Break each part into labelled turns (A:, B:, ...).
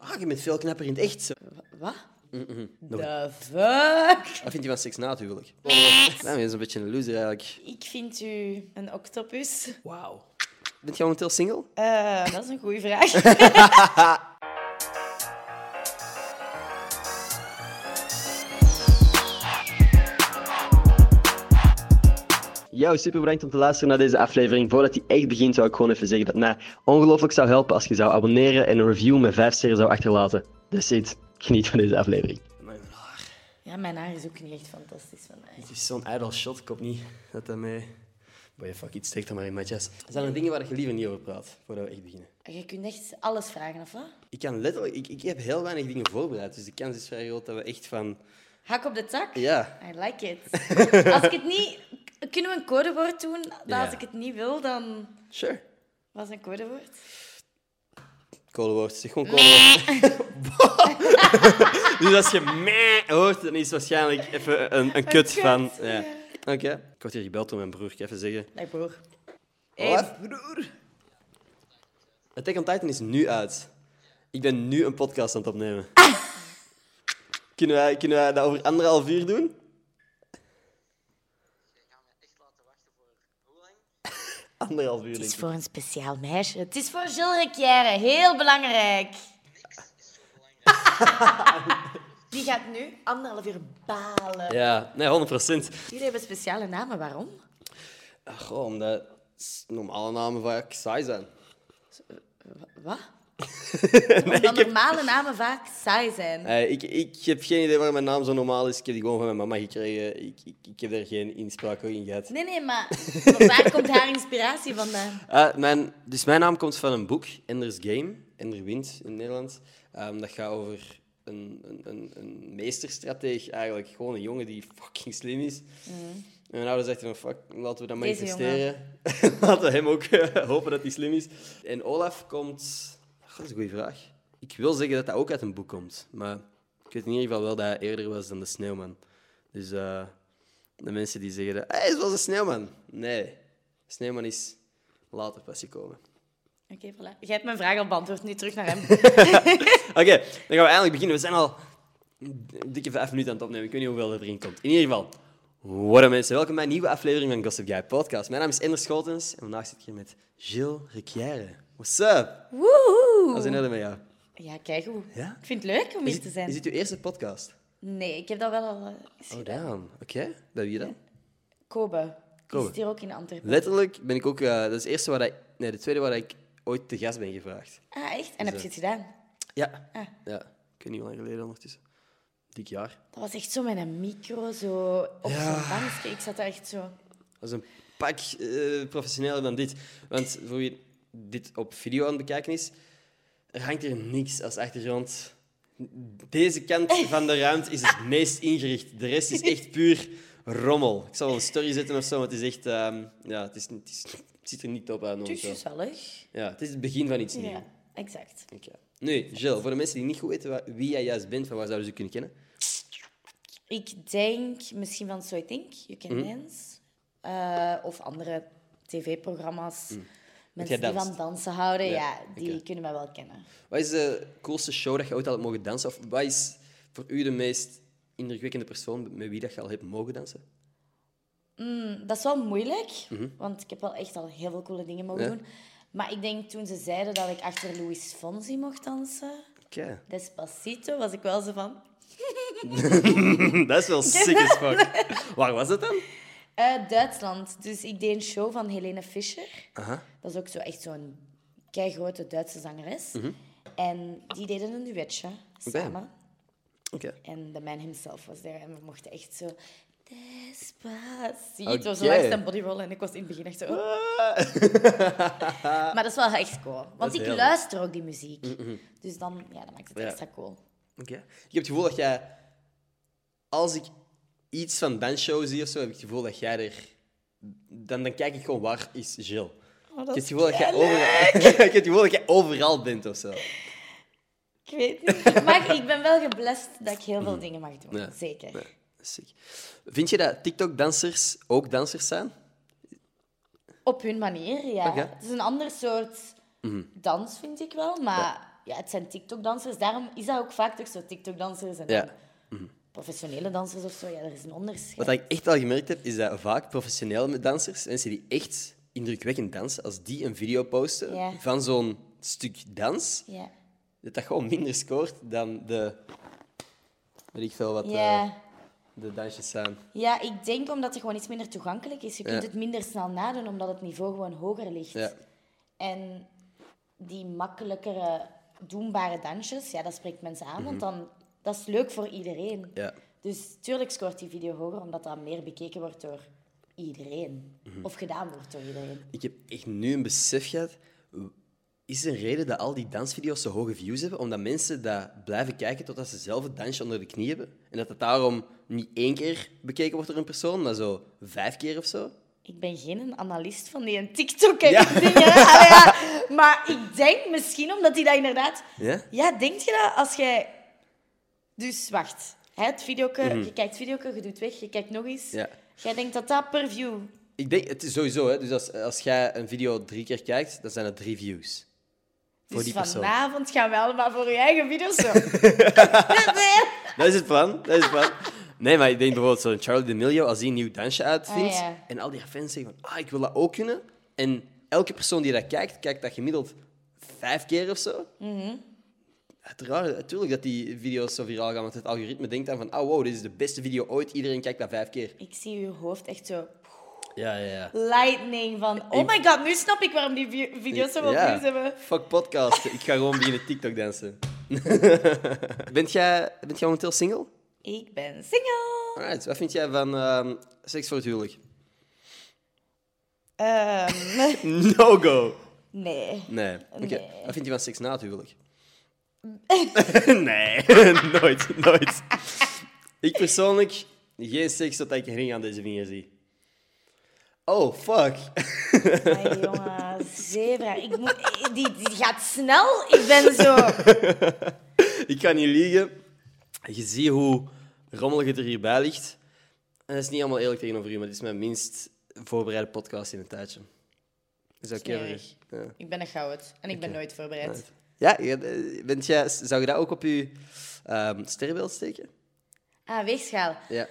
A: ja, Ah, je bent veel knapper in het echt. Zo.
B: Wat? The fuck?
A: Wat vindt je van seks na het huwelijk? Nou, je is een beetje een loser eigenlijk.
B: Ik vind u een octopus.
A: Wauw. Bent je momenteel single?
B: Eh, dat is een goede vraag.
A: Jou, super bedankt om te luisteren naar deze aflevering. Voordat die echt begint, zou ik gewoon even zeggen dat mij ongelooflijk zou helpen als je zou abonneren en een review met 5 sterren zou achterlaten. That's it. Geniet van deze aflevering. Mijn haar.
B: Ja, mijn haar is ook niet echt fantastisch vandaag.
A: Het is zo'n idle shot, ik hoop niet dat dat mij... Boy, fuck, iets steekt er maar in mijn chest. Zijn er dingen waar je liever niet over praat, voordat we echt beginnen?
B: Je kunt echt alles vragen, of wat?
A: Ik kan letterlijk... Ik, ik heb heel weinig dingen voorbereid, dus de kans is vrij groot dat we echt van...
B: Hak op de tak?
A: Ja.
B: I like it. Als ik het niet... Kunnen we een codewoord doen? Dat
A: Ja.
B: Als ik het niet wil, dan...
A: Sure.
B: Wat is een codewoord?
A: Kolenwoord. Zeg gewoon kolenwoord. dus als je meh hoort, dan is het waarschijnlijk even een, een kut
B: kut,
A: van... Ja. Oké. Ik word hier gebeld door mijn broer. Ik ga even zeggen...
B: Nee, broer.
A: Wat, broer? Attack on Titan is nu uit. Ik ben nu een podcast aan het opnemen. Kunnen, wij, kunnen wij dat over anderhalf uur doen? Anderhalf uur,
B: Het
A: denk
B: is
A: ik.
B: voor een speciaal meisje. Het is voor Gilles Requière. Heel belangrijk. Die gaat nu anderhalf uur balen.
A: Ja, nee, 100 procent.
B: Jullie hebben speciale namen. Waarom?
A: Ah, Goh, omdat s- normale namen vaak saai zijn.
B: Wat? Omdat normale namen vaak saai zijn.
A: Eh, ik, ik heb geen idee waarom mijn naam zo normaal is. Ik heb die gewoon van mijn mama gekregen. Ik, ik, ik heb daar geen inspraak in gehad.
B: Nee, nee, maar waar komt haar inspiratie vandaan?
A: Eh, mijn, dus mijn naam komt van een boek, Ender's Game, Ender Wint in het Nederlands. Ehm, dat gaat over een, een, een, een meesterstrateeg eigenlijk. Gewoon een jongen die fucking slim is. En mijn ouder zegt van, fuck, laten we dat
B: Deze
A: manifesteren. laten we hem ook eh, hopen dat hij slim is. En Olaf komt... Goh, dat is een goede vraag. Ik wil zeggen dat dat ook uit een boek komt. Maar ik weet in ieder geval wel dat hij eerder was dan de sneeuwman. Dus eh, de mensen die zeggen dat... Hij is wel een sneeuwman. Nee. Sneeuwman is later pas gekomen.
B: Oké, voilà. Jij hebt mijn vraag al beantwoord. Nu terug naar hem.
A: Oké, dan gaan we eindelijk beginnen. We zijn al een dikke vijf minuten aan het opnemen. Ik weet niet hoeveel er erin komt. In ieder geval, wat mensen. Welkom bij een nieuwe aflevering van Gossip Guy Podcast. Mijn naam is Ender Schotens en vandaag zit ik hier met Gilles Requière. What's up? Wat is in
B: Woehoe.
A: orde met jou?
B: Ja, kijk hoe.
A: Ja?
B: Ik vind het leuk om
A: Is dit,
B: hier te
A: is
B: zijn.
A: dit uw eerste podcast?
B: Nee, ik heb dat wel al... eh, eens
A: Oh,
B: gedaan.
A: damn. Oké, bij wie dan?
B: Kobe. Die
A: Kobe.
B: zit hier ook in Antwerpen.
A: Letterlijk ben ik ook... eh, dat is het eerste waar ik... Nee, de tweede waar ik ooit te gast ben gevraagd.
B: Ah, echt? En heb je het gedaan?
A: Ja.
B: Ah.
A: Ja. Ik weet niet hoe lang geleden ondertussen. Dik jaar.
B: Dat was echt zo met een micro, zo op zo'n bankje. Ik zat daar echt zo...
A: Dat is een pak eh, professioneler dan dit. Want voor wie dit op video aan het bekijken is, er hangt hier niks als achtergrond. Deze kant van de ruimte is het meest ingericht. De rest is echt puur rommel. Ik zal wel een story zetten of zo, maar het is echt... ehm, ja, het, is, het, is, het ziet er niet top uit.
B: Het is
A: momenteel.
B: gezellig.
A: Ja, het is het begin van iets nieuws.
B: Ja, exact.
A: Oké. Nu, Jill, voor de mensen die niet goed weten wa- wie jij juist bent, van waar zouden ze je kunnen kennen?
B: Ik denk misschien van So I Think, You
A: Hm?
B: Can Dance. Eh, of andere tv-programma's. Mensen
A: Hm. jij
B: die
A: danst?
B: van dansen houden,
A: Ja,
B: ja, die
A: oké.
B: kunnen mij wel kennen.
A: Wat is de coolste show dat je ooit had mogen dansen? Of wat is voor u de meest indrukwekkende persoon met wie dat je al hebt mogen dansen?
B: Mm, Dat is wel moeilijk, want ik heb wel echt al heel veel coole dingen mogen
A: Hm. Ja.
B: doen. Maar ik denk toen ze zeiden dat ik achter Louis Fonsi mocht dansen,
A: Oké.
B: Despacito, was ik wel zo van...
A: dat is wel sick as fuck. Waar was het dan?
B: Eh, Duitsland. Dus ik deed een show van Helene Fischer.
A: Aha.
B: Dat is ook zo echt zo'n keigrote Duitse zangeres.
A: Mhm.
B: En die deden een duetje samen.
A: Oké.
B: En de man himself was daar. En we mochten echt zo... Despacito. Het was
A: Oké.
B: echt een bodyroll. En ik was in het begin echt zo... oh. Maar dat is wel echt cool. Want
A: is
B: ik
A: heel
B: luister ook die muziek. Dus dan ja, dat maakt het
A: Ja.
B: extra cool.
A: Oké. Ik heb het gevoel dat jij... Als ik iets van dansshows zie of zo, heb ik het gevoel dat jij er... Dan, dan kijk ik gewoon, waar is Jill? ik heb het gevoel Oh, dat jij overal... ik heb het gevoel dat jij overal bent of zo.
B: Ik weet niet. Maar ik ben wel geblest dat ik heel veel dingen mag doen.
A: Ja.
B: Zeker.
A: Ja, sick. Vind je dat TikTok-dansers ook dansers zijn?
B: Op hun manier, ja.
A: Oké. Mm-hmm.
B: Het is een ander soort dans, vind ik wel. Maar ja, het zijn TikTok-dansers. Daarom is dat ook vaak toch zo, TikTok-dansers en
A: Ja.
B: dan professionele dansers of zo. Ja, er is een onderscheid.
A: Wat ik echt al gemerkt heb, is dat vaak professionele dansers, mensen die echt indrukwekkend dansen, als die een video posten
B: Ja.
A: van zo'n stuk dans,
B: Ja.
A: dat dat gewoon minder scoort dan de... Weet ik veel wat eh,
B: Ja.
A: de dansjes zijn.
B: ja, ik denk omdat het gewoon iets minder toegankelijk is. Je kunt
A: Ja.
B: het minder snel nadoen, omdat het niveau gewoon hoger ligt.
A: Ja.
B: En die makkelijkere, doenbare dansjes, ja, dat spreekt mensen aan, want dan, dat is leuk voor iedereen.
A: Mhm. Ja.
B: Dus tuurlijk scoort die video hoger, omdat dat meer bekeken wordt door iedereen.
A: Mhm.
B: Of gedaan wordt door iedereen.
A: Ik heb echt nu een besef gehad. Is er een reden dat al die dansvideo's zo hoge views hebben? Omdat mensen dat blijven kijken totdat ze zelf het dansje onder de knie hebben. En dat het daarom niet één keer bekeken wordt door een persoon, maar zo vijf keer of zo.
B: Ik ben geen analist van die TikTok en
A: Ja.
B: die dingen. hè. Allee, ja. Maar ik denk misschien omdat die dat inderdaad...
A: Ja?
B: Ja, denk je dat als jij... Dus wacht. Hè, het videoke, Je kijkt het videoke, je doet weg, je kijkt nog eens.
A: Mhm. Ja.
B: Jij denkt dat dat per view...
A: Ik denk, het is sowieso, hè, dus als, als jij een video drie keer kijkt, dan zijn dat drie views. Voor
B: Dus
A: die persoon.
B: vanavond gaan we allemaal voor je eigen video's zo.
A: Dat is het plan. Dat is het plan. Nee, maar ik denk bijvoorbeeld zo'n Charlie D'Amelio, als hij een nieuw dansje uitvindt,
B: Ah, ja.
A: en al die fans zeggen van, ah, ik wil dat ook kunnen. En elke persoon die dat kijkt, kijkt dat gemiddeld vijf keer of zo.
B: Mhm.
A: Uiteraard, natuurlijk dat die video's zo viraal gaan, want het algoritme denkt dan van, ah, wow, dit is de beste video ooit, iedereen kijkt dat vijf keer.
B: ik zie uw hoofd echt zo...
A: Ja, ja, ja.
B: Lightning van... Oh my god, nu snap ik waarom die vi- video's zoveel
A: Ja.
B: views hebben.
A: Fuck podcasten, ik ga gewoon beginnen TikTok dansen. bent, jij, bent jij momenteel single?
B: Ik ben single.
A: Alright, wat vind jij van ehm, seks voor het huwelijk?
B: Ehm,
A: No go!
B: nee.
A: Nee. Oké.
B: Nee.
A: Wat vind je van seks na het huwelijk? nee, nooit, nooit. ik persoonlijk, geen seks tot ik een ring aan deze vinger zie. Oh, fuck.
B: Ai, jongen, zebra. Ik moet, die, die gaat snel. Ik ben zo...
A: ik kan niet liegen. Je ziet hoe rommelig het er hierbij ligt. En dat is niet allemaal eerlijk tegenover u, maar dit is mijn minst voorbereide podcast in een tijdje. Is dat oké?
B: Smerig.
A: voor je? Ja.
B: Ik ben een goud en ik ben nooit voorbereid.
A: Ja, je- eh, bent jij, zou je dat ook op je ehm sterrenbeeld steken?
B: Ah, weegschaal.
A: Ja.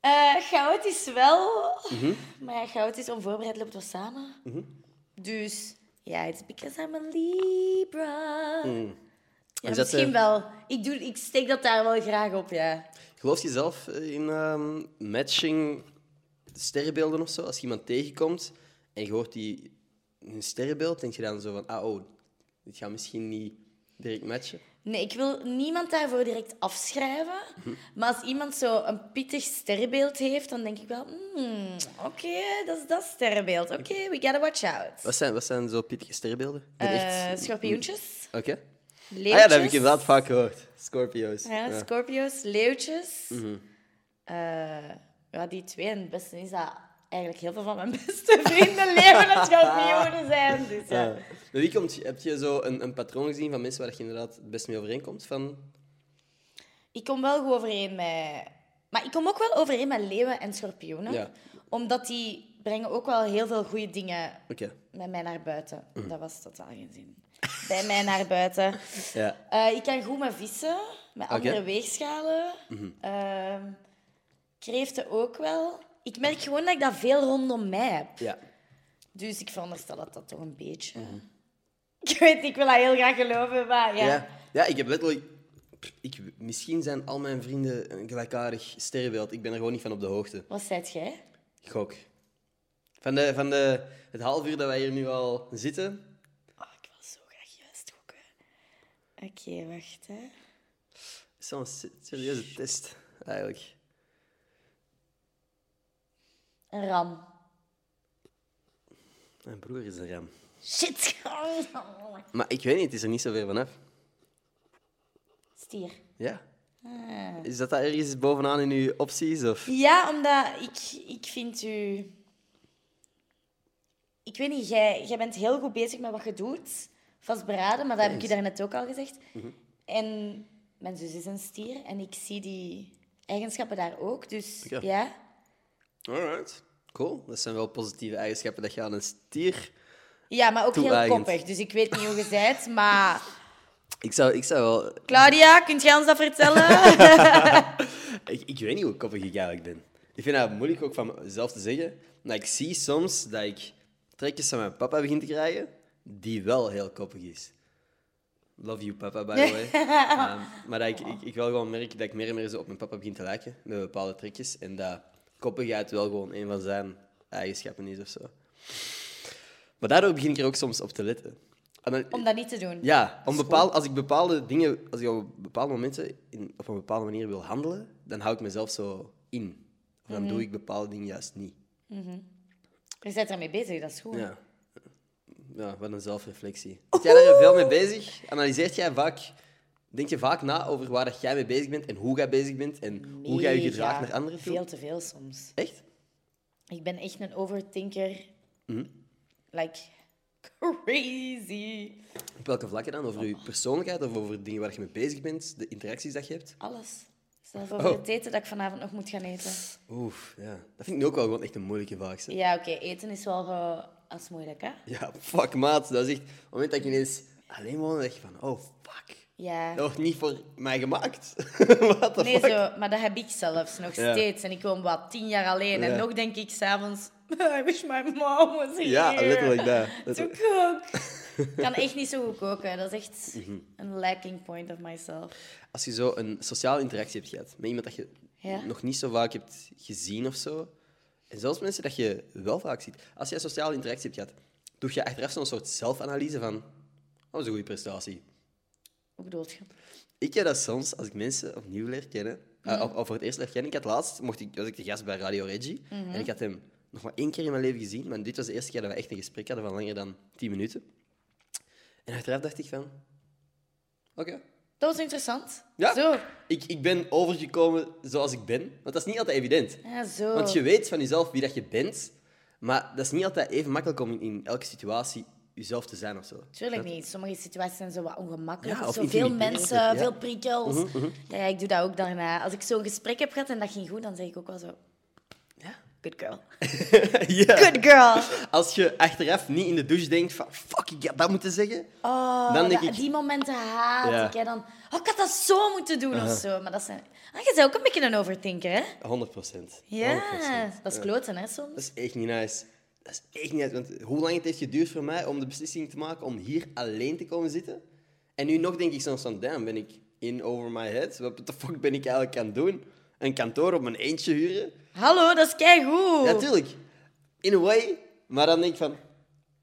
B: Eh goud is wel...
A: Mhm.
B: Maar ja, goud is onvoorbereid, loopt wel samen. Dus... Ja, it's because I'm a Libra. Ja,
A: Mhm. En zet,
B: misschien
A: eh,
B: wel. Ik, doe, ik steek dat daar wel graag op, ja.
A: Geloof je zelf in ehm, matching sterrenbeelden of zo? Als je iemand tegenkomt en je hoort die een sterrenbeeld, denk je dan zo van, ah, oh, dit gaat misschien niet direct matchen.
B: Nee, ik wil niemand daarvoor direct afschrijven.
A: Mhm.
B: Maar als iemand zo een pittig sterrenbeeld heeft, dan denk ik wel... "Hmm, oké, dat is dat sterrenbeeld. Oké, we gotta watch out.
A: Wat zijn, wat zijn zo pittige sterrenbeelden? Ik ben
B: Eh,
A: echt-
B: schorpioentjes,
A: Oké. Ah
B: leeuwtjes.
A: ja, dat heb ik inderdaad vaak gehoord. Scorpio's.
B: Ja,
A: Ja. Mhm.
B: Scorpio's, leeuwtjes. Eh, ja, die twee. En het beste is dat eigenlijk heel veel van mijn beste vrienden leven en schorpioenen zijn. Dus ja.
A: Ja. Bij wie komt, heb je zo een, een patroon gezien van mensen waar je inderdaad het best mee overeenkomt? Van...
B: Ik kom wel goed overeen met... Maar ik kom ook wel overeen met leeuwen en schorpioenen.
A: Ja.
B: Omdat die brengen ook wel heel veel goede dingen
A: Oké.
B: met mij naar buiten.
A: Mhm.
B: Dat was totaal geen zin. Bij mij naar buiten.
A: Ja.
B: Eh, ik kan goed met vissen, met
A: Oké.
B: andere weegschalen. Ehm, kreeften ook wel. Ik merk gewoon dat ik dat veel rondom mij heb.
A: Ja.
B: Dus ik veronderstel dat dat toch een beetje... Ik weet, ik wil dat heel graag geloven, maar ja.
A: Ja. ja, ik heb letterlijk. Ik, misschien zijn al mijn vrienden een gelijkaardig sterrenbeeld. Ik ben er gewoon niet van op de hoogte.
B: Wat zei jij?
A: Gok. Van, de, van de, het half uur dat wij hier nu al zitten.
B: Oh, ik wil zo graag juist gokken. Oké, wacht hè.
A: is Zo'n se- serieuze test, eigenlijk.
B: Een ram.
A: Mijn broer is een ram.
B: Shit.
A: Maar ik weet niet, het is er niet zo ver vanaf.
B: Stier.
A: Ja. Is dat, dat ergens bovenaan in uw opties? Of?
B: Ja, omdat ik, ik vind u... Ik weet niet, jij, jij bent heel goed bezig met wat je doet. Vastberaden, maar dat heb ik je daarnet ook al gezegd.
A: Mhm.
B: En mijn zus is een stier en ik zie die eigenschappen daar ook. Dus
A: Oké.
B: ja,
A: Alright. Cool. Dat zijn wel positieve eigenschappen dat je aan een stier.
B: Ja, maar ook heel
A: Toe-eigend.
B: koppig. Dus ik weet niet hoe je bent, maar
A: Ik zou, ik zou wel...
B: Claudia, kunt jij ons dat vertellen?
A: Ik, ik weet niet hoe koppig ik eigenlijk ben. Ik vind dat moeilijk ook van mezelf te zeggen. Maar ik zie soms dat ik trekjes van mijn papa begin te krijgen, die wel heel koppig is. Love you, papa, by the way. Ehm, maar dat ik, ik, ik wel gewoon merk dat ik meer en meer zo op mijn papa begin te lijken, met bepaalde trekjes. En dat koppigheid wel gewoon een van zijn eigenschappen is of zo. Maar daardoor begin ik er ook soms op te letten. En dan-
B: Om dat niet te doen.
A: ja, om bepaal, als ik bepaalde dingen, als ik op bepaalde momenten in, op een bepaalde manier wil handelen, dan hou ik mezelf zo in. Of dan doe ik bepaalde dingen juist niet.
B: Je bent ermee bezig, dat is goed.
A: Ja. ja, wat een zelfreflectie. Ben jij daar veel mee bezig? Analyseert jij vaak, denk je vaak na over waar dat jij mee bezig bent en hoe jij bezig bent en hoe jij je
B: Mega.
A: gedraagt naar anderen toe?
B: Veel te veel soms.
A: Echt?
B: Ik ben echt een overthinker.
A: Mhm.
B: Like, crazy.
A: Op welke vlakken dan? Over je persoonlijkheid of over dingen waar je mee bezig bent, de interacties dat je hebt?
B: Alles. Zelfs over
A: Oh.
B: het eten dat ik vanavond nog moet gaan eten.
A: Oef, ja. Dat vind ik nu ook wel gewoon echt een moeilijke vraag. zeg.
B: Ja, oké, eten is wel eh, als moeilijk, hè?
A: Ja, fuck maat. Dat is echt... Op het moment dat je ineens alleen woont, denk je van... Oh, fuck.
B: Ja.
A: Dat wordt niet voor mij gemaakt. What the
B: Nee,
A: Oh, fuck?
B: zo, maar dat heb ik zelfs nog
A: Ja.
B: steeds. En ik woon wat tien jaar alleen.
A: Ja.
B: En nog denk ik s'avonds... I wish my mom was here.
A: Ja, letterlijk dat.
B: To
A: Letterlijk.
B: cook. Ik kan echt niet zo goed koken. Dat is echt
A: Mhm.
B: een lacking point of myself.
A: Als je zo een sociale interactie hebt gehad met iemand dat je
B: Ja.
A: nog niet zo vaak hebt gezien of zo... En zelfs mensen dat je wel vaak ziet. Als je een sociale interactie hebt gehad, doe je achteraf zo'n soort zelfanalyse van... oh, Dat was een goede prestatie.
B: Hoe bedoel je?
A: Ik heb dat soms als ik mensen opnieuw leer kennen, eh,
B: Mhm.
A: of, of voor het eerst leer kennen. Ik had laatst, mocht ik, was ik de gast bij Radio Reggie,
B: Mhm.
A: en ik had hem nog maar één keer in mijn leven gezien, maar dit was de eerste keer dat we echt een gesprek hadden van langer dan 10 minuten. En achteraf dacht ik van, oké,
B: Dat was interessant.
A: ja,
B: Zo.
A: ik, ik ben overgekomen zoals ik ben, want dat is niet altijd evident.
B: Ja, zo.
A: Want je weet van jezelf wie dat je bent, maar dat is niet altijd even makkelijk om in, in elke situatie jezelf te zijn of zo.
B: Tuurlijk niet. Sommige situaties zijn zo wat ongemakkelijk.
A: Ja, of
B: zo veel
A: intimiderend,
B: mensen,
A: ja. Mhm,
B: veel prikkels. Ja, ja, ik doe dat ook daarna. Als ik zo'n gesprek heb gehad en dat ging goed, dan zeg ik ook wel zo...
A: Ja.
B: Good girl.
A: ja.
B: Good girl.
A: Als je achteraf niet in de douche denkt van fuck, ik had dat moeten zeggen,
B: Oh,
A: dan denk
B: dat-
A: ik,
B: Die momenten haat
A: Ja. Uh-huh.
B: ik. Hè. Dan, oh, ik had dat zo moeten doen of zo. Maar dat zijn... Ah, je bent ook een beetje een overthinker,
A: Oh,
B: hè?
A: 100 procent.
B: Ja, dat is kloten, hè, soms.
A: Dat is echt niet nice. Dat is echt niet nice. Want hoe lang het heeft geduurd voor mij om de beslissing te maken om hier alleen te komen zitten. En nu nog denk ik soms van, damn, ben ik in over my head? Wat de fuck ben ik eigenlijk aan het doen? Een kantoor op mijn eentje huren?
B: Hallo, dat is keigoed.
A: Ja, tuurlijk. In a way. Maar dan denk ik van,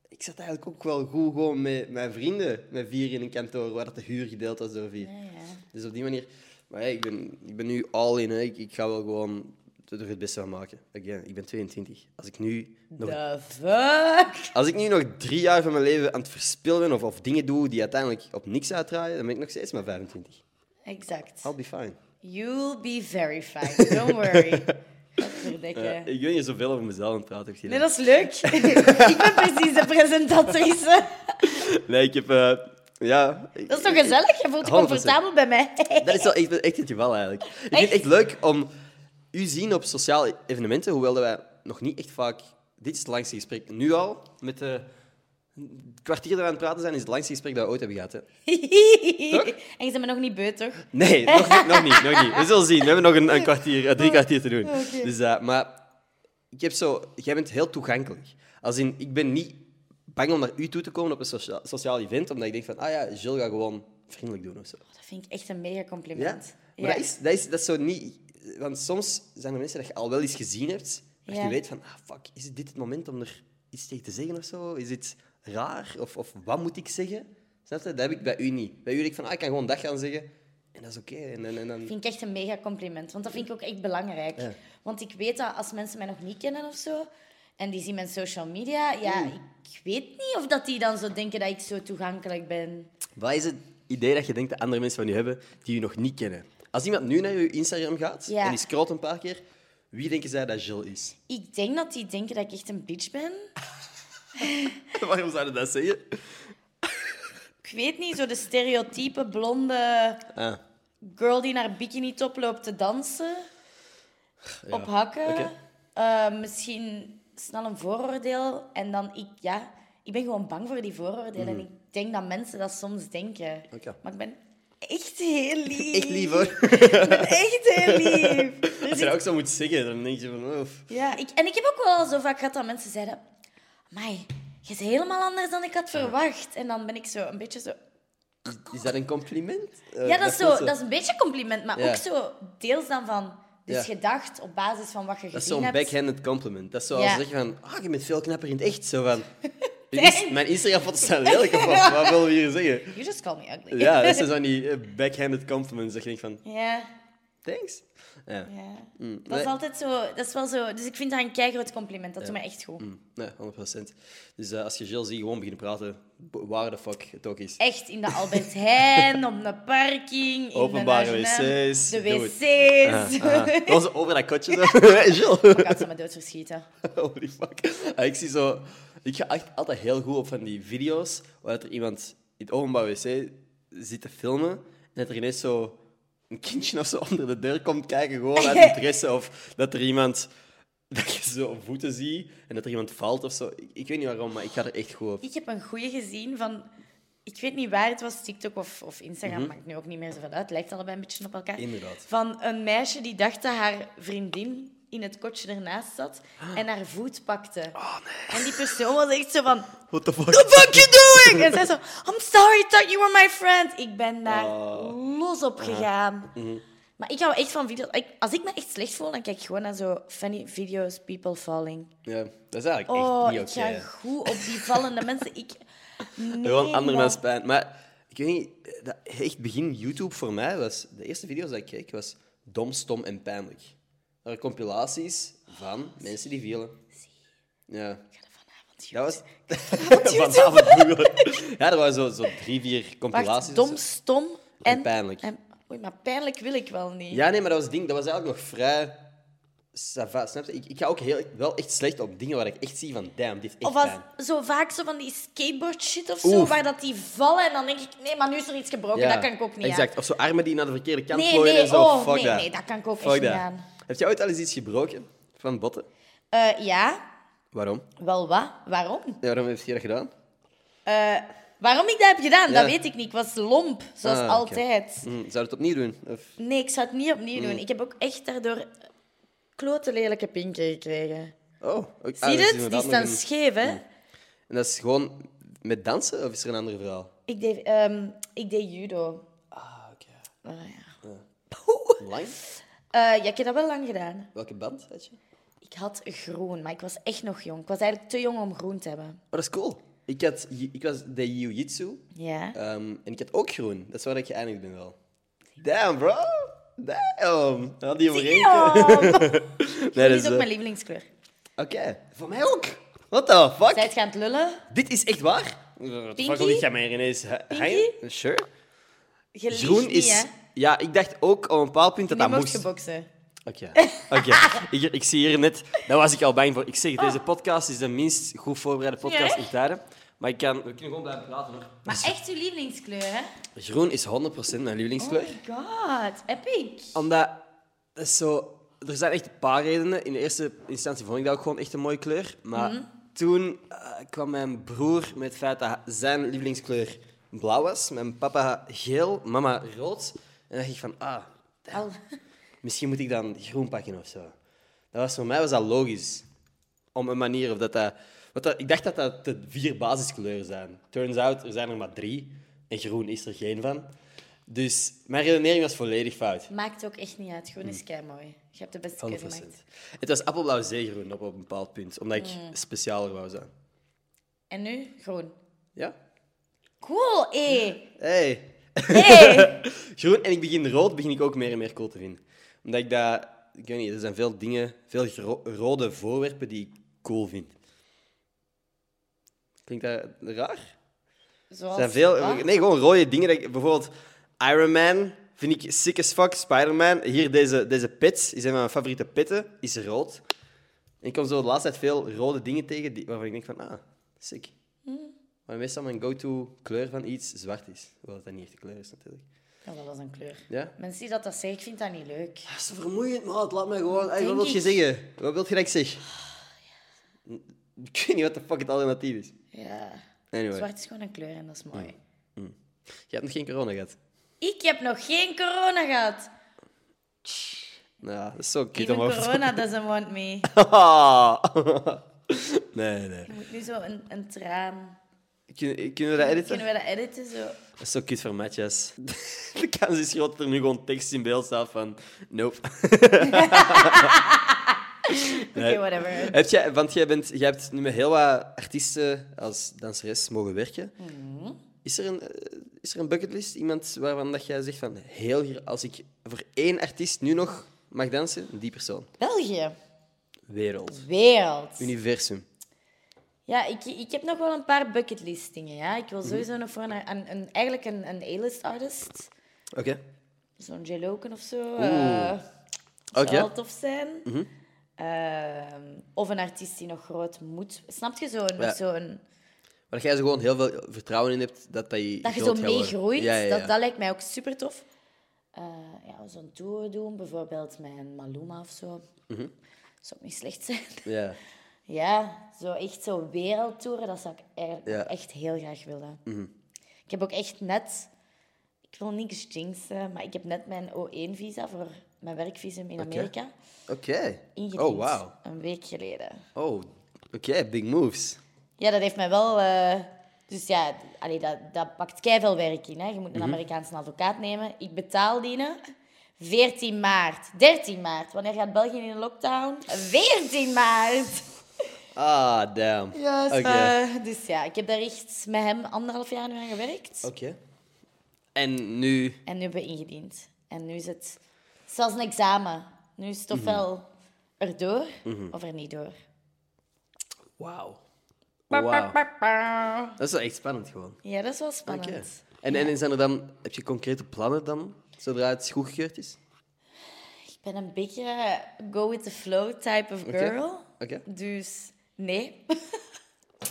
A: ik zat eigenlijk ook wel goed gewoon met mijn vrienden, met vier in een kantoor, waar dat de huur gedeeld was door vier.
B: Ja, ja.
A: Dus op die manier. Maar ja, ik ben, ik ben nu all in. Hè. Ik, ik ga wel gewoon er het beste van maken. Again, ik ben 22. Als ik nu nog,
B: The fuck?
A: als ik nu nog drie jaar van mijn leven aan het verspillen ben of, of dingen doe die uiteindelijk op niks uitdraaien, dan ben ik nog steeds maar 25.
B: Exact.
A: I'll be fine.
B: You'll be very fine. Don't worry. Godverdikke.
A: Ja, ik weet niet zoveel over mezelf aan het praten. heb ik
B: Nee,
A: gedaan.
B: dat is leuk. ik ben precies de presentatrice.
A: Nee, ik heb... eh, ja...
B: Dat is toch gezellig? Je voelt je
A: 100%.
B: comfortabel bij mij.
A: Dat is wel echt, echt het geval eigenlijk. Ik vind het
B: Echt?
A: echt leuk om u zien op sociale evenementen, hoewel dat wij nog niet echt vaak. Dit is het langste gesprek nu al. Met de het kwartier dat we aan het praten zijn, is het langste gesprek dat we ooit hebben gehad. Hè?
B: en je bent me nog niet beu, toch?
A: Nee, nog, niet- nog niet, nog niet. We zullen zien. We hebben nog een, een kwartier, eh, drie kwartier te doen.
B: Oké.
A: Dus, eh, maar ik heb zo, jij bent heel toegankelijk. Als in, ik ben niet bang om naar u toe te komen op een socia- sociaal event, omdat ik denk van, ah ja, Jill gaat gewoon vriendelijk doen of zo.
B: Dat vind ik echt een mega
A: Ja,
B: compliment.
A: maar Dat, is, dat, is, dat is zo niet... Want soms zijn er mensen dat je al wel eens gezien hebt, dat
B: Ja.
A: je weet van, ah, fuck, is dit het moment om er iets tegen te zeggen of zo? Is dit raar? Of, of wat moet ik zeggen? Snap je? Dat heb ik bij u niet. Bij u denk ik van, ah, ik kan gewoon dag gaan zeggen. En dat is oké. En, en, en dan...
B: vind ik echt een mega compliment. Want dat vind ik ook echt belangrijk.
A: Ja.
B: Want ik weet dat als mensen mij nog niet kennen of zo, en die zien mijn social media, ja,
A: Hmm.
B: ik weet niet of dat die dan zo denken dat ik zo toegankelijk ben.
A: Wat is het idee dat je denkt dat andere mensen van je hebben die je nog niet kennen? Als iemand nu naar je Instagram gaat
B: Ja.
A: en die scrolt een paar keer, wie denken zij dat Jill is?
B: Ik denk dat die denken dat ik echt een bitch ben.
A: Waarom zouden dat zeggen?
B: Ik weet niet, zo de stereotype blonde
A: Ah,
B: girl die naar bikini top loopt te dansen,
A: ja.
B: op hakken.
A: Oké.
B: Eh, misschien snel een vooroordeel. En dan ik, ja, ik ben gewoon bang voor die vooroordelen.
A: Mhm.
B: En ik denk dat mensen dat soms denken.
A: Oké.
B: Maar ik ben echt heel lief.
A: Echt lief hoor.
B: Ik ben echt heel lief. Er
A: Als
B: is
A: je dat ook zou moeten zeggen, dan denk je van... Oh, f-
B: Ja, ik, en ik heb ook wel zo vaak gehad dat mensen zeiden... Amai, je is helemaal anders dan ik had verwacht. En dan ben ik zo een beetje zo...
A: is dat een compliment? Eh,
B: Ja, dat is,
A: voelt
B: zo, dat is een beetje compliment, maar
A: Ja.
B: ook zo deels dan van... Dus
A: Ja.
B: gedacht op basis van wat je
A: Dat is
B: gezien
A: zo'n
B: hebt.
A: backhanded compliment. Dat is zoals
B: Ja.
A: zeggen van... Ah, je bent veel knapper in het echt. Zo van... "Je
B: Thanks.
A: is- Mijn Instagram-foto's zijn lelijk of wat? Wat wil je hier zeggen?
B: You just call me ugly.
A: Ja, dat zijn zo'n die eh, backhanded compliments. Dat je denkt van...
B: Ja,
A: Thanks. Ja,
B: ja. Dat
A: Mm, nee.
B: is altijd zo... Dat is wel zo... Dus ik vind dat een keigroot compliment. Dat doet mij echt goed.
A: mm, nee, 100%. Dus eh, als je Jill ziet, gewoon beginnen praten. b- Waar de fuck het ook is.
B: Echt in de Albert Heijn, op de parking, in
A: Openbare
B: de H&M,
A: wc's.
B: De
A: Doe het.
B: wc's.
A: Ah, dat was over dat kotje zo. Jill.
B: Ik had ze me doodverschieten.
A: Holy fuck. Ah, ik zie zo... Ik ga echt altijd heel goed op van die video's waar dat er iemand in het openbaar wc zit te filmen en dat er ineens zo een kindje of zo onder de deur komt kijken, gewoon uit interesse. Of dat er iemand... Dat je zo voeten ziet en dat er iemand valt of zo. Ik, ik weet niet waarom, maar ik ga er echt goed op.
B: Ik heb een goeie gezien van... Ik weet niet waar het was, TikTok of, of Instagram, maakt nu ook niet meer zoveel uit. Het lijkt allebei een beetje op elkaar.
A: Inderdaad.
B: Van een meisje die dacht dat haar vriendin in het kotje ernaast zat en haar voet pakte.
A: Oh nee.
B: En die persoon was echt zo van...
A: What the fuck?
B: What the fuck you doing? En zij zo... I'm sorry, thought you were my friend. Ik ben daar
A: Oh.
B: los op gegaan. Maar ik hou echt van video's... ik- als ik me echt slecht voel, dan kijk ik gewoon naar zo funny video's, people falling.
A: Ja, dat is eigenlijk
B: Oh,
A: echt
B: ik
A: niet
B: ga
A: oké.
B: goed op die vallende mensen. Ik... Nee,
A: Gewoon andermans
B: man.
A: pijn. Maar ik weet niet, dat echt begin YouTube voor mij was... De eerste video's die ik keek was Dom, Stom en Pijnlijk. Dat waren compilaties van mensen die vielen. Ja.
B: Ik ga er vanavond
A: Dat
B: YouTube.
A: was... Vanavond vroeger. Ja, er waren zo, zo drie, vier compilaties.
B: Wacht, dom, stom en...
A: En pijnlijk.
B: en- Oei, maar pijnlijk wil ik wel niet.
A: Ja, nee, maar dat was het ding. Dat was eigenlijk nog vrij... ça va, Snap je? Ik, ik ga ook heel, wel echt slecht op dingen waar ik echt zie van... Damn, dit is echt
B: Of als
A: pijn.
B: zo vaak zo van die skateboard shit of zo,
A: Oef.
B: waar dat die vallen en dan denk ik, nee, maar nu is er iets gebroken,
A: Ja,
B: dat kan ik ook niet
A: Exact. Of zo armen die naar de verkeerde kant
B: Nee,
A: plooien
B: nee,
A: en zo.
B: oh,
A: Fuck
B: nee,
A: dat.
B: nee, dat kan ik ook
A: Fuck
B: echt
A: dat.
B: niet aan.
A: Heb jij ooit al eens iets gebroken van botten?
B: aan. Eh, ja,
A: Waarom?
B: wel wat? Waarom?
A: Ja, waarom heeft je dat gedaan?
B: Eh, waarom ik dat heb gedaan,
A: Ja.
B: dat weet ik niet. Ik was lomp, zoals
A: Ah, oké.
B: altijd.
A: Hm, zou je het opnieuw doen? Of...
B: Nee, ik zou het niet opnieuw
A: Mm.
B: doen. Ik heb ook echt daardoor klote lelijke pinken gekregen.
A: Oh, oké. Ah,
B: Zie
A: dat
B: je
A: is
B: het? Die
A: inderdaad
B: staan
A: nog Mm. een-
B: scheef, hè?
A: En dat is gewoon met dansen of is er een ander verhaal?
B: Ik deed, ehm, ik deed judo.
A: Ah, oké.
B: Ah, ja. Poeh.
A: Lang?
B: Eh, ja, ik heb dat wel lang gedaan.
A: Welke band had je? Oh,
B: Ik had groen, maar ik was echt nog jong. Ik was eigenlijk te jong om groen te hebben.
A: dat is cool. Ik, had, ik was de jiu-jitsu
B: Ja.
A: ehm, en ik had ook groen. Dat is waar ik geëindigd ben wel. Damn, bro. Damn. Had die overeenkomen.
B: Jong!
A: Nee,
B: Dit
A: dat
B: is ook
A: eh,
B: mijn lievelingskleur.
A: Oké, voor mij ook. What the fuck?
B: Zij het gaan het lullen.
A: Dit is echt waar? Wat
B: Pinky? wil ik
A: jij mij ineens
B: Pinky?
A: Sure.
B: Je liegt
A: Groen
B: niet,
A: is...
B: hè?
A: Ja, ik dacht ook op een bepaald punt dat
B: Nu
A: dat
B: mocht
A: moest.
B: je boksen.
A: Oké, oké. ik, ik zie hier net... Daar was ik al bang voor. Ik zeg het, deze podcast is de minst goed voorbereide podcast
B: Ja,
A: in tijden. Maar ik kan... We kunnen gewoon blijven praten, hoor.
B: Maar echt je lievelingskleur, hè?
A: Groen is 100% mijn
B: Oh
A: lievelingskleur.
B: my god, epic.
A: Omdat, dat is zo, er zijn echt een paar redenen. In de eerste instantie vond ik dat ook gewoon echt een mooie kleur. Maar
B: Mhm.
A: toen eh, kwam mijn broer met het feit dat zijn lievelingskleur blauw was. Mijn papa geel, mama rood. En dacht ik van, ah,
B: Al.
A: misschien moet ik dan groen pakken of zo. Dat was, voor mij was dat logisch. Om een manier of dat dat... Want dat- ik dacht dat dat de vier basiskleuren zijn. Turns out, er zijn er maar drie. En groen is er geen van. Dus mijn redenering was volledig fout.
B: Maakt ook echt niet uit. Groen
A: Hmm.
B: is kei mooi. Je hebt de beste
A: 100%.
B: keuze gemaakt.
A: Het was appelblauw zeegroen op, op een bepaald punt, omdat ik specialer wou zijn.
B: En nu groen.
A: Ja?
B: Cool, eh. hé.
A: Hey.
B: Hé.
A: Groen en ik begin rood, begin ik ook meer en meer cool te vinden. Omdat ik dat, ik weet niet, er zijn veel dingen, veel gro- rode voorwerpen die ik cool vind. Klinkt dat raar? Er
B: Zoals...
A: zijn veel,
B: wat?
A: nee, gewoon rode dingen. Dat ik, bijvoorbeeld Iron Man vind ik sick as fuck. Spider-Man, hier deze, deze pet, is een van mijn favoriete petten, is rood. En ik kom zo de laatste tijd veel rode dingen tegen die, waarvan ik denk van, ah, sick. Maar meestal mijn go-to kleur van iets zwart is. Hoewel dat niet echt de kleur is, natuurlijk.
B: Oh, dat was een kleur.
A: Ja?
B: Mensen die dat, dat zeggen, ik vind dat niet leuk.
A: Dat is zo vermoeiend, maat. Laat mij gewoon... Hey, wat
B: Denk
A: wil je
B: ik.
A: zeggen? Wat wil je dat ik zeg? Ik weet niet wat de fuck het alternatief is.
B: Ja.
A: Anyway,
B: Zwart is gewoon een kleur en dat is mooi.
A: je hebt nog geen corona gehad.
B: Ik heb nog geen corona gehad.
A: Nou, dat is zo kut
B: Even
A: om over te...
B: corona doesn't want me.
A: nee, nee.
B: Je moet nu zo een, een traan.
A: Kun- Kunnen we dat editen?
B: Kunnen we dat editen zo?
A: Dat is zo kut voor Matjas. De kans is groot dat er nu gewoon tekst in beeld staat van... Nope.
B: Oké, whatever.
A: Heb jij, want jij, bent, jij hebt nu met heel wat artiesten als danseres mogen werken.
B: Mhm.
A: Is, er een, eh, is er een bucketlist? Iemand waarvan dat jij zegt van... Heel, gra- als ik voor één artiest nu nog mag dansen, die persoon.
B: België.
A: Wereld.
B: Wereld.
A: Universum.
B: Ja, ik, ik heb nog wel een paar bucketlist dingen. Ja. Ik wil sowieso nog voor een, een, een- eigenlijk een, een A-list artist.
A: Oké.
B: Zo'n Jeloken of zo. eh,
A: Oké.
B: Zou wel tof zijn. Ehm, of een artiest die nog groot moet. Snap je zo'n.
A: Ja.
B: zo'n
A: Maar dat jij er gewoon heel veel vertrouwen in hebt dat dat je...
B: dat je zo
A: groot gaat worden.
B: mee groeit.
A: Ja, ja, ja.
B: Dat, dat lijkt mij ook super tof. ja, zo'n tour doen, bijvoorbeeld met een Maluma of zo.
A: Mhm.
B: Zou ook niet slecht zijn.
A: Ja.
B: Ja, zo echt zo wereldtoeren, dat zou ik eigenlijk
A: Ja. Mhm.
B: ook echt heel graag willen. Ik heb ook echt net, ik wil niks jinxen, maar ik heb net mijn O1-visa voor mijn werkvisum in Amerika
A: Oké.
B: ingediend.
A: Oh, wauw.
B: Een week geleden.
A: Oh, oké, big moves.
B: Ja, dat heeft mij wel... eh, dus ja, d- allee, dat, dat pakt keiveel werk in. Hè. Je moet
A: Mhm.
B: een Amerikaanse advocaat nemen. Ik betaal die. hè. 14 maart. 13 maart. Wanneer gaat België in lockdown? 14 maart!
A: Ah, damn.
B: Ja,
A: Oké.
B: eh, dus ja, ik heb daar echt met hem anderhalf jaar nu aan gewerkt.
A: Oké. En nu...
B: En nu hebben we ingediend. En nu is het zelfs een examen. Nu is het
A: Mhm.
B: ofwel erdoor of er niet door.
A: Wauw.
B: Pa, pa,
A: Wauw.
B: pa, pa.
A: Dat is wel echt spannend gewoon.
B: Ja, dat is wel
A: Oké.
B: spannend.
A: En, en zijn er dan... Heb je concrete plannen dan, zodra het goedgekeurd is?
B: Ik ben een beetje eh, go with the flow type of
A: Oké.
B: girl.
A: Oké.
B: Dus nee,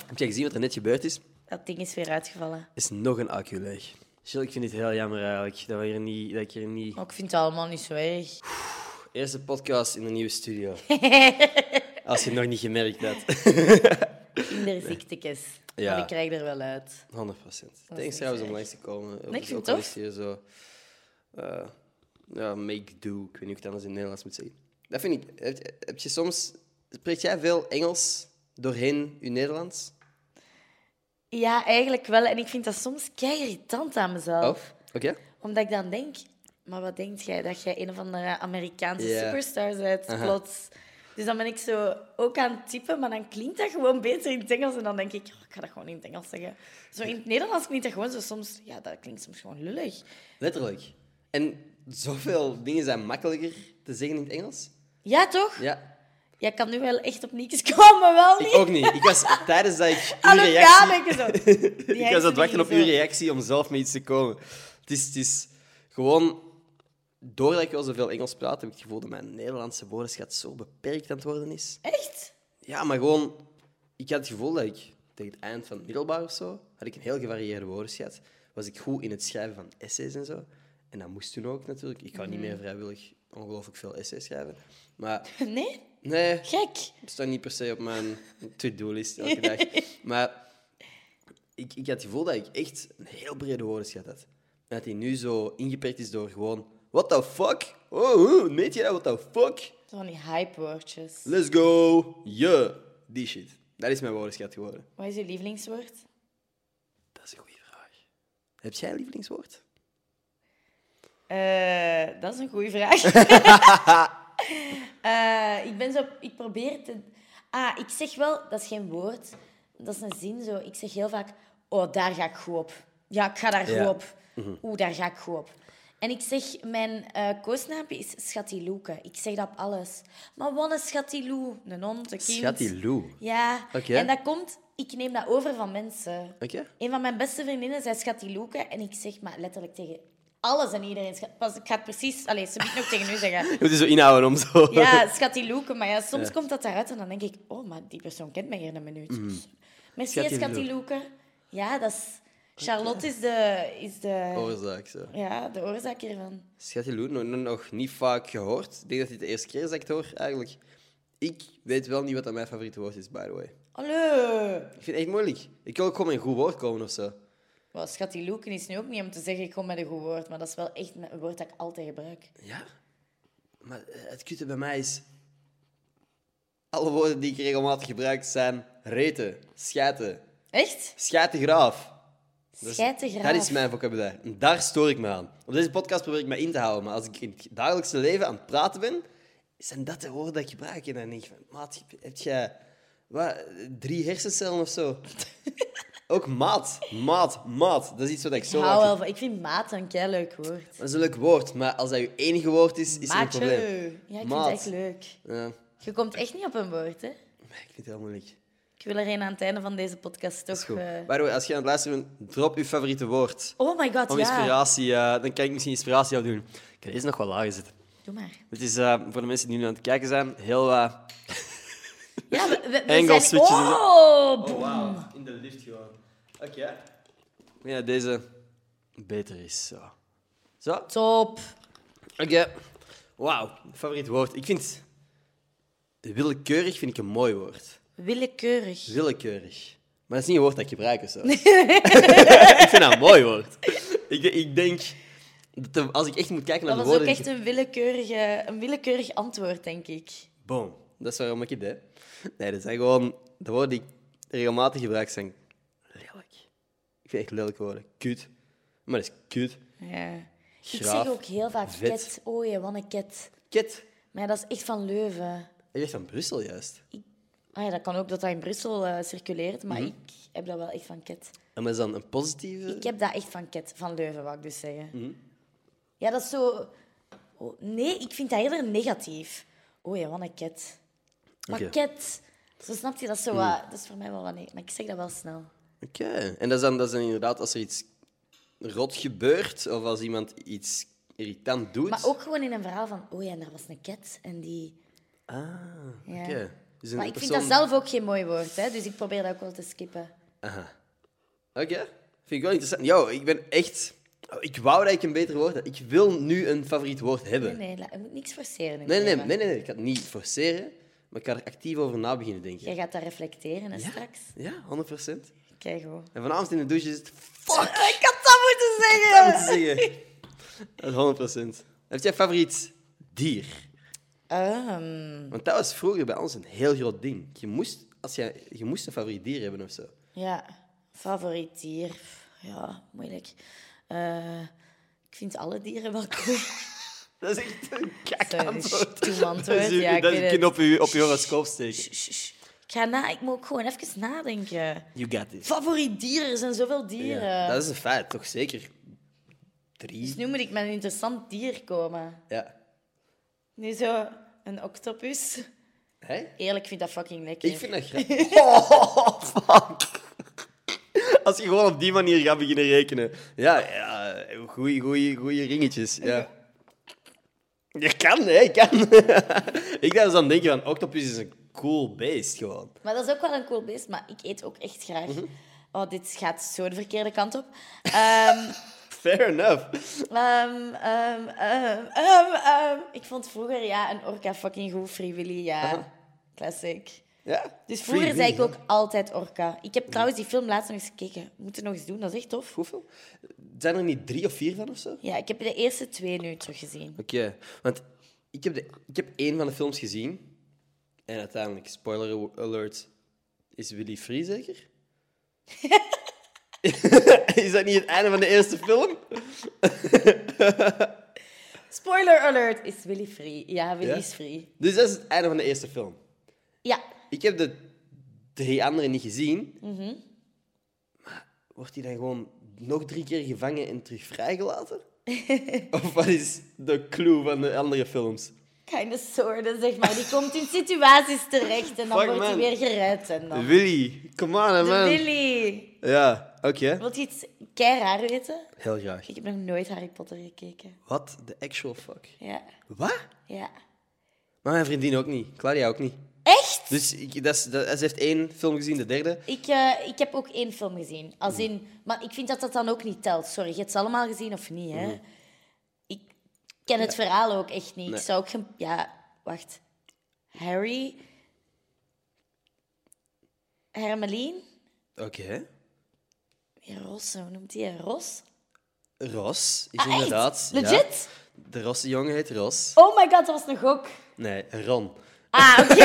A: Heb jij gezien wat er net gebeurd is?
B: dat ding is weer uitgevallen.
A: Is nog een accu leeg. Jill, ik vind het heel jammer eigenlijk dat, we hier niet, dat ik hier niet...
B: Maar ik vind het allemaal niet zo erg.
A: Eerste podcast in de nieuwe studio. Als je het nog niet gemerkt had.
B: Kinderziektjes.
A: Ja.
B: Maar ik krijg er wel uit.
A: 100%.
B: niet
A: Thanks trouwens om
B: erg.
A: langs te komen.
B: Nee, ik vind het
A: Ook al
B: tof.
A: is hier zo... eh, ja, make do. Ik weet niet hoe ik het anders in het Nederlands moet zeggen. Dat vind ik... Heb, heb je soms... Spreek jij veel Engels doorheen je Nederlands?
B: Ja, eigenlijk wel. En ik vind dat soms kei irritant aan
A: Oh,
B: mezelf.
A: oké.
B: Omdat ik dan denk, maar wat denk jij? Dat jij een of andere Amerikaanse
A: Ja.
B: superstar bent,
A: Aha.
B: plots. Dus dan ben ik zo ook aan het typen, maar dan klinkt dat gewoon beter in het Engels. En dan denk ik, oh, ik ga dat gewoon in het Engels zeggen. Zo in het Nederlands klinkt dat gewoon zo soms... Ja, dat klinkt soms gewoon lullig.
A: Letterlijk. En zoveel dingen zijn makkelijker te zeggen in het Engels.
B: Ja, toch?
A: Ja.
B: Jij kan nu wel echt op niks komen, maar wel
A: Ik
B: niet.
A: ook niet. Ik was tijdens dat ik uw
B: Aan elkaar
A: reactie...
B: denken zo. Die
A: Ik was aan het wachten op
B: zo.
A: uw reactie om zelf met iets te komen. Het is, het is gewoon... Doordat ik wel zoveel Engels praat, heb ik het gevoel dat mijn Nederlandse woordenschat zo beperkt aan het worden is.
B: Echt?
A: Ja, maar gewoon... Ik had het gevoel dat ik tegen het eind van het middelbaar of zo, had ik een heel gevarieerde woordenschat. Was ik goed in het schrijven van essays en zo. En dat moest toen ook natuurlijk. Ik kan niet
B: Mhm.
A: meer vrijwillig ongelooflijk veel essays schrijven. Maar
B: Nee?
A: nee,
B: Gek.
A: het staat niet per se op mijn to-do-list elke dag. Maar ik, ik had het gevoel dat ik echt een heel brede woordenschat had. En dat die nu zo ingeperkt is door gewoon... What the fuck? Oh, oh, weet je dat? What the fuck?
B: Zo van die hype-woordjes.
A: Let's go. Yeah. Die shit. Dat is mijn woordenschat geworden.
B: Wat is je lievelingswoord?
A: Dat is een goede vraag. Heb jij een lievelingswoord?
B: Eh, dat is een goede vraag. Eh, ik ben zo... Ik probeer te... Ah, ik zeg wel... Dat is geen woord. Dat is een zin zo. Ik zeg heel vaak... Oh, daar ga ik goed op. Ja, ik ga daar
A: Ja. Mhm.
B: goed op. Oeh, daar ga ik goed op. En ik zeg... Mijn eh koosnaampje is Schattiloeke. Ik zeg dat op alles. Maar wat een Schattiloe. Een hond, een kind.
A: Schatty Lou.
B: Ja.
A: Oké.
B: En dat komt... Ik neem dat over van mensen.
A: Oké.
B: Een van mijn beste vriendinnen zei Schattiloeke. En ik zeg maar letterlijk tegen alles en iedereen. Schat- Pas, ik ga het precies... Allee, ze moet nog tegen u zeggen.
A: Je moet je zo inhouden om zo...
B: Ja, Schattiloeke. Maar ja, soms komt dat daaruit en dan denk ik... Oh, maar die persoon kent mij hier een minuut. Merci, hè,
A: Schattiloeke.
B: Schattiloeke. Ja, dat is... Charlotte is de... Is de
A: Oorzaak, zo.
B: Ja, de oorzaak hiervan.
A: Schatje Lou, nog, nog niet vaak gehoord. Ik denk dat dit de eerste keer is dat ik het hoor, eigenlijk. Ik weet wel niet wat dat mijn favoriete woord is, by the way.
B: Allee.
A: Ik vind het echt moeilijk. Ik wil ook gewoon met een goed woord komen of zo.
B: Wel, schat, die loeken is nu ook niet om te zeggen ik kom met een goed woord, maar dat is wel echt een woord dat ik altijd gebruik.
A: Ja? Maar eh, het kutte bij mij is... Alle woorden die ik regelmatig gebruik zijn reten, schaten,
B: Echt?
A: schatengraaf. Dus
B: Schijtegraaf.
A: Dat is mijn vocabulaire. En daar stoor ik me aan. Op deze podcast probeer ik me in te houden, maar als ik in het dagelijkse leven aan het praten ben, zijn dat de woorden die ik gebruik. En dan denk ik van, maat, heb jij wat, drie hersencellen of zo? Ook maat, maat, maat. Dat is iets wat ik zo
B: Ik
A: hard
B: hou wel van. Ik vind maat een leuk woord.
A: Dat is een leuk woord, maar als dat je enige woord is, is er een
B: Maatje.
A: probleem.
B: Ja, ik
A: Maat.
B: vind het echt leuk.
A: Ja,
B: Je komt echt niet op een woord, hè?
A: maar ik vind het heel moeilijk.
B: Ik wil er een aan het einde van deze podcast
A: Dat is
B: toch...
A: goed.
B: eh,
A: By the way, als je aan het luisteren bent, drop je favoriete woord.
B: Oh my god,
A: Om
B: ja.
A: inspiratie, eh, dan kan ik misschien inspiratie jou doen. Ik kan deze nog wel lager zetten.
B: Doe maar.
A: Het is eh, voor de mensen die nu aan het kijken zijn, heel... eh,
B: Ja, we, we- we
A: Engels
B: zijn...
A: switches en zo.
B: Oh, boem.
A: in de lift gewoon. Oké. Ja, deze beter is. Zo. Zo. Oké.
B: Top.
A: Wauw, favoriet woord. Ik vind willekeurig vind ik een mooi woord.
B: Willekeurig.
A: Willekeurig. Maar dat is niet een woord dat ik gebruik of zo. ik vind dat een mooi woord. Ik, ik denk dat de- als ik echt moet kijken naar
B: Dat was
A: de
B: ook
A: woorden.
B: echt een, willekeurige, een willekeurig antwoord, denk ik.
A: Boom. Dat is waarom ik het deed. Nee, dat zijn gewoon de woorden die ik regelmatig gebruik zijn lelijk. Ik vind echt lelijke woorden. Kut. Maar dat is kut.
B: Ja. Ik
A: Graaf,
B: zeg ook heel vaak
A: vet.
B: ket. Oh ja, wat een ket.
A: Kut.
B: Maar ja, dat is echt van Leuven.
A: Je bent van Brussel juist.
B: Ah ja, dat kan ook dat dat in Brussel eh, circuleert, maar
A: Mhm.
B: ik heb dat wel echt van ket.
A: En dat is dan een positieve.
B: Ik heb dat echt van ket, van Leuven, wou ik dus zeggen.
A: Mhm.
B: Ja, dat is zo... Oh, nee, ik vind dat eerder negatief. Oh ja, wat een ket. Maar
A: Oké. Mm.
B: ket... Zo snap je, dat is, zo, wat- dat is voor mij wel wat... Nee, maar ik zeg dat wel snel.
A: Oké. En dat is, dan, dat is dan inderdaad als er iets rot gebeurt of als iemand iets irritant doet.
B: Maar ook gewoon in een verhaal van... Oh ja, en daar was een ket en die...
A: Ah, oké.
B: Ja.
A: Dus een
B: Maar ik vind
A: persoon-
B: dat zelf ook geen mooi woord, hè, dus ik probeer dat ook wel te skippen.
A: Aha. Oké. Vind ik wel interessant. Yo, ik ben echt... Oh, Ik wou dat ik een beter woord had. Ik wil nu een favoriet woord hebben.
B: Nee, nee, la- je moet niks forceren in
A: Nee,
B: het
A: nee,
B: leven.
A: nee, nee, nee. Ik ga het niet forceren, maar ik ga er actief over na beginnen denken.
B: Jij gaat dat reflecteren hè, straks.
A: Ja, 100%.
B: Kijk hoor.
A: En vanavond in de douche is het.
B: Fuck! Ik had dat moeten zeggen!
A: Dat moet zeggen. Dat is 100%. Heb jij favoriet dier?
B: Ehm,
A: Want dat was vroeger bij ons een heel groot ding. Je moest, als jij, je moest een favoriet dier hebben of zo.
B: ja, favoriet dier. Pff, Ja, moeilijk. Eh, ik vind alle dieren wel cool.
A: Dat is echt een kak
B: Sorry,
A: antwoord.
B: stom antwoord.
A: Dat is je-
B: Ja, ik
A: dat
B: weet
A: is
B: het.
A: kind op je, op je horoscoop steken.
B: Shh, shh, shh. Ik, ga na, ik moet ook gewoon even nadenken.
A: You got this.
B: Favoriet dieren, er zijn zoveel dieren.
A: Ja, dat is een feit, toch zeker?
B: Dus
A: Drie?
B: nu moet ik met een interessant dier komen.
A: Ja.
B: Nu zo, een octopus.
A: Hé?
B: Eerlijk, ik vind dat fucking lekker.
A: Ik vind dat grappig. Oh, fuck. Als je gewoon op die manier gaat beginnen rekenen. Ja, ja goeie, goeie, goeie ringetjes. Ja. Je kan, hè? Je kan. ik dacht dus aan het denken van, octopus is een cool beest gewoon.
B: Maar dat is ook wel een cool beest, maar ik eet ook echt graag.
A: Mhm.
B: Oh, dit gaat zo de verkeerde kant op. Ehm,
A: Fair enough.
B: ehm, ehm, ehm, ehm, ehm. Ik vond vroeger ja, een orka fucking goed, Free Willy, ja. Classic.
A: Ja.
B: Dus
A: Free
B: vroeger zei ik
A: will,
B: ook altijd orka. Ik heb trouwens die film laatst nog eens gekeken. We moeten nog eens doen, dat is echt tof.
A: Hoeveel? Zijn er niet drie of vier van of zo?
B: Ja, ik heb de eerste twee nu teruggezien.
A: Oké, want ik heb, de, ik heb één van de films gezien. En uiteindelijk, spoiler alert, is Willy Free zeker? is dat niet het einde van de eerste film?
B: Spoiler alert, is Willy free? Ja, Willy
A: Ja?
B: is free.
A: Dus dat is het einde van de eerste film.
B: Ja,
A: Ik heb de drie anderen niet gezien. Maar
B: Mhm.
A: wordt hij dan gewoon nog drie keer gevangen en terug vrijgelaten? of wat is de clue van de andere films?
B: kind of soorten, zeg maar. Die komt in situaties terecht en dan
A: Fuck,
B: wordt
A: man.
B: hij weer gered. En dan...
A: Willy, come on,
B: De
A: man.
B: Willy.
A: Ja, oké.
B: Wilt je iets kei raar weten?
A: Heel graag.
B: Ik heb nog nooit Harry Potter gekeken.
A: What the actual fuck?
B: Ja,
A: Wat?
B: ja.
A: Maar mijn vriendin ook niet. Claudia ook niet.
B: Echt?
A: Dus ik, dat is, dat, ze heeft één film gezien, de derde.
B: Ik, eh, ik heb ook één film gezien. Als in, maar ik vind dat dat dan ook niet telt. Sorry, je hebt ze allemaal gezien of niet, hè? Ik ken het verhaal ook echt niet.
A: Nee.
B: Ik zou ook geen... Ja, wacht. Harry... Hermelien.
A: Oké.
B: Ja, Ros, hoe noemt hij? Ros?
A: Ros is
B: Ah, echt?
A: inderdaad... ja.
B: Legit?
A: De Rosse-jongen heet Ros.
B: Oh my god, dat was een gok.
A: Nee, Ron.
B: Ah, oké.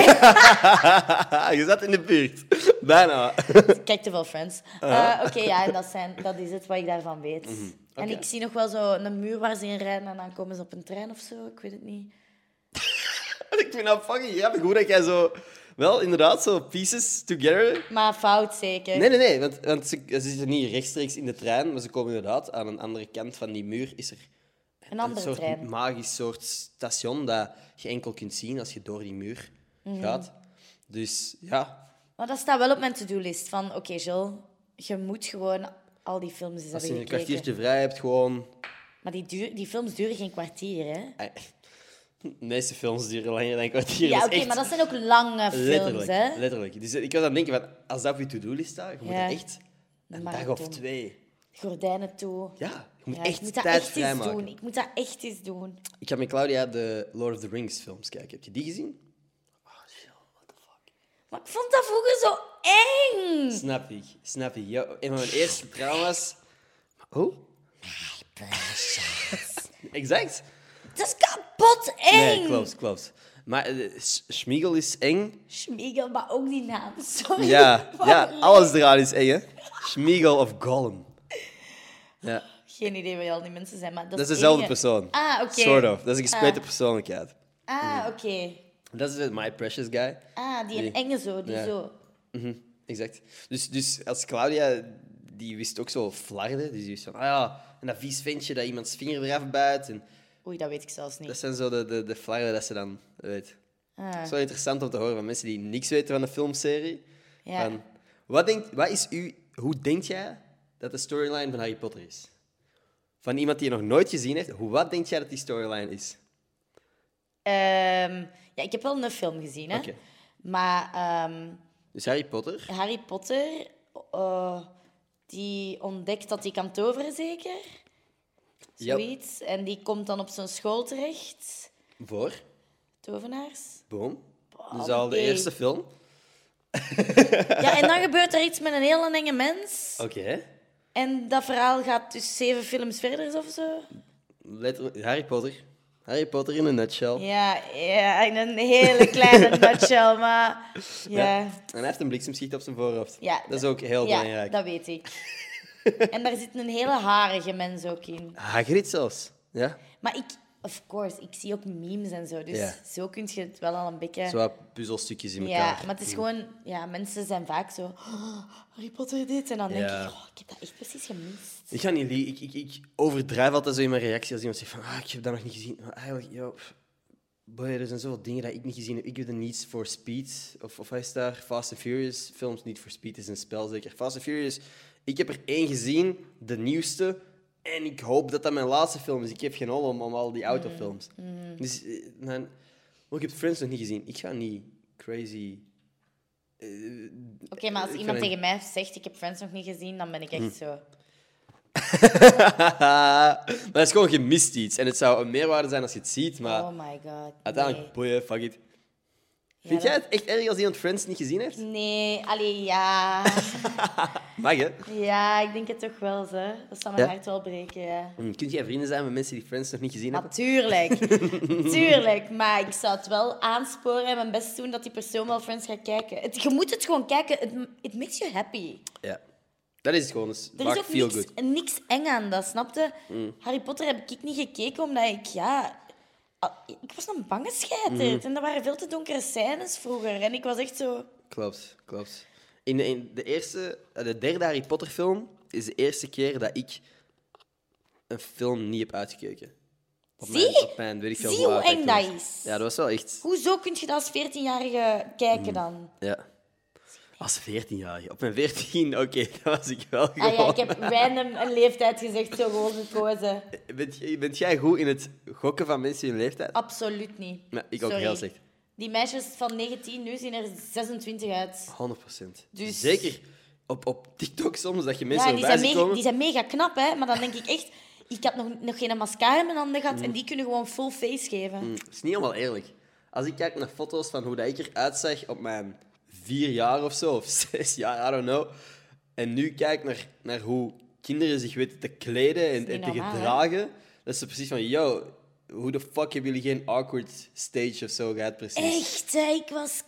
A: Ah, Je zat in de buurt. Bijna.
B: Ik Kijk te veel Friends. Eh, oké, ja, en dat, zijn, dat is het wat ik daarvan weet. En
A: Mhm. oké.
B: ik zie nog wel zo een muur waar ze in rijden en dan komen ze op een trein of zo. Ik weet het niet.
A: ik vind dat fucking grappig hoe dat jij zo... Wel, inderdaad, zo pieces together.
B: Maar fout zeker.
A: Nee, nee, nee. Want, want ze, ze zitten niet rechtstreeks in de trein, maar ze komen inderdaad aan een andere kant van die muur. Is er
B: een andere
A: soort
B: trein.
A: magisch soort station dat je enkel kunt zien als je door die muur gaat. Dus ja,
B: Maar Mhm. dat staat wel op mijn to-do-list. Van, oké, Jill, je moet gewoon al die films eens
A: als
B: hebben
A: je een
B: gekeken.
A: kwartiertje vrij hebt, gewoon...
B: Maar die, duur, die films duren geen kwartier, hè?
A: Eh, De meeste films duren langer dan een kwartier.
B: ja,
A: is
B: oké,
A: echt
B: maar dat zijn ook lange films,
A: letterlijk,
B: hè?
A: letterlijk. Dus ik was aan het denken, van, als dat op je to-do-list staat, je moet
B: Ja.
A: dat echt een dag
B: marathon.
A: of twee...
B: Gordijnen toe.
A: Ja, je moet
B: Ja,
A: echt
B: ik moet dat
A: tijd
B: echt eens
A: vrijmaken.
B: doen. Ik moet dat echt eens doen.
A: Ik heb met Claudia de Lord of the Rings films kijken. Heb je die gezien?
B: Maar ik vond dat vroeger zo eng.
A: Snap ik, snap ik. Ja, een van mijn eerste trauma's... Oh? exact.
B: Dat is kapot eng.
A: Nee, klopt, klopt. Maar eh, S- Schmiegel is eng.
B: Schmiegel, maar ook die naam. Sorry.
A: Ja,
B: Wat
A: ja
B: een-
A: alles eraan is eng, hè. Schmiegel of Gollum. Ja,
B: Geen idee wie al die mensen zijn, maar dat,
A: dat is
B: het
A: dezelfde
B: enige-
A: persoon.
B: Ah, oké.
A: Sort of. Dat is een gespleten persoonlijkheid.
B: Ah, oké.
A: Dat is het My Precious Guy.
B: Ah, die,
A: Die-
B: een enge zo, die
A: ja.
B: zo.
A: Mhm, exact. Dus, dus als Claudia, die wist ook zo flarden. Dus die wist van, ah ja, en dat vies ventje dat iemands vinger eraf bijt. En
B: Oei, dat weet ik zelfs
A: dat
B: niet.
A: zijn zo de, de, de flarden dat ze dan weet. Het
B: Ah,
A: is wel interessant om te horen van mensen die niks weten van de filmserie.
B: ja.
A: Van, wat denkt, wat is u, hoe denk jij dat de storyline van Harry Potter is? Van iemand die je nog nooit gezien heeft, hoe, wat denk jij dat die storyline is?
B: Ehm, ja, ik heb wel een film gezien, hè.
A: Oké.
B: Maar ehm,
A: Dus Harry Potter,
B: Harry Potter, eh, die ontdekt dat hij kan toveren, zeker?
A: Ja.
B: Zoiets. En die komt dan op zijn school terecht.
A: voor,
B: Tovenaars.
A: boom. Dat is al de
B: oké.
A: eerste film.
B: Ja, en dan gebeurt er iets met een heel enge mens.
A: Oké.
B: En dat verhaal gaat dus zeven films verder of zo.
A: Letter- Harry Potter. Harry Potter in een nutshell.
B: Ja, ja in een hele kleine nutshell, maar... Ja,
A: En hij heeft een bliksemschicht op zijn voorhoofd.
B: Ja,
A: dat is ook heel
B: ja,
A: belangrijk.
B: dat weet ik. En daar zit een hele harige mens ook in.
A: Hagrid zelfs. Ja?
B: Maar ik, of course, ik zie ook memes en zo. Dus
A: Ja.
B: zo kun je het wel al een beetje.
A: Zo wat puzzelstukjes in
B: ja,
A: elkaar. Mm.
B: maar het is gewoon, ja, mensen zijn vaak zo. "Oh, Harry Potter dit. En dan denk
A: Ja.
B: ik, oh, ik heb dat echt precies gemist.
A: Ik ga niet liegen. Ik, ik, ik overdrijf altijd zo in mijn reactie als iemand zegt van... Ah, ik heb dat nog niet gezien. Maar eigenlijk, joh... pff, Boy, er zijn zoveel dingen dat ik niet gezien heb. Ik heb de Needs for Speed, of, of hij is daar, Fast and Furious films. Need for Speed is een spel, zeker. Fast and Furious, ik heb er één gezien, de nieuwste. En ik hoop dat dat mijn laatste film is. Ik heb geen hol om, om al die autofilms. Dus, eh, dan, maar ik heb Friends nog niet gezien. Ik ga niet crazy...
B: Oké, maar als
A: Ik vind-
B: iemand
A: Hm.
B: tegen mij zegt, ik heb Friends nog niet gezien, dan ben ik echt zo.
A: maar dat is gewoon gemist iets. En het zou een meerwaarde zijn als je het ziet, maar...
B: Oh my god.
A: Uiteindelijk,
B: nee.
A: boeien, fuck it.
B: Ja,
A: Vind
B: dat-
A: jij het echt erg als iemand Friends niet gezien heeft?
B: Nee, allee, ja.
A: Mag, hè?
B: ja, ik denk het toch wel, hè. Dat zou mijn
A: Ja?
B: hart wel breken, ja.
A: Hm, Kun jij vrienden zijn met mensen die Friends nog niet gezien hebben?
B: Natuurlijk, tuurlijk. Maar ik zou het wel aansporen en mijn best doen dat die persoon wel Friends gaat kijken. Het- je moet het gewoon kijken. Het it makes you happy.
A: Ja. Dat is het gewoon. Dus
B: Er
A: vaak
B: is ook
A: feel
B: niks,
A: good. Mm.
B: niks eng aan dat, snapte? Harry Potter heb ik niet gekeken omdat ik, ja... al- Ik was een bange
A: Mm.
B: scheiter. En er waren veel te donkere scènes vroeger. En ik was echt zo...
A: Klopt, klopt. In de, in de eerste, eh, de derde Harry Potter film is de eerste keer dat ik een film niet heb uitgekeken. Op
B: Zie?
A: Mijn, op mijn, weet ik veel
B: Zie
A: hoe
B: hoe
A: oud ik
B: eng dat
A: was.
B: is.
A: Ja, dat was wel echt...
B: Hoezo kun je dat als 14-jarige
A: Mm.
B: kijken dan?
A: Ja. Als 14-jarige. Op mijn 14, oké, dat was ik wel gewoon.
B: Ah ja, ik heb random een leeftijd gezegd, zo gewoon gekozen.
A: bent, jij- bent jij goed in het gokken van mensen in hun leeftijd?
B: Absoluut niet.
A: Nee, ik ook
B: Sorry.
A: heel slecht.
B: Die meisjes van 19 nu zien er 26 uit.
A: 100%.
B: Dus-
A: Zeker op, op TikTok soms, dat je
B: Ja,
A: mensen
B: en die, zijn
A: voorbij ziet
B: mega,
A: komen.
B: die zijn mega knap, hè? Maar dan denk ik echt, ik had nog, nog geen mascara in mijn handen gehad en die kunnen gewoon full face geven.
A: Mm. Hmm, Dat is niet helemaal eerlijk. Als ik kijk naar foto's van hoe dat ik eruit zag op mijn vier jaar of zo, of zes jaar, I don't know. En nu kijk naar, naar hoe kinderen zich weten te kleden en,
B: niet
A: en te
B: normaal, hè?
A: gedragen. Dat is precies van, yo, hoe de fuck hebben jullie geen awkward stage of zo gehad, precies?
B: Echt, hè, ik was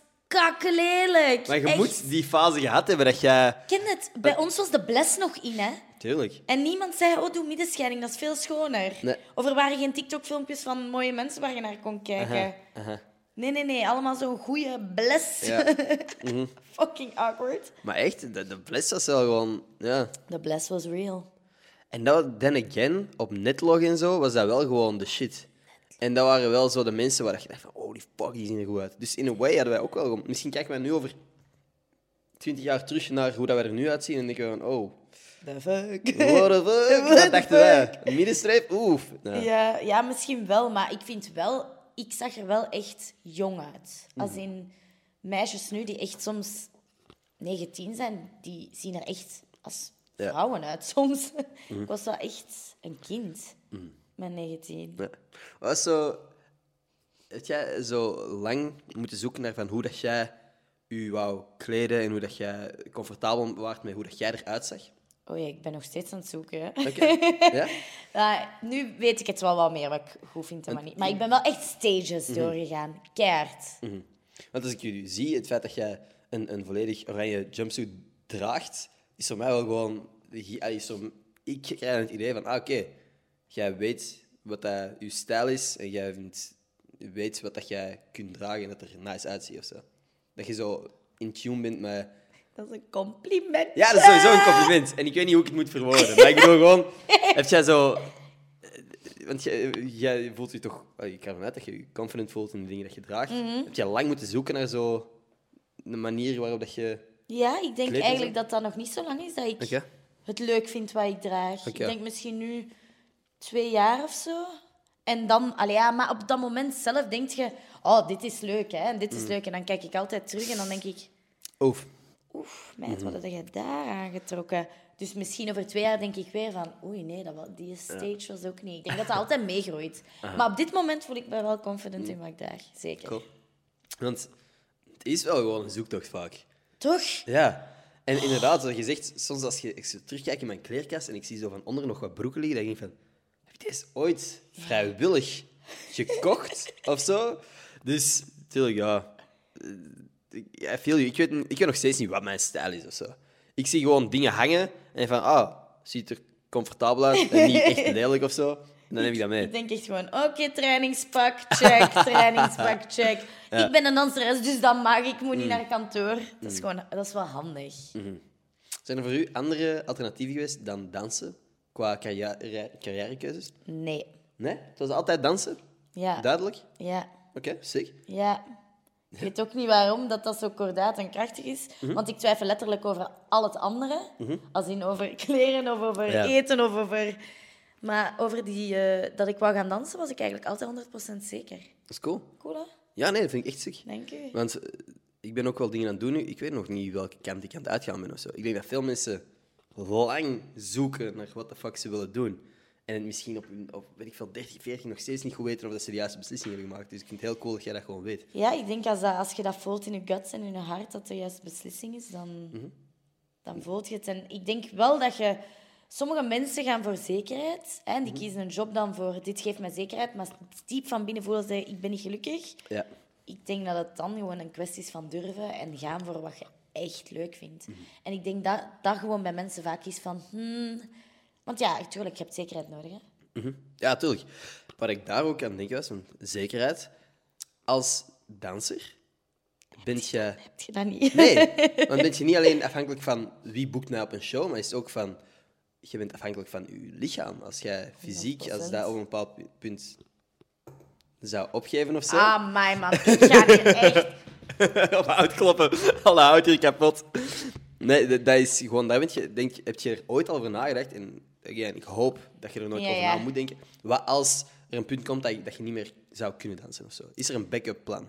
B: kakkelelijk.
A: Maar je
B: Echt.
A: moet die fase gehad hebben dat jij...
B: Ken het, bij ons was de bles nog in, hè.
A: Tuurlijk.
B: En niemand zei, oh, doe middenscheiding, dat is veel schoner.
A: Nee.
B: Of er waren geen TikTok-filmpjes van mooie mensen waar je naar kon kijken. Nee, nee, nee, allemaal zo'n goede bles.
A: Ja.
B: Fucking awkward.
A: Maar echt, de, de bless was wel gewoon... Ja.
B: De bles was real.
A: En dat, then again, op netlog en zo, was dat wel gewoon de shit. En dat waren wel zo de mensen waar je dacht van, holy fuck, die zien er goed uit. Dus in een way hadden wij ook wel... gewoon- Misschien kijken wij nu over 20 jaar terug naar hoe dat wij er nu uitzien en denken we van, oh,
B: The fuck.
A: what the fuck,
B: What the
A: dat dachten wij. Een Middenstreep, oef. Ja.
B: Ja, ja, misschien wel, maar ik vind wel, ik zag er wel echt jong uit.
A: Mhm.
B: Als in meisjes nu die echt soms 19 zijn, die zien er echt als
A: Ja. Mhm.
B: vrouwen uit soms. Ik was wel echt een kind met 19.
A: Ja. Wat is zo... Heb jij zo lang moeten zoeken naar van hoe dat jij je wou kleden en hoe dat jij comfortabel waart met hoe dat jij eruit zag?
B: Oh ja, ik ben nog steeds aan het zoeken. hè.
A: Oké. ja?
B: Ja, nu weet ik het wel wat meer wat ik goed vind en wat niet. Maar ik ben wel echt stages
A: Mhm.
B: doorgegaan. Keihard.
A: Want als ik jullie zie, het feit dat jij een, een volledig oranje jumpsuit draagt, is voor mij wel gewoon... gi- ah, Is voor, ik krijg het idee van, ah, oké, jij weet wat dat je stijl is en jij vindt, weet wat dat jij kunt dragen en dat er nice uitziet of zo. Dat je zo in tune bent met...
B: Dat is een compliment.
A: Ja, dat is sowieso een compliment. En ik weet niet hoe ik het moet verwoorden. Maar ik bedoel gewoon, heb jij zo... eh, Want jij, jij voelt je toch... eh, Ik ga ervan uit dat je je confident voelt in de dingen dat je draagt. Heb jij lang moeten zoeken naar zo... Een manier waarop dat je...
B: Ja, ik denk
A: Kleden
B: eigenlijk
A: zo?
B: dat dat nog niet zo lang is dat ik
A: Oké.
B: het leuk vind wat ik draag. Ik
A: Oké.
B: denk misschien nu twee jaar of zo. En dan, allee, ja, maar op dat moment zelf denk je, oh, dit is leuk, hè, en
A: Mm.
B: dit is leuk. En dan kijk ik altijd terug en dan denk ik,
A: Oef.
B: oef,
A: Mhm.
B: meid, wat heb je daar aangetrokken? Dus misschien over twee jaar denk ik weer van, oei, nee, dat, wa- die stage was ook niet. Ik denk dat dat altijd meegroeit. Maar op dit moment voel ik me wel confident in wat ik draag, zeker.
A: Mm. Cool. Want het is wel gewoon een zoektocht vaak.
B: Toch?
A: Ja. En inderdaad, zoals je zegt, soms als je, ik zo terugkijk in mijn kleerkast en ik zie zo van onder nog wat broeken liggen, dan denk ik van, heb je deze ooit vrijwillig gekocht of zo? Dus, tuurlijk, ja. Eh, ik- I feel you. Ik weet, ik weet nog steeds niet wat mijn stijl is of zo. Ik zie gewoon dingen hangen en van, ah, ziet er comfortabel uit en niet echt lelijk of zo. En dan neem ik dat mee.
B: Ik denk echt gewoon, oké, trainingspak, check, trainingspak, check. Ik ben een danseres, dus dat mag. Ik moet niet naar kantoor. Dat is gewoon, dat is wel handig.
A: Zijn er voor u andere alternatieven geweest dan dansen qua carrière, carrièrekeuzes?
B: Nee.
A: Nee? Het was altijd dansen?
B: Ja.
A: Duidelijk?
B: Ja.
A: Oké, sick.
B: Ja. Ik weet ook niet waarom dat, dat zo kordaat en krachtig is. Want ik twijfel letterlijk over al het andere. Als in over kleren of over
A: Ja.
B: eten of over... Maar over die, eh, dat ik wou gaan dansen, was ik eigenlijk altijd 100% zeker.
A: Dat is cool.
B: Cool, hè?
A: Ja, nee, dat vind ik echt sick.
B: Dank u.
A: Want eh, ik ben ook wel dingen aan het doen nu. Ik weet nog niet welke kant ik aan het uitgaan ben of zo. Ik denk dat veel mensen lang zoeken naar wat de fuck ze willen doen. En het misschien op, hun- op weet ik veel, 13, 14 nog steeds niet goed weten of dat ze de juiste beslissing hebben gemaakt. Dus ik vind het heel cool dat jij dat gewoon weet.
B: Ja, ik denk als, dat, als je dat voelt in je guts en in je hart, dat de juiste beslissing is, dan, dan voelt je het. En ik denk wel dat je... Sommige mensen gaan voor zekerheid. Hè, en die kiezen een job dan voor, dit geeft mij zekerheid. Maar diep van binnen voelen ze, ik ben niet gelukkig.
A: Ja.
B: Ik denk dat het dan gewoon een kwestie is van durven en gaan voor wat je echt leuk vindt. En ik denk dat dat gewoon bij mensen vaak is van... hmm, want ja, natuurlijk, je hebt zekerheid nodig. Hè?
A: Ja, tuurlijk. Wat ik daar ook aan denk was, van zekerheid. Als danser bent je...
B: Heb je dat niet?
A: Nee, want ben je niet alleen afhankelijk van wie boekt mij op een show, maar is het ook van... Je bent afhankelijk van je lichaam. Als jij fysiek, als dat op een bepaald pu- punt zou opgeven of zo...
B: Ah, mijn man. Ik ga hier echt...
A: of uitkloppen, alle hout hier kapot. Nee, dat, dat is gewoon... Daar bent je, denk, heb je er ooit al over nagedacht? En again, ik hoop dat je er nooit
B: Ja,
A: over
B: ja.
A: na moet denken. Wat als er een punt komt dat je, dat je niet meer zou kunnen dansen of zo? Is er een backup plan?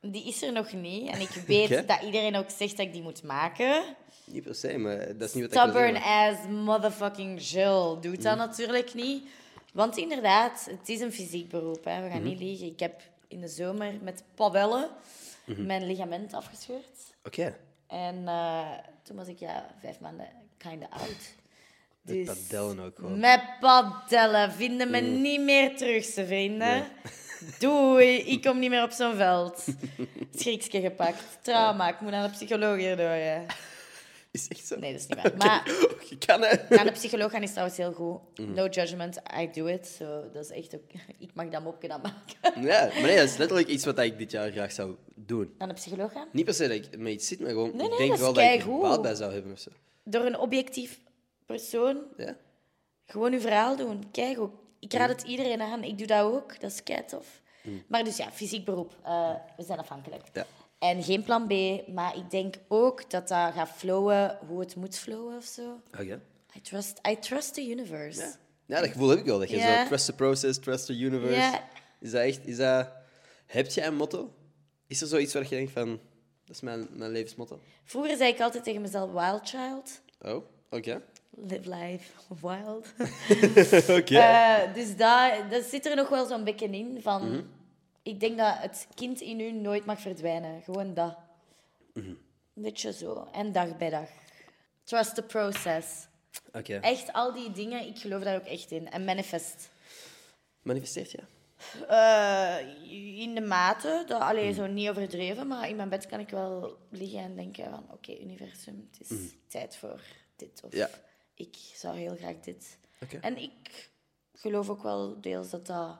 B: Die is er nog niet. En ik weet
A: Oké.
B: dat iedereen ook zegt dat ik die moet maken.
A: Niet per se, maar dat is niet wat ik wil
B: Stubborn
A: zeggen, Mm.
B: as motherfucking Jill
A: Mhm.
B: doet dat natuurlijk niet. Want inderdaad, het is een fysiek beroep. Hè. We gaan niet liegen. Ik heb in de zomer met pavellen
A: Mhm.
B: mijn ligament afgescheurd.
A: Oké.
B: En eh, toen was ik ja, vijf maanden kinda oud.
A: Met padellen ook gewoon.
B: Met padellen. Vinden me niet meer terug, ze vrienden. Doei, ik kom niet meer op zo'n veld. Schriksje gepakt. Trauma, ik moet naar de psycholoog hierdoor. hè.
A: Is echt zo? Oh,
B: Nee, dat is niet waar. Maar
A: Je kan hè?
B: naar de psycholoog gaan is trouwens heel goed.
A: Mm.
B: No judgment, I do it. So, dat is echt ook... Ik mag dat mopje dan maken.
A: Ja, maar nee, dat is letterlijk iets wat ik dit jaar graag zou doen.
B: Naar de psycholoog gaan?
A: Niet per se dat ik met iets zit, maar gewoon...
B: Nee,
A: ik
B: nee,
A: denk
B: dat is
A: wel dat ik er
B: keigoed.
A: baat bij zou hebben of zo.
B: Door een objectief persoon
A: Ja?
B: Gewoon uw verhaal doen. Kijk ook. Ik
A: Mm.
B: raad het iedereen aan. Ik doe dat ook. Dat is kei tof. Maar dus ja, fysiek beroep. Eh, we zijn afhankelijk.
A: Ja.
B: En geen plan B. Maar ik denk ook dat dat gaat flowen hoe het moet flowen of zo.
A: Oké.
B: I trust, I trust the universe.
A: Ja. ja, dat gevoel heb ik wel. Dat je
B: Ja.
A: zo trust the process, trust the universe.
B: Ja.
A: Is dat echt... Is dat... Heb jij een motto? Is er zoiets waar je denkt van... Dat is mijn, mijn levensmotto.
B: Vroeger zei ik altijd tegen mezelf wild child.
A: Oh, oké.
B: Live life wild.
A: oké.
B: Eh, dus daar, dat zit er nog wel zo'n beetje in van... Ik denk dat het kind in u nooit mag verdwijnen. Gewoon dat. Een beetje zo. En dag bij dag. Trust the process.
A: Oké.
B: Echt al die dingen, ik geloof daar ook echt in. En manifest.
A: Manifesteert, ja.
B: Eh, in de mate, dat,
A: Mm.
B: allee, zo niet overdreven, maar in mijn bed kan ik wel liggen en denken van... Oké, universum, het is tijd voor dit. Of
A: Mm. Ja.
B: ik zou heel graag dit.
A: Oké.
B: En ik geloof ook wel deels dat dat...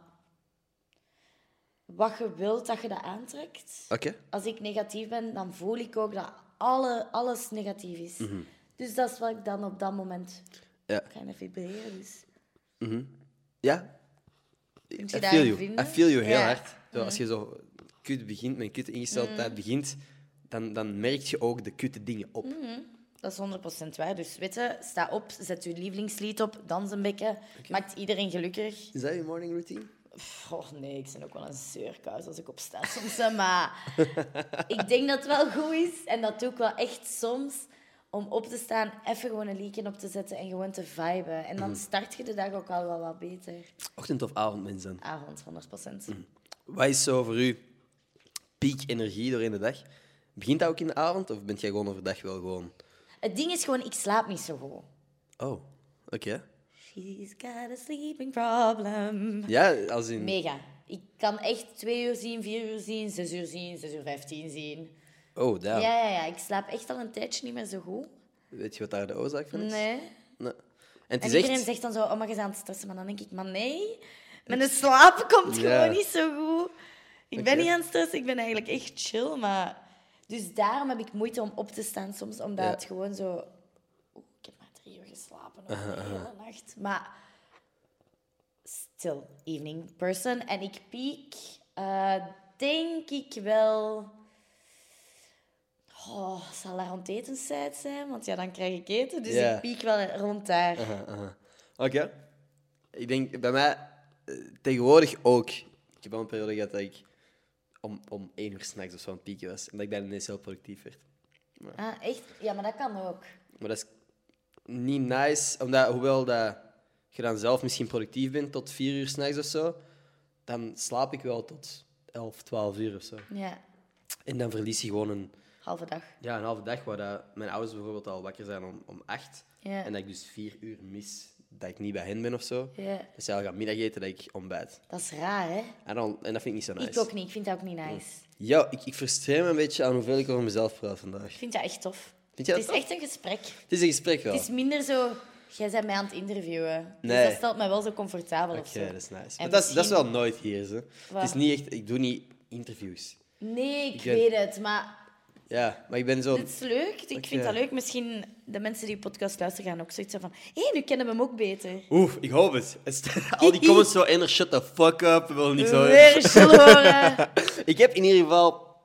B: Wat je wilt, dat je dat aantrekt.
A: Oké.
B: Als ik negatief ben, dan voel ik ook dat alle, alles negatief is.
A: Mhm.
B: Dus dat is wat ik dan op dat moment
A: Ja.
B: kind of vibreren. Dus.
A: Ja. I
B: Kunt je
A: feel
B: daarin
A: you.
B: vinden?
A: I feel you heel
B: Ja. Mm.
A: hard. Zo, als je zo kut begint, met een kutte ingesteldheid begint, dan, dan merk je ook de kutte dingen op.
B: Mm. Dat is 100% waar. Dus weet je, sta op, zet je lievelingslied op, dans een beetje. Maakt iedereen gelukkig.
A: Is dat je morning routine?
B: Pff, Oh nee, ik ben ook wel een zeurkuis als ik opsta soms. hè, Maar ik denk dat het wel goed is. En dat doe ik wel echt soms. Om op te staan, even gewoon een liedje op te zetten en gewoon te viben. En dan start je de dag ook al wel wat beter.
A: Ochtend of avond, mensen.
B: Avond, 100%.
A: Wat is zo voor u piek energie doorheen de dag? Begint dat ook in de avond of bent jij gewoon overdag wel gewoon.
B: Het ding is gewoon, ik slaap niet zo goed.
A: Oh, oké.
B: She's got a sleeping problem.
A: Ja, als in.
B: Mega. Ik kan echt twee uur zien, vier uur zien, zes uur zien, zes uur vijftien zien.
A: Oh, daar.
B: Ja, ja, ja. Ik slaap echt al een tijdje niet meer zo goed.
A: Weet je wat daar de oorzaak van is?
B: Nee.
A: Nee. En het
B: En
A: is
B: iedereen
A: echt.
B: zegt dan zo, oh, maar je bent aan het stressen. Maar dan denk ik, maar nee. Mijn slaap komt
A: Ja.
B: gewoon niet zo goed. Ik ben
A: Oké.
B: niet aan het stressen. Ik ben eigenlijk echt chill, maar... Dus daarom heb ik moeite om op te staan soms, omdat
A: Ja.
B: het gewoon zo... Oeh, ik heb maar drie uur geslapen over de hele nacht. Maar... Still evening person. En ik piek, eh, denk ik wel... Oh, zal daar rond etenstijd zijn? Want ja, dan krijg ik eten. Dus
A: Ja.
B: ik piek wel rond daar.
A: Aha, aha. Oké. Ik denk bij mij eh, tegenwoordig ook. Ik heb al een periode gehad dat ik om, om één uur s'nachts of zo aan het pieken was. En dat ik dan ineens heel productief werd.
B: Ah, echt? Ja, maar dat kan ook.
A: Maar dat is niet nice, omdat hoewel dat je dan zelf misschien productief bent tot vier uur s'nachts of zo, dan slaap ik wel tot 11, 12 uur of zo.
B: Ja,
A: En dan verlies je gewoon een,
B: halve dag.
A: ja, een halve dag waar dat mijn ouders bijvoorbeeld al wakker zijn om, om acht.
B: Ja.
A: En dat ik dus vier uur mis dat ik niet bij hen ben of zo.
B: Ja.
A: Dus zij al gaan middageten dat ik ontbijt.
B: Dat is raar, hè?
A: En, dan, en dat vind ik niet zo nice. Mm.
B: Ik ook niet. Ik vind dat ook niet nice.
A: Ja, ik, ik frustreer me een beetje aan hoeveel ik over mezelf praat vandaag.
B: Ik vind dat echt tof.
A: Vind je dat
B: het is
A: tof?
B: echt een gesprek.
A: Het is een gesprek wel.
B: Het is minder zo... Jij bent mij aan het interviewen.
A: Nee.
B: Dus dat stelt mij wel zo comfortabel
A: Oké,
B: of zo.
A: dat is nice. Maar dat, is, dat is wel nooit hier, zo. Het is
B: Waar?
A: niet echt... Ik doe niet interviews.
B: Nee, ik,
A: ben-
B: weet het, maar
A: Ja, maar ik ben zo...
B: het is leuk. Ik vind dat leuk. Misschien de mensen die podcast luisteren gaan ook zoiets hebben van... Hé, nu kennen we hem ook beter.
A: Oeh, ik hoop het. Het staat- Al die comments zo in, shut the fuck up, we willen niks horen.
B: Weer chill horen.
A: Ik heb in ieder geval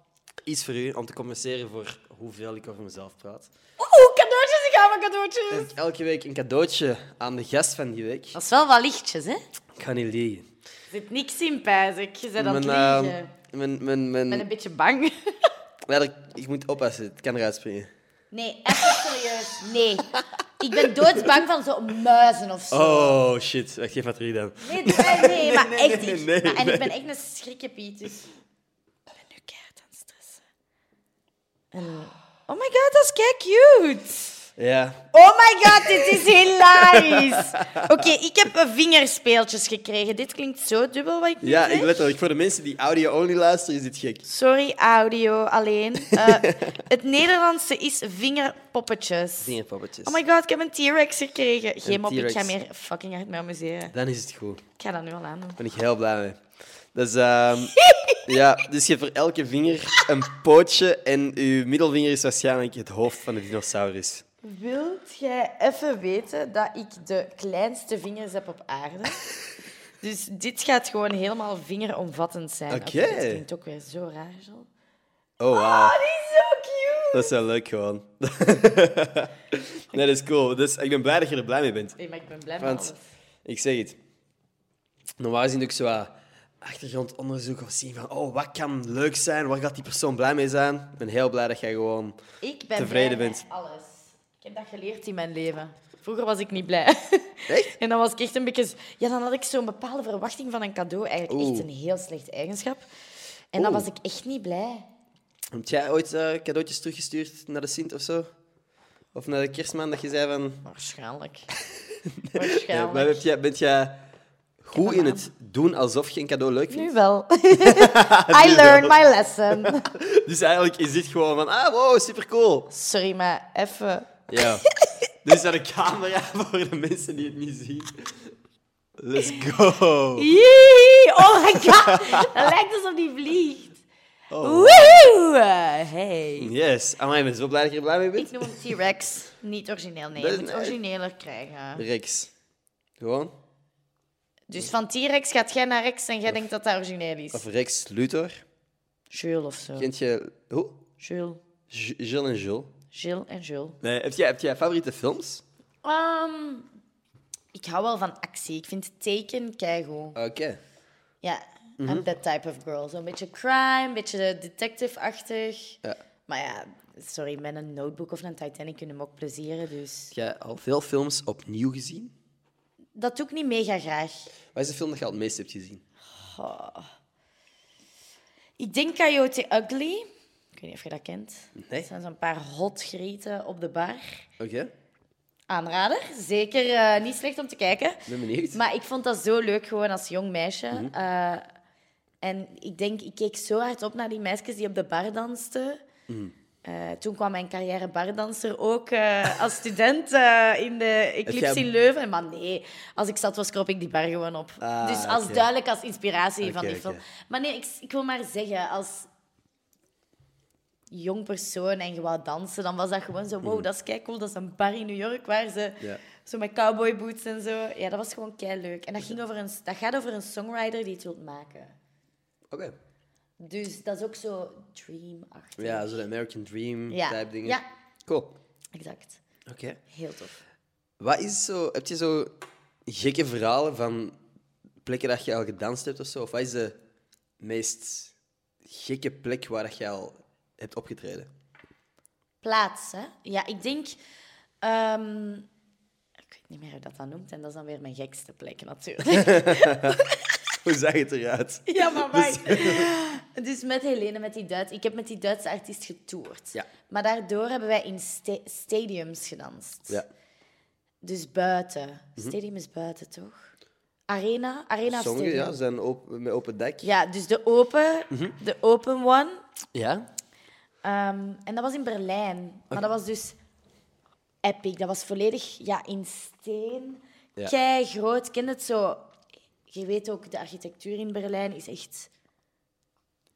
A: iets voor u om te compenseren voor hoeveel ik over mezelf praat.
B: Oeh, cadeautjes. Ik ga mijn cadeautjes.
A: Ik heb elke week een cadeautje aan de gast van die week.
B: Dat is wel wat lichtjes, hè? Er
A: Ik ga niet liegen.
B: zit niks in, pijs ik. Je bent aan het
A: ehm,
B: liegen.
A: mijn, mijn, mijn,
B: Ik ben een beetje bang.
A: Ja, er- ik moet oppassen, het kan eruit springen.
B: Nee, even serieus. Nee. Ik ben doodsbang van zo'n muizen of zo.
A: Oh, shit. Wacht, geef maar terug dan.
B: Nee, nee, nee, maar
A: nee,
B: echt
A: nee,
B: niet.
A: nee,
B: Maar- en
A: nee.
B: ik ben echt een schrikkenpiet, dus... Ik ben nu keihard aan het stressen. En- Oh my god, dat is kei cute.
A: Ja.
B: Oh my god, dit is hilarisch. Oké, ik heb eh, vingerspeeltjes gekregen. Dit klinkt zo dubbel wat ik nu
A: Ja,
B: zeg.
A: ik letterlijk. Voor de mensen die audio-only luisteren, is dit gek.
B: Sorry, audio alleen. Eh, het Nederlandse is vingerpoppetjes.
A: Vingerpoppetjes.
B: Oh my god, ik heb een T-Rex gekregen. Geen
A: Een
B: mop, ik ga
A: T-Rex.
B: meer fucking hard me amuseren.
A: Dan is het goed.
B: Ik ga dat nu al aan doen.
A: Daar ben ik heel blij mee. Dus, ehm, ja, dus je hebt voor elke vinger een pootje en je middelvinger is waarschijnlijk het hoofd van de dinosaurus.
B: Wilt jij even weten dat ik de kleinste vingers heb op aarde? dus dit gaat gewoon helemaal vingeromvattend zijn.
A: Oké.
B: dit klinkt ook weer zo raar, zo.
A: Oh,
B: Oh,
A: wauw.
B: die is zo cute!
A: Dat is wel leuk gewoon. nee, dat is cool. Dus ik ben blij dat je er blij mee bent.
B: Nee, maar ik ben blij met
A: Want
B: alles.
A: ik zeg het. Normaal gezien doe ik zo wat achtergrondonderzoek of zien van oh, wat kan leuk zijn, waar gaat die persoon blij mee zijn. Ik ben heel blij dat jij gewoon...
B: Ik ben
A: tevreden
B: blij
A: bent.
B: met alles. Ik heb dat geleerd in mijn leven. Vroeger was ik niet blij.
A: Echt?
B: En dan was ik echt een beetje... Ja, dan had ik zo'n bepaalde verwachting van een cadeau. Eigenlijk
A: Oeh.
B: echt een heel slecht eigenschap. En dan
A: Oeh.
B: was ik echt niet blij.
A: Heb jij ooit eh, cadeautjes teruggestuurd naar de Sint of zo? Of naar de kerstman dat je zei van...
B: Waarschijnlijk.
A: Ja, maar
B: Waarschijnlijk.
A: heb jij, bent jij goed in het doen alsof je een cadeau leuk vindt?
B: Nu wel. I learned my lesson.
A: Dus eigenlijk is dit gewoon van, ah, wow, supercool.
B: Sorry, maar even...
A: Ja. dus naar de camera voor de mensen die het niet zien. Let's go.
B: Jee, Oh my god. Dat lijkt alsof die vliegt.
A: Oh.
B: Woehoe. Hey.
A: Yes. Amai, ik ben zo blij dat je er blij mee
B: Ik
A: bent.
B: noem hem T-Rex. Niet origineel, nee.
A: Dat
B: Je
A: is-
B: moet het origineler krijgen.
A: Rex. Gewoon.
B: Dus van T-Rex gaat jij naar Rex en jij denkt dat dat origineel is.
A: Of Rex Luthor.
B: Jules of zo.
A: Kent je... Hoe?
B: Jules.
A: J- Jill en Jules.
B: Jules en Jules.
A: Nee, heb jij, heb jij favoriete films?
B: Ehm, ik hou wel van actie. Ik vind teken keigoed.
A: Oké.
B: Ja, I'm that type of girl. Zo'n beetje crime, een beetje detective-achtig.
A: Ja.
B: Maar ja, sorry, met een notebook of een Titanic kunnen me ook plezieren. Dus
A: Heb jij al veel films opnieuw gezien?
B: dat doe ik niet mega graag.
A: Wat is de film dat je al het meest hebt gezien?
B: Ik denk Coyote Ugly. Ik weet niet of je dat kent.
A: Nee.
B: Dat zijn zo'n paar hotgrieten op de bar.
A: Oké.
B: Aanrader. Zeker eh, niet slecht om te kijken.
A: Ben benieuwd.
B: Maar ik vond dat zo leuk gewoon als jong meisje.
A: Mhm.
B: Eh, en ik denk, ik keek zo hard op naar die meisjes die op de bar dansten.
A: Mhm.
B: Eh, toen kwam mijn carrière bardanser ook eh, als student eh, in de Eclipse
A: jij-
B: in Leuven. Maar nee, als ik zat was, kroop ik die bar gewoon op.
A: Ah,
B: dus als
A: oké.
B: duidelijk als inspiratie van
A: Oké,
B: die film.
A: oké.
B: Maar nee, ik, ik wil maar zeggen, als jong persoon en je wou dansen, dan was dat gewoon zo, wow, dat is kei cool. Dat is een bar in New York waar ze
A: Mm. Ja.
B: zo met cowboy boots en zo. Ja, dat was gewoon kei leuk. En dat, ging over een, dat gaat over een songwriter die het wil maken.
A: Oké.
B: Dus dat is ook zo dream-achtig.
A: Ja, zo de American Dream
B: Ja.
A: type dingen.
B: Ja.
A: Cool. Oké.
B: Exact. Heel tof.
A: Wat is zo... Heb je zo gekke verhalen van plekken dat je al gedanst hebt of zo? Of wat is de meest gekke plek waar dat je al hebt opgetreden?
B: plaatsen. Ja, ik denk. ehm, ik weet niet meer hoe dat dan noemt. En dat is dan weer mijn gekste plek, natuurlijk.
A: Hoe zag het eruit?
B: ja, maar wacht. Dus met Helene, met die Duits. Ik heb met die Duitse artiest getoerd.
A: Ja.
B: Maar daardoor hebben wij in sta- stadiums gedanst.
A: Ja.
B: Dus buiten. Stadium is buiten, toch? Arena? Arena of
A: Sommigen
B: stadium?
A: ja,
B: Ja.
A: ze zijn op, met open dek.
B: dus de open, de open one.
A: Ja?
B: Ehm, en dat was in Berlijn. Maar dat was dus epic. Dat was volledig ja, in steen.
A: Ja.
B: Kei groot. Ken het zo? Je weet ook, de architectuur in Berlijn is echt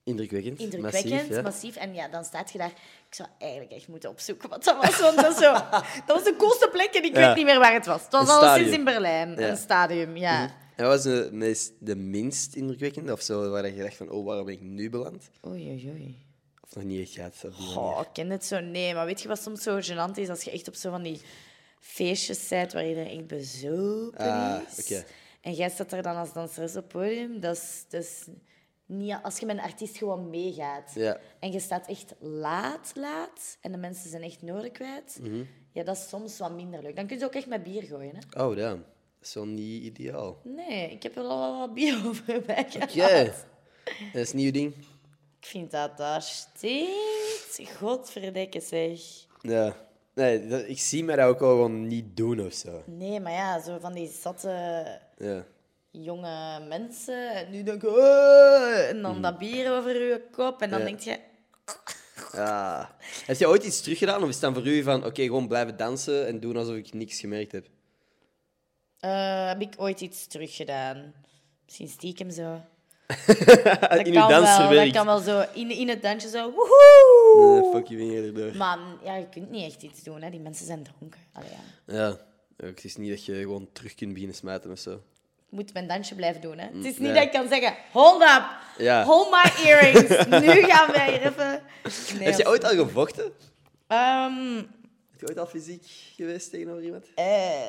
A: Indrukwekkend.
B: indrukwekkend, massief,
A: Massief, ja.
B: En ja, dan staat je daar. Ik zou eigenlijk echt moeten opzoeken wat dat was. Want dat, is zo, dat was de coolste plek en ik
A: Ja.
B: weet niet meer waar het was. Het was
A: Een
B: alleszins
A: stadium.
B: in Berlijn.
A: Ja.
B: Een stadium, ja.
A: En wat was de, meest, de minst indrukwekkende? Of zo, waar je dacht van, oh, waarom ben ik nu beland?
B: Oei, oei, oei.
A: Of nog niet echt gaat. op die manier.
B: Goh, ik ken het zo. Nee, maar weet je wat soms zo gênant is? Als je echt op zo van die feestjes bent waar iedereen echt bezopen
A: Ah,
B: is.
A: oké.
B: En jij staat er dan als danseres op het podium. Dat is, dat is niet... Als je met een artiest gewoon meegaat.
A: Ja. Mhm.
B: En je staat echt laat, laat. En de mensen zijn echt nodig kwijt. Ja, Ja, dat is soms wat minder leuk. Dan kun je ze ook echt met bier gooien. Hè?
A: Oh, damn. Dat is wel niet ideaal.
B: Nee, ik heb er al wel wat bier over bij gehad.
A: Oké. Dat is een nieuw ding.
B: Ik vind dat daar stinkt. Godverdikke zeg.
A: Ja. Nee, dat- ik zie mij dat ook wel gewoon niet doen of zo.
B: Nee, maar ja, zo van die zatte
A: Ja.
B: jonge mensen. En nu denk je, "Oh," en dan dat bier over je kop. En dan
A: Mm. Ja.
B: denk je,
A: Ah. Heb je ooit iets teruggedaan of is het dan voor u van oké, gewoon blijven dansen en doen alsof ik niks gemerkt heb?
B: eh, heb ik ooit iets teruggedaan? Misschien stiekem zo. Dat
A: Eh, in uw
B: kan wel,
A: dansverwerk.
B: dat kan wel zo. In, in het dansje zo, woehoe!
A: Eh, fuck je vinger erdoor.
B: Maar ja, je kunt niet echt iets doen, hè. Die mensen zijn dronken. Allee, ja.
A: Ja. Ook, het is niet dat je gewoon terug kunt beginnen smijten of zo.
B: Ik moet mijn dansje blijven doen, hè. Het is niet
A: Mm, ja.
B: dat ik kan zeggen, hold up,
A: Ja.
B: hold my earrings. nu gaan wij hier even... Nee,
A: heb je
B: of-
A: ooit al gevochten?
B: Ehm,
A: Heb je ooit al fysiek geweest tegenover iemand?
B: eh,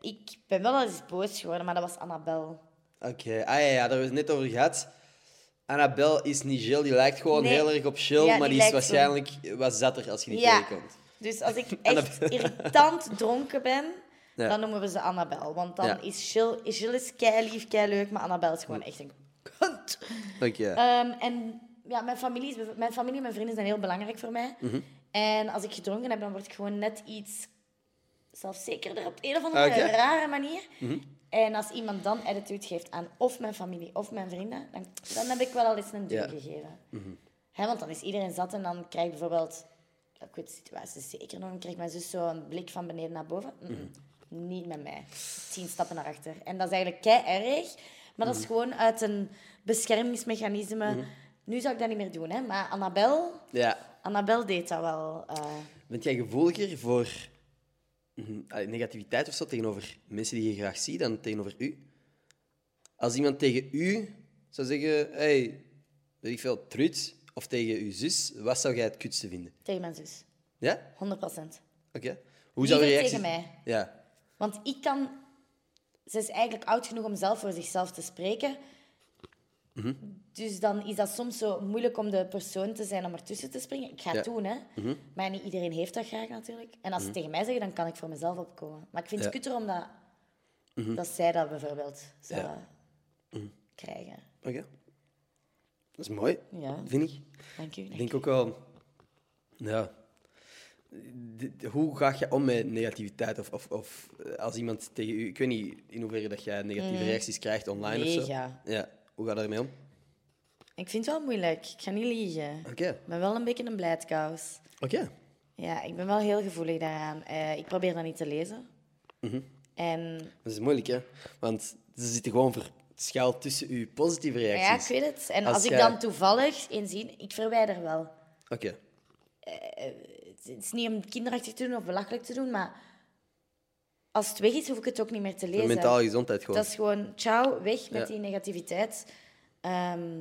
B: ik ben wel eens boos geworden, maar dat was Annabel.
A: Oké, ah ja, ja, daar hebben we het net over gehad. Annabel is niet Jill, die lijkt gewoon
B: Nee.
A: heel erg op Jill,
B: Ja,
A: maar
B: die
A: die is
B: lijkt zo.
A: waarschijnlijk wat zatter als je die
B: Ja.
A: tegenkomt.
B: Dus als ik echt irritant dronken ben,
A: Ja.
B: dan noemen we ze Annabel. Want dan
A: Ja.
B: is Jill, Jill is keilief, leuk, maar Annabel is gewoon echt een kunt.
A: Dank je.
B: Ehm, en ja, mijn familie, is, mijn familie en mijn vrienden zijn heel belangrijk voor mij.
A: Mhm.
B: En als ik gedronken heb, dan word ik gewoon net iets zelfzekerder op een of andere
A: Ah, Oké.
B: rare manier. En als iemand dan attitude geeft aan of mijn familie of mijn vrienden, dan, dan heb ik wel al eens een duw
A: Ja.
B: gegeven. Hè, want dan is iedereen zat en dan krijg ik bijvoorbeeld, ik weet de situatie zeker nog, dan krijgt mijn zus zo een blik van beneden naar boven. Mm-mm. Niet met mij. Tien stappen naar achter. En dat is eigenlijk kei erg, maar dat is gewoon uit een beschermingsmechanisme. Nu zou ik dat niet meer doen, hè? maar Annabel,
A: Ja.
B: Annabel deed dat wel. eh.
A: Bent jij gevoeliger voor mhm, allee, negativiteit of zo tegenover mensen die je graag ziet dan tegenover u? Als iemand tegen u zou zeggen, hey, weet ik veel, trut, of tegen uw zus, wat zou jij het kutste vinden?
B: Tegen mijn zus.
A: Ja?
B: 100 procent.
A: Oké. Hoe zou je
B: Liever
A: reactie...
B: tegen mij.
A: Ja.
B: Want ik kan... Ze is eigenlijk oud genoeg om zelf voor zichzelf te spreken.
A: Mhm.
B: Dus dan is dat soms zo moeilijk om de persoon te zijn om ertussen te springen. Ik ga het
A: Ja. Mhm.
B: doen, hè. Maar niet iedereen heeft dat graag natuurlijk. En als ze tegen mij zeggen, dan kan ik voor mezelf opkomen. Maar ik vind het
A: Ja. Mhm.
B: kutter omdat... Dat zij dat bijvoorbeeld zou
A: Ja. Mhm.
B: krijgen.
A: Oké. Dat is mooi,
B: Ja,
A: vind ik.
B: dank u.
A: Ik denk ook wel. Ja. D- Hoe ga je om met negativiteit? Of, of, of eh, als iemand tegen u. Ik weet niet in hoeverre dat jij negatieve reacties krijgt online of zo.
B: Mm. Mega.
A: Ja. Hoe ga je daarmee om?
B: Ik vind het wel moeilijk. Ik ga niet liegen.
A: Oké.
B: Ik ben wel een beetje een blijdkous.
A: Oké.
B: Ja, ik ben wel heel gevoelig daaraan. Eh, ik probeer dat niet te lezen.
A: Mhm.
B: En
A: Dat is moeilijk, hè? Want ze zitten gewoon voor schuil tussen uw positieve
B: ja, ik
A: reacties.
B: weet het. En als,
A: Als
B: ik
A: jij-
B: dan toevallig inzien, ik verwijder wel.
A: Oké.
B: Het het is niet om kinderachtig te doen of belachelijk te doen, maar als het weg is, hoef ik het ook niet meer te
A: Voor
B: lezen.
A: mentale gezondheid gewoon.
B: Dat is gewoon ciao, weg met
A: Ja.
B: die negativiteit. Ehm,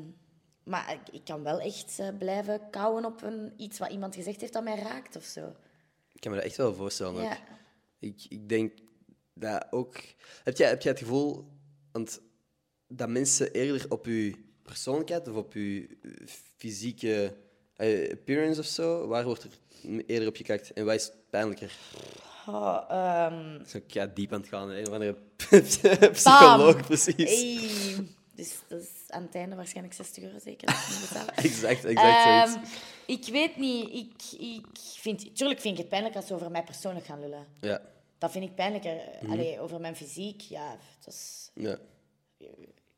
B: maar ik, ik kan wel echt eh, blijven kouwen op een, iets wat iemand gezegd heeft dat mij raakt of zo.
A: Ik kan me dat echt wel voorstellen. ook.
B: Ja.
A: Ik, ik denk dat ook. Heb jij, heb jij het gevoel want dat mensen eerder op je persoonlijkheid of op je eh, fysieke eh, appearance of zo, waar wordt er eerder op gekeken en wat is pijnlijker?
B: Oh, ehm,
A: Dus ik ga diep aan het gaan, een of andere psycholoog, precies.
B: Ey. Dus dat is aan het einde waarschijnlijk 60 euro zeker. dat ik moet betalen.
A: Exact, exact zoiets.
B: Ehm, ik weet niet. Ik, ik vind, tuurlijk vind ik het pijnlijk als ze over mij persoonlijk gaan lullen.
A: Ja,
B: Dat vind ik pijnlijker. Allee, over mijn fysiek, ja. Dat is,
A: ja.
B: ik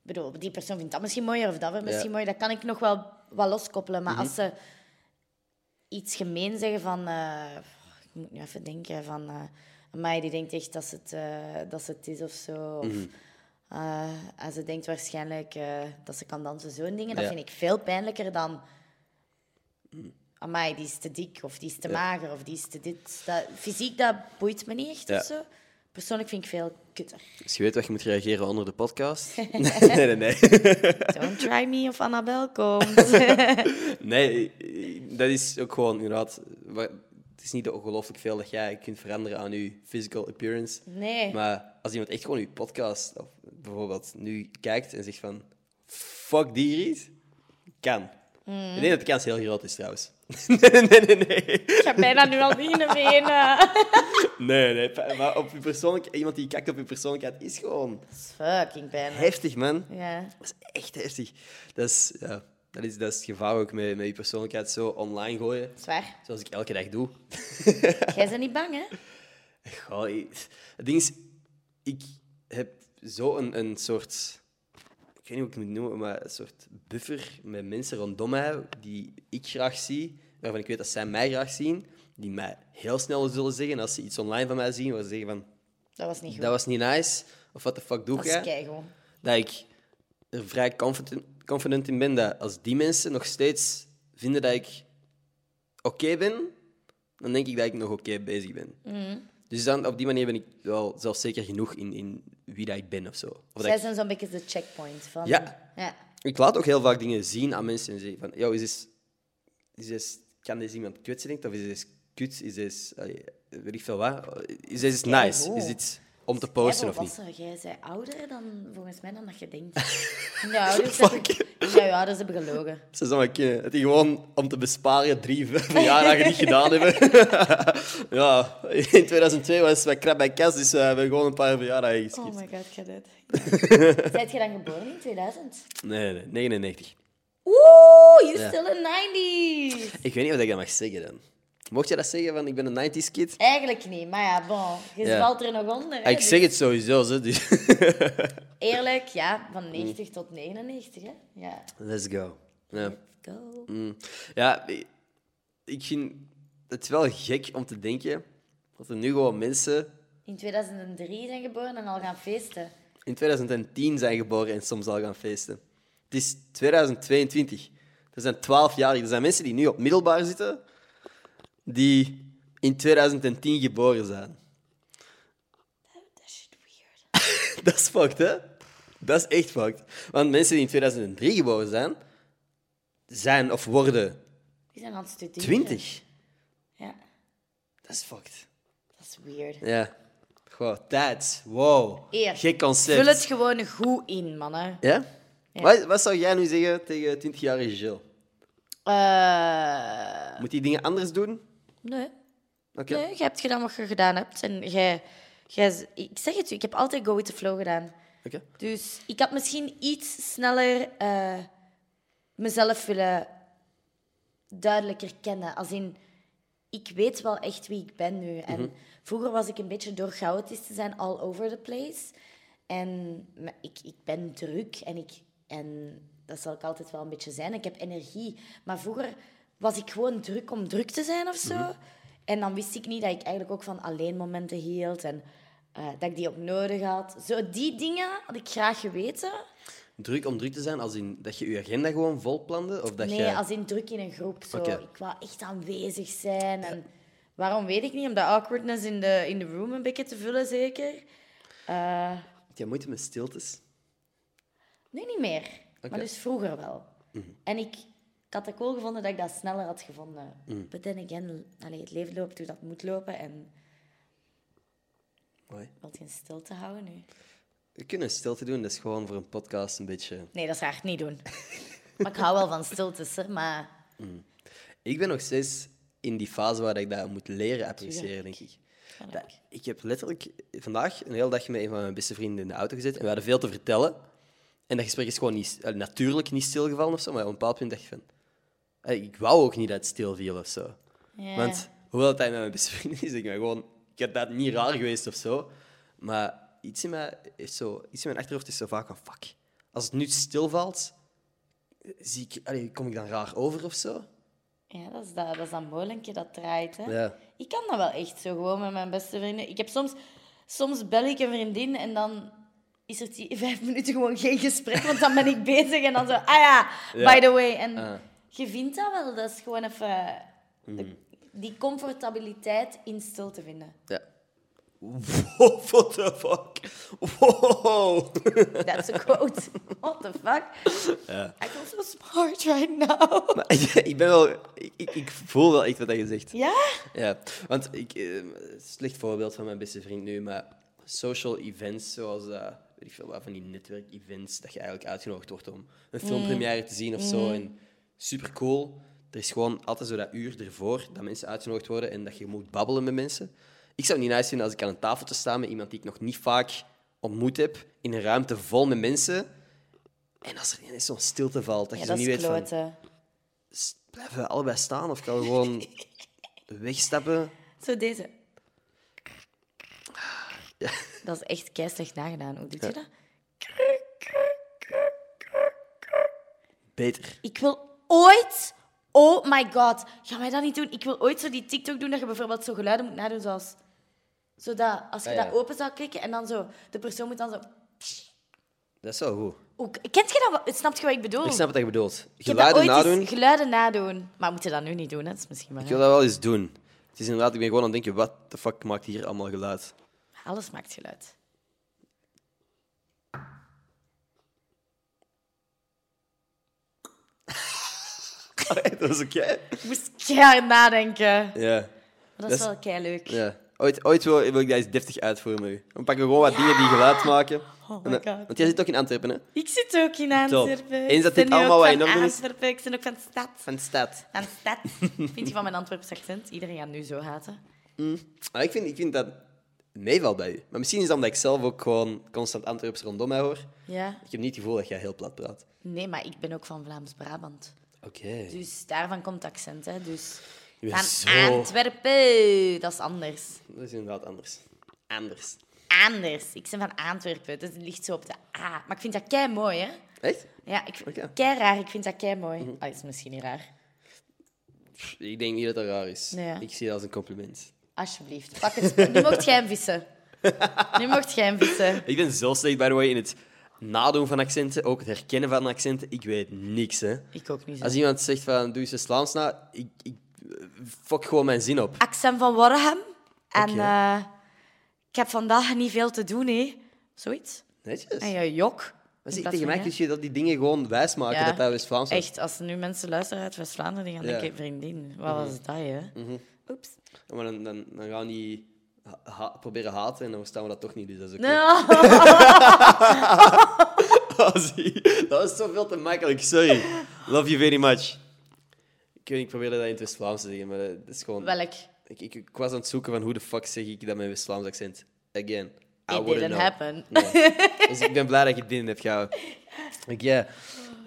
B: bedoel, die persoon vindt dat misschien mooier of dat vindt misschien
A: Ja. Mhm.
B: mooier. Dat kan ik nog wel wat loskoppelen. Maar als ze iets gemeen zeggen van... eh, ik moet nu even denken van... eh een meid die denkt echt dat ze het, eh, dat ze het is of zo. Of,
A: Mhm.
B: eh, en ze denkt waarschijnlijk eh, dat ze kan dansen. Zo'n dingen, dat
A: Ja. Mhm.
B: vind ik veel pijnlijker dan... Amai, die is te dik, of die is te mager, of die is te dit. Dat, fysiek, dat boeit me niet echt
A: Ja.
B: of zo. Persoonlijk vind ik veel kutter.
A: Dus je weet wat je moet reageren onder de podcast. nee, nee, nee.
B: Don't try me of Annabel komt.
A: Nee, dat is ook gewoon inderdaad. wa- Het is niet ongelooflijk veel dat jij kunt veranderen aan je physical appearance.
B: Nee.
A: Maar als iemand echt gewoon je podcast of bijvoorbeeld nu kijkt en zegt van fuck die Ries, kan.
B: Mm.
A: Ik denk dat de kans heel groot is trouwens. nee, nee, nee, nee.
B: Ik ga bijna nu al beginnen wenen.
A: Nee, nee. pa- Maar op je persoonlijk, iemand die kakt op je persoonlijkheid is gewoon
B: Dat is fucking pijnlijk.
A: heftig, man.
B: Ja.
A: Dat is echt heftig. Dat is, ja, dat is, dat is het gevaar ook met, met je persoonlijkheid zo online gooien.
B: Zwaar.
A: Zoals ik elke dag doe.
B: Jij bent niet bang, hè?
A: Goh, ik- het ding is, ik heb zo een, een soort... Ik weet niet hoe ik het moet noemen, maar een soort buffer met mensen rondom mij die ik graag zie, waarvan ik weet dat zij mij graag zien, die mij heel snel zullen zeggen als ze iets online van mij zien, waar ze zeggen van,
B: Dat was niet goed.
A: dat was niet nice, of wat de fuck doe
B: Dat is
A: jij?
B: keigoed.
A: dat ik er vrij confident, confident in ben dat als die mensen nog steeds vinden dat ik oké ben, dan denk ik dat ik nog oké bezig ben.
B: Mhm.
A: Dus dan, op die manier ben ik wel zelfzeker genoeg in, in wie dat ik ben of zo. Of dat
B: Zij
A: ik,
B: zijn zo'n beetje de checkpoint van...
A: Ja.
B: ja.
A: ik laat ook heel vaak dingen zien aan mensen en zeggen van, yo, is dit, is dit, kan deze iemand kwetsen, denkt, of is dit kut, is dit, allee, weet ik veel wat, is dit nice,
B: Keigoed.
A: is dit om te posten of niet?
B: volwassener. Jij bent ouder dan, volgens mij dan dat je denkt. Ja, ouders
A: Fuck.
B: hebben, ja, je ouders hebben gelogen.
A: Ze zou maar kunnen. Het is gewoon om te besparen drie verjaardagen niet gedaan hebben. ja, in 2002 was mijn krap bij kas, dus eh, we hebben gewoon een paar verjaardagen geskipt.
B: Oh my god, ik ga dit. Zijt je dan geboren in 2000?
A: Nee, nee, 99.
B: Oeh, you
A: Ja.
B: still in 90s.
A: Ik weet niet of ik dat mag zeggen dan. Mocht je dat zeggen, van ik ben een 90s kid?
B: Eigenlijk niet, maar ja, bon. Je
A: Ja.
B: valt er nog onder. hè,
A: ik
B: dus
A: zeg het sowieso, zo, dus...
B: Eerlijk, ja, van 90 tot 99, hè? Ja.
A: Let's go. Ja.
B: Go.
A: Mm. Ja, ik- ik vind het wel gek om te denken dat er nu gewoon mensen
B: In 2003 zijn geboren en al gaan feesten.
A: in 2010 zijn geboren en soms al gaan feesten. Het is 2022. Er zijn 12 jaar. Er zijn mensen die nu op middelbaar zitten, die in 2010 geboren zijn.
B: That shit weird.
A: Dat is fucked, hè? Dat is echt fucked. Want mensen die in 2003 geboren zijn, zijn of worden
B: Die zijn aan het studeren.
A: 20.
B: Ja,
A: Dat is fucked.
B: dat is weird.
A: Ja. Goh, tijd. Wow.
B: Eer.
A: Gek concept.
B: Vul het gewoon goed in, mannen.
A: Ja? Wat, wat zou jij nu zeggen tegen 20-jarige Jill?
B: Eh,
A: Moet die dingen anders doen?
B: nee.
A: Oké.
B: Nee, je hebt gedaan wat je gedaan hebt. En jij, jij, ik zeg het u, ik heb altijd go with the flow gedaan.
A: Oké.
B: Dus ik had misschien iets sneller eh, mezelf willen duidelijker kennen. Als in, ik weet wel echt wie ik ben nu. En vroeger was ik een beetje door chaotisch te zijn, all over the place. En maar ik, ik ben druk en, ik, en dat zal ik altijd wel een beetje zijn. Ik heb energie. Maar vroeger was ik gewoon druk om druk te zijn of zo.
A: Mhm.
B: En dan wist ik niet dat ik eigenlijk ook van alleen momenten hield en eh, dat ik die ook nodig had. Zo, die dingen had ik graag geweten.
A: Druk om druk te zijn, als in dat je je agenda gewoon vol plande? Of dat
B: Nee,
A: je...
B: als in druk in een groep. Zo.
A: Oké.
B: Ik wou echt aanwezig zijn. En waarom weet ik niet? Om de awkwardness in de, in de room een beetje te vullen, zeker. Eh,
A: Heb jij moeite met stiltes?
B: nu niet meer.
A: Oké. Mhm.
B: Maar dus vroeger wel. En ik, ik had het cool gevonden dat ik dat sneller had gevonden.
A: Mhm.
B: But then again, allee, het leven loopt hoe dat moet lopen. En
A: Mooi.
B: wilt je een stilte houden nu?
A: We kunnen stilte doen, dat is gewoon voor een podcast een beetje...
B: Nee, dat zou ik niet doen. maar ik hou wel van stiltes, hè. Maar
A: Ik ben nog steeds in die fase waar ik dat moet leren appreciëren, denk ik. Dat- ik heb letterlijk vandaag een hele dag met een van mijn beste vrienden in de auto gezeten en we hadden veel te vertellen. En dat gesprek is gewoon niet, eh, natuurlijk niet stilgevallen of zo, maar op een bepaald punt dacht ik van... eh, Ik wou ook niet dat het stil viel of zo.
B: ja.
A: Want hoewel dat hij met mijn beste vriend is, denk ik maar gewoon, ik heb dat niet raar geweest of zo. Maar iets in, mij is zo, iets in mijn achterhoofd is zo vaak van fuck. Als het nu stilvalt, zie ik, allee, kom ik dan raar over of zo?
B: Ja, dat is dat, dat, is dat molenkje dat draait. Hè?
A: Ja.
B: Ik kan dat wel echt zo gewoon met mijn beste vrienden. Ik heb soms, soms bel ik een vriendin en dan is er die vijf minuten gewoon geen gesprek, want dan ben ik bezig en dan zo, ah ja,
A: Ja.
B: by the way. En
A: Ah. Mhm.
B: je vindt dat wel, dat is gewoon even de- die comfortabiliteit in stilte vinden.
A: Ja. Wow, what the fuck? Wow.
B: That's a quote. What the fuck? I feel so smart right now.
A: Maar ik ben wel... Ik, ik, ik voel wel echt wat je zegt.
B: Ja?
A: Ja, want ik, eh, slecht voorbeeld van mijn beste vriend nu, maar social events zoals eh, weet
B: Mm.
A: ik veel, wat, van die netwerkevents, dat je eigenlijk uitgenodigd wordt om een filmpremière te zien of zo. En super cool. Er is gewoon altijd zo dat uur ervoor dat mensen uitgenodigd worden en dat je moet babbelen met mensen. Ik zou het niet nice vinden als ik aan een tafeltje sta met iemand die ik nog niet vaak ontmoet heb, in een ruimte vol met mensen. En als er ineens zo'n stilte valt, dat
B: Ja,
A: je
B: dat
A: zo
B: is
A: niet weet van...
B: kloten.
A: "S- Blijven we allebei staan of kan we gewoon wegstappen?
B: Zo deze. Dat is echt keistig nagedaan. Hoe doet je dat?
A: Beter.
B: Ik wil ooit... Oh my god. Ga mij dat niet doen. Ik wil ooit zo die TikTok doen dat je bijvoorbeeld zo geluiden moet nadoen zoals... Zodat als je
A: Ah, ja.
B: dat open zou klikken en dan zo... De persoon moet dan zo...
A: Dat is wel goed.
B: Oeh, kent je dat? wel? Snap je wat ik bedoel?
A: Ik snap wat je bedoelt.
B: Oh. Ik heb dat
A: Geluiden
B: ooit eens-
A: nadoen.
B: Geluiden nadoen. Maar moet je dat nu niet doen? Hè? Dat is misschien wel...
A: Ik wil dat wel eens doen. Het is inderdaad, ik ben gewoon aan het denken, wat de fuck maakt hier allemaal geluid?
B: Alles maakt geluid.
A: dat is oké.
B: Ik moest keihard nadenken. Maar
A: Ja,
B: Dat,
A: Dat
B: is
A: is-
B: wel kei leuk.
A: ja. Ooit, ooit wil, wil ik dat eens deftig uitvoeren met u. Dan pakken we gewoon wat dingen die geluid maken.
B: Oh
A: En
B: my
A: dan-
B: god.
A: want jij zit ook in Antwerpen, hè?
B: Ik zit ook in Antwerpen.
A: Eens dat
B: Ik ben
A: dit
B: nu ook
A: allemaal wat in
B: van
A: orde is.
B: Antwerpen. Ik ben ook van de stad.
A: Van de stad.
B: Van de stad. Vind je van mijn Antwerpse accent? Iedereen gaat nu zo haten.
A: Maar Ah, ik vind, ik vind dat meevalt bij u. Maar misschien is dat omdat ik zelf ook gewoon constant Antwerps rondom mij hoor.
B: Ja.
A: Ik heb niet het gevoel dat jij heel plat praat.
B: Nee, maar ik ben ook van Vlaams-Brabant.
A: Oké.
B: Dus daarvan komt het accent, hè. Dus
A: Je bent
B: van
A: zo-
B: Antwerpen. Dat is anders.
A: Dat is inderdaad anders. Anders.
B: Anders. Ik ben van Antwerpen. Dus het ligt zo op de A. Maar ik vind dat kei mooi, hè.
A: Echt?
B: Ja, ik vind
A: Oké. Mhm.
B: kei raar. Ik vind dat kei mooi. Ah, is misschien niet raar.
A: Pff, Ik denk niet dat dat raar is.
B: Nee, ja.
A: Ik zie dat als een compliment.
B: Alsjeblieft. Pak het. Nu mocht jij hem vissen. Nu mocht jij hem vissen.
A: Ik ben zo slecht, by the way, in het nadoen van accenten, ook het herkennen van accenten. Ik weet niks, hè.
B: Ik ook niet. zo.
A: Als iemand zegt van, doe eens een Slaams na, ik, ik eh, fok gewoon mijn zin op.
B: accent van Warham. En
A: Oké.
B: eh, ik heb vandaag niet veel te doen, hè. Zoiets.
A: Netjes.
B: En je jok.
A: Maar
B: Ah In
A: zeg,
B: plaats
A: tegen
B: van
A: mij
B: je.
A: kun je dat die dingen gewoon wijs maken
B: Ja.
A: dat dat West-Vlaams is.
B: Echt, als er nu mensen luisteren uit West-Vlaanderen, die gaan
A: Ja. Mhm.
B: denken, vriendin, wat was dat, hè? Oeps.
A: Ja, Maar dan, dan, dan gaan die ha- ha- proberen haten en dan verstaan we dat toch niet, dus dat is oké.
B: No.
A: Ah, zie. dat was zoveel te makkelijk, sorry. Love you very much. Ik weet niet, ik probeerde dat in het West-Vlaams te zeggen, maar dat is gewoon...
B: Welk?
A: Ik, ik, ik was aan het zoeken van hoe de fuck zeg ik dat met West-Vlaams accent. Again, I
B: It
A: wouldn't
B: didn't
A: know.
B: happen.
A: Nee. Dus ik ben blij dat je dit in hebt gehouden. Ik, ja.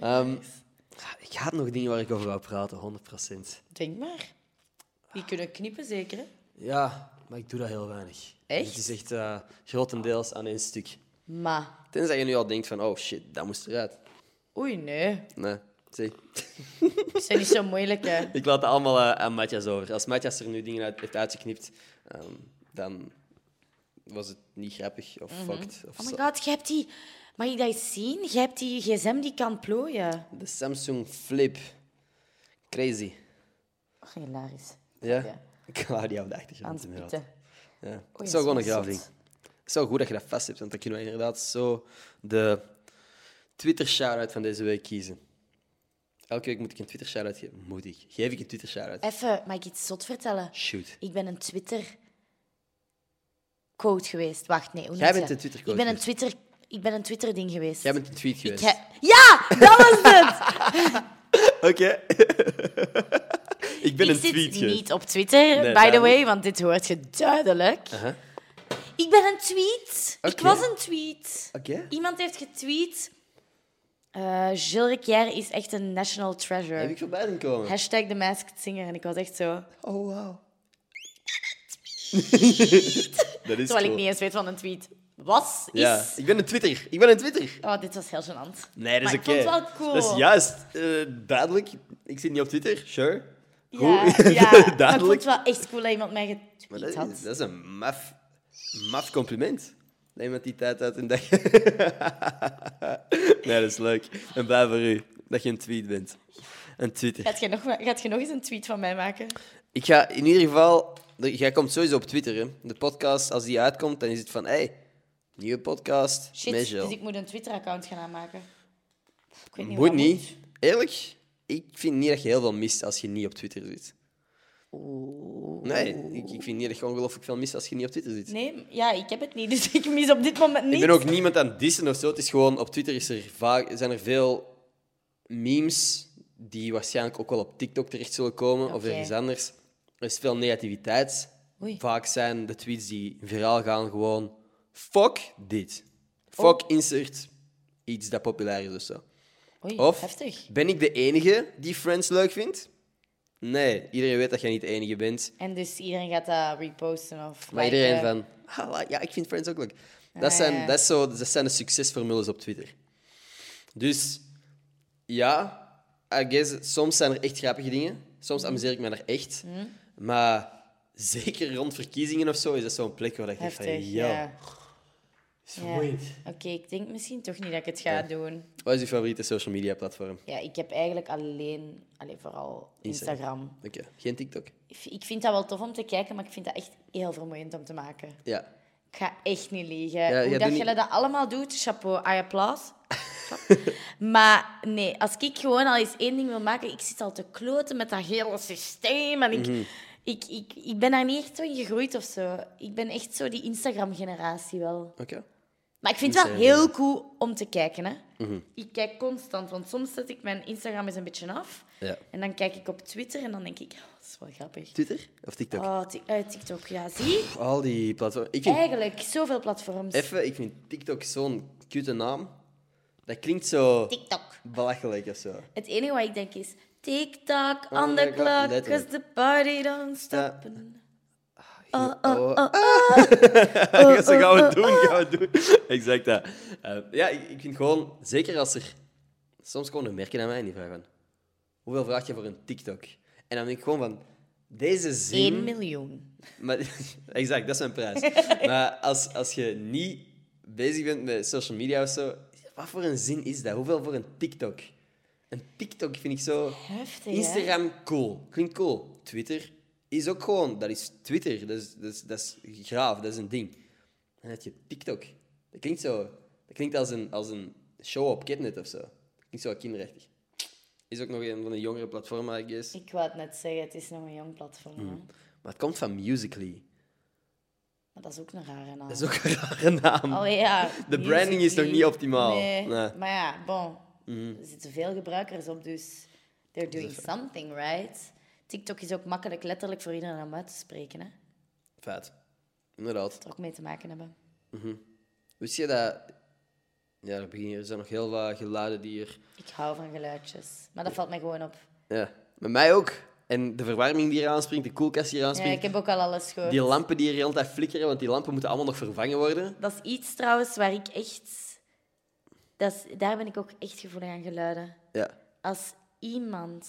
A: Ehm, ik had nog dingen waar ik over wou praten, 100%.
B: Denk maar. Die kunnen knippen, zeker? hè?
A: Ja, maar ik doe dat heel weinig.
B: Echt?
A: Het is echt eh, grotendeels aan één stuk.
B: Maar.
A: Tenzij je nu al denkt van, oh shit, dat moest eruit.
B: Oei, nee.
A: Nee, zie.
B: Ze zijn niet zo moeilijk, hè.
A: Ik laat het allemaal eh, aan Matthias over. Als Matthias er nu dingen uit, heeft uitgeknipt, ehm, dan was het niet grappig of fucked. Of
B: Oh my
A: zo.
B: god, je hebt die... Mag ik dat eens zien? Je hebt die gsm die kan plooien.
A: De Samsung Flip. Crazy.
B: Oh, hilarisch.
A: Ja?
B: Ja.
A: Ik laat die op de achtergrond.
B: Aan het
A: inderdaad.
B: pitten.
A: Ja. Het
B: dat
A: is
B: is
A: wel gewoon een
B: wel
A: graaf
B: zot.
A: ding. Het is wel goed dat je dat vast hebt, want dan kunnen we inderdaad zo de Twitter-shout-out van deze week kiezen. Elke week moet ik een Twitter-shout-out geven. Moet ik. Geef ik een Twitter-shout-out?
B: Even, mag ik iets zot vertellen?
A: Shoot.
B: Ik ben een Twitter coach geweest. Wacht, nee. Hoe
A: Jij
B: noemt
A: bent
B: je
A: een
B: dat?
A: Twitter
B: Ik
A: coach
B: ben een Twitter, ik ben een Twitter ding geweest.
A: Jij bent een tweet
B: Ik
A: geweest.
B: heb- Ja, dat was het.
A: Oké. ik ben
B: ik
A: een
B: zit
A: tweet geweest.
B: niet op Twitter, by the
A: duidelijk.
B: way, want dit hoort je duidelijk.
A: Aha.
B: Ik ben een tweet. Ik
A: Oké.
B: was een tweet.
A: Oké.
B: Iemand heeft getweet. eh Gilles Riquier is echt een national treasure.
A: Heb ik voorbij zien komen?
B: Hashtag The Masked Singer. En ik was echt zo...
A: Oh, wow. dat is
B: Terwijl ik
A: cool.
B: niet eens weet wat een tweet was, is...
A: Ja, ik ben een Twitter. Ik ben een Twitter.
B: Oh, dit was heel gênant.
A: Nee, dat
B: Maar
A: is
B: ik
A: oké.
B: vond het wel cool.
A: Dat is juist eh, duidelijk. Ik zit niet op Twitter, sure.
B: Ja,
A: Goed.
B: ja. Maar ik vond
A: duidelijk.
B: het wel echt cool dat iemand mij
A: Maar
B: getweet
A: dat,
B: had.
A: is, dat is een maf, maf compliment. Neem met die tijd uit en dag. nee, dat is leuk. En blij voor u dat je een tweet bent. Een Twitter.
B: Gaat je, nog, gaat je nog eens een tweet van mij maken?
A: Ik ga in ieder geval. Jij komt sowieso op Twitter, hè? De podcast, als die uitkomt, dan is het van: hé, hey, nieuwe podcast.
B: Shit,
A: met
B: dus
A: Jill.
B: ik moet een Twitter-account gaan aanmaken. Ik weet niet
A: Moet
B: wat
A: niet. Eerlijk, ik vind niet dat je heel veel mist als je niet op Twitter zit. Nee, ik, ik vind niet dat je ongelooflijk veel mist als je niet op Twitter zit.
B: Nee, ja, ik heb het niet, dus ik mis op dit moment niet.
A: Ik ben ook niemand aan het dissen of zo. Het is gewoon op Twitter is er vaak, zijn er veel memes die waarschijnlijk ook wel op TikTok terecht zullen komen of
B: Oké.
A: ergens anders. Er is veel negativiteit.
B: Oei.
A: Vaak zijn de tweets die viraal gaan gewoon... Fuck dit. Fuck
B: Oh.
A: insert iets dat populair is of zo.
B: Oei,
A: Of
B: heftig.
A: ben ik de enige die Friends leuk vindt? Nee, iedereen weet dat jij niet de enige bent.
B: En dus iedereen gaat dat reposten of...
A: Maar
B: liken.
A: iedereen van, "Ah, ja, ik vind Friends ook leuk. Dat
B: eh, Ah,
A: zijn,
B: ja.
A: dat, is zo, dat zijn de succesformules op Twitter. Dus ja, I guess, soms zijn er echt grappige dingen.
B: Mhm.
A: Soms amuseer ik me er echt. Maar zeker rond verkiezingen of zo is dat zo'n plek waar ik denk van,
B: Heftig,
A: ja,
B: ja.
A: is
B: ja.
A: vermoeiend.
B: Oké, ik denk misschien toch niet dat ik het ga doen.
A: Wat is je favoriete social media platform?
B: Ja, ik heb eigenlijk alleen, alleen vooral
A: Instagram.
B: Instagram.
A: Oké, geen TikTok.
B: Ik v- Ik vind dat wel tof om te kijken, maar ik vind dat echt heel vermoeiend om te maken.
A: Ja.
B: Ik ga echt niet liegen.
A: ja,
B: Hoe
A: doe
B: dat
A: niet-
B: jullie dat allemaal doet, chapeau, I applaus. maar nee, als ik gewoon al eens één ding wil maken, ik zit al te kloten met dat hele systeem. En
A: Mhm.
B: ik, ik, ik, ik ben daar niet echt zo in gegroeid of zo. Ik ben echt zo die Instagram-generatie wel.
A: Oké.
B: Maar ik vind het wel
A: Instagram.
B: heel cool om te kijken. Hè?
A: Mhm.
B: Ik kijk constant, want soms zet ik mijn Instagram eens een beetje af.
A: Ja.
B: En dan kijk ik op Twitter en dan denk ik, oh, dat is wel grappig.
A: Twitter of TikTok?
B: Oh, ti- eh, TikTok, ja, zie.
A: Al die platforms. Ik vind,
B: Eigenlijk, zoveel platforms.
A: even, ik vind TikTok zo'n cute naam. Dat klinkt zo
B: TikTok.
A: belachelijk of zo.
B: Het enige wat ik denk is, TikTok on
A: my
B: the
A: God,
B: clock,
A: letterlijk.
B: cause the party don't
A: Ja.
B: stop. Oh, oh,
A: Oh.
B: oh,
A: Zo gaan we het doen, gaan we het doen. Exact dat. Eh, ja, ik, ik vind gewoon, zeker als er... Soms komen er merken aan mij en die vragen van... Hoeveel vraag je voor een TikTok? En dan denk ik gewoon van... Deze
B: 1
A: zin...
B: miljoen.
A: Maar, exact, dat is mijn prijs. maar als, als je niet bezig bent met social media of zo... Wat voor een zin is dat? Hoeveel voor een TikTok? Een TikTok vind ik zo...
B: Heftig, hè?
A: Instagram, cool. Klinkt cool. Twitter is ook gewoon... Dat is Twitter. Dat is, dat is, dat is graaf. Dat is een ding. En dan heb je TikTok. Dat klinkt zo... Dat klinkt als een, als een show op Kidnet of zo. Dat klinkt zo wat kinderachtig. Is ook nog een van de jongere platformen, I guess.
B: Ik wou het net zeggen, het is nog een jong platform. hè.
A: Maar het komt van Musical.ly.
B: Maar dat is ook een rare naam.
A: Dat is ook een rare naam.
B: Allee, ja.
A: De branding is nog
B: Musical.ly.
A: niet optimaal.
B: Nee.
A: Nee. Hmm.
B: Maar ja, bon. Er zitten veel gebruikers op, dus they're doing something, right? TikTok is ook makkelijk letterlijk voor iedereen om uit te spreken, hè? Dat
A: Vet. Inderdaad.
B: er ook mee te maken hebben.
A: Wist je dat... Ja, er beginnen- er zijn nog heel wat geluiden die er...
B: Ik hou van geluidjes, maar dat valt mij gewoon op.
A: Ja, met mij ook. En de verwarming die hier aanspringt, de koelkast die hier
B: Ja,
A: aanspringt.
B: ik heb ook al alles gehoord.
A: Die lampen die hier de hele tijd flikkeren, want die lampen moeten allemaal nog vervangen worden.
B: Dat is iets trouwens waar ik echt... Dat is, daar ben ik ook echt gevoelig aan geluiden.
A: Ja.
B: Als iemand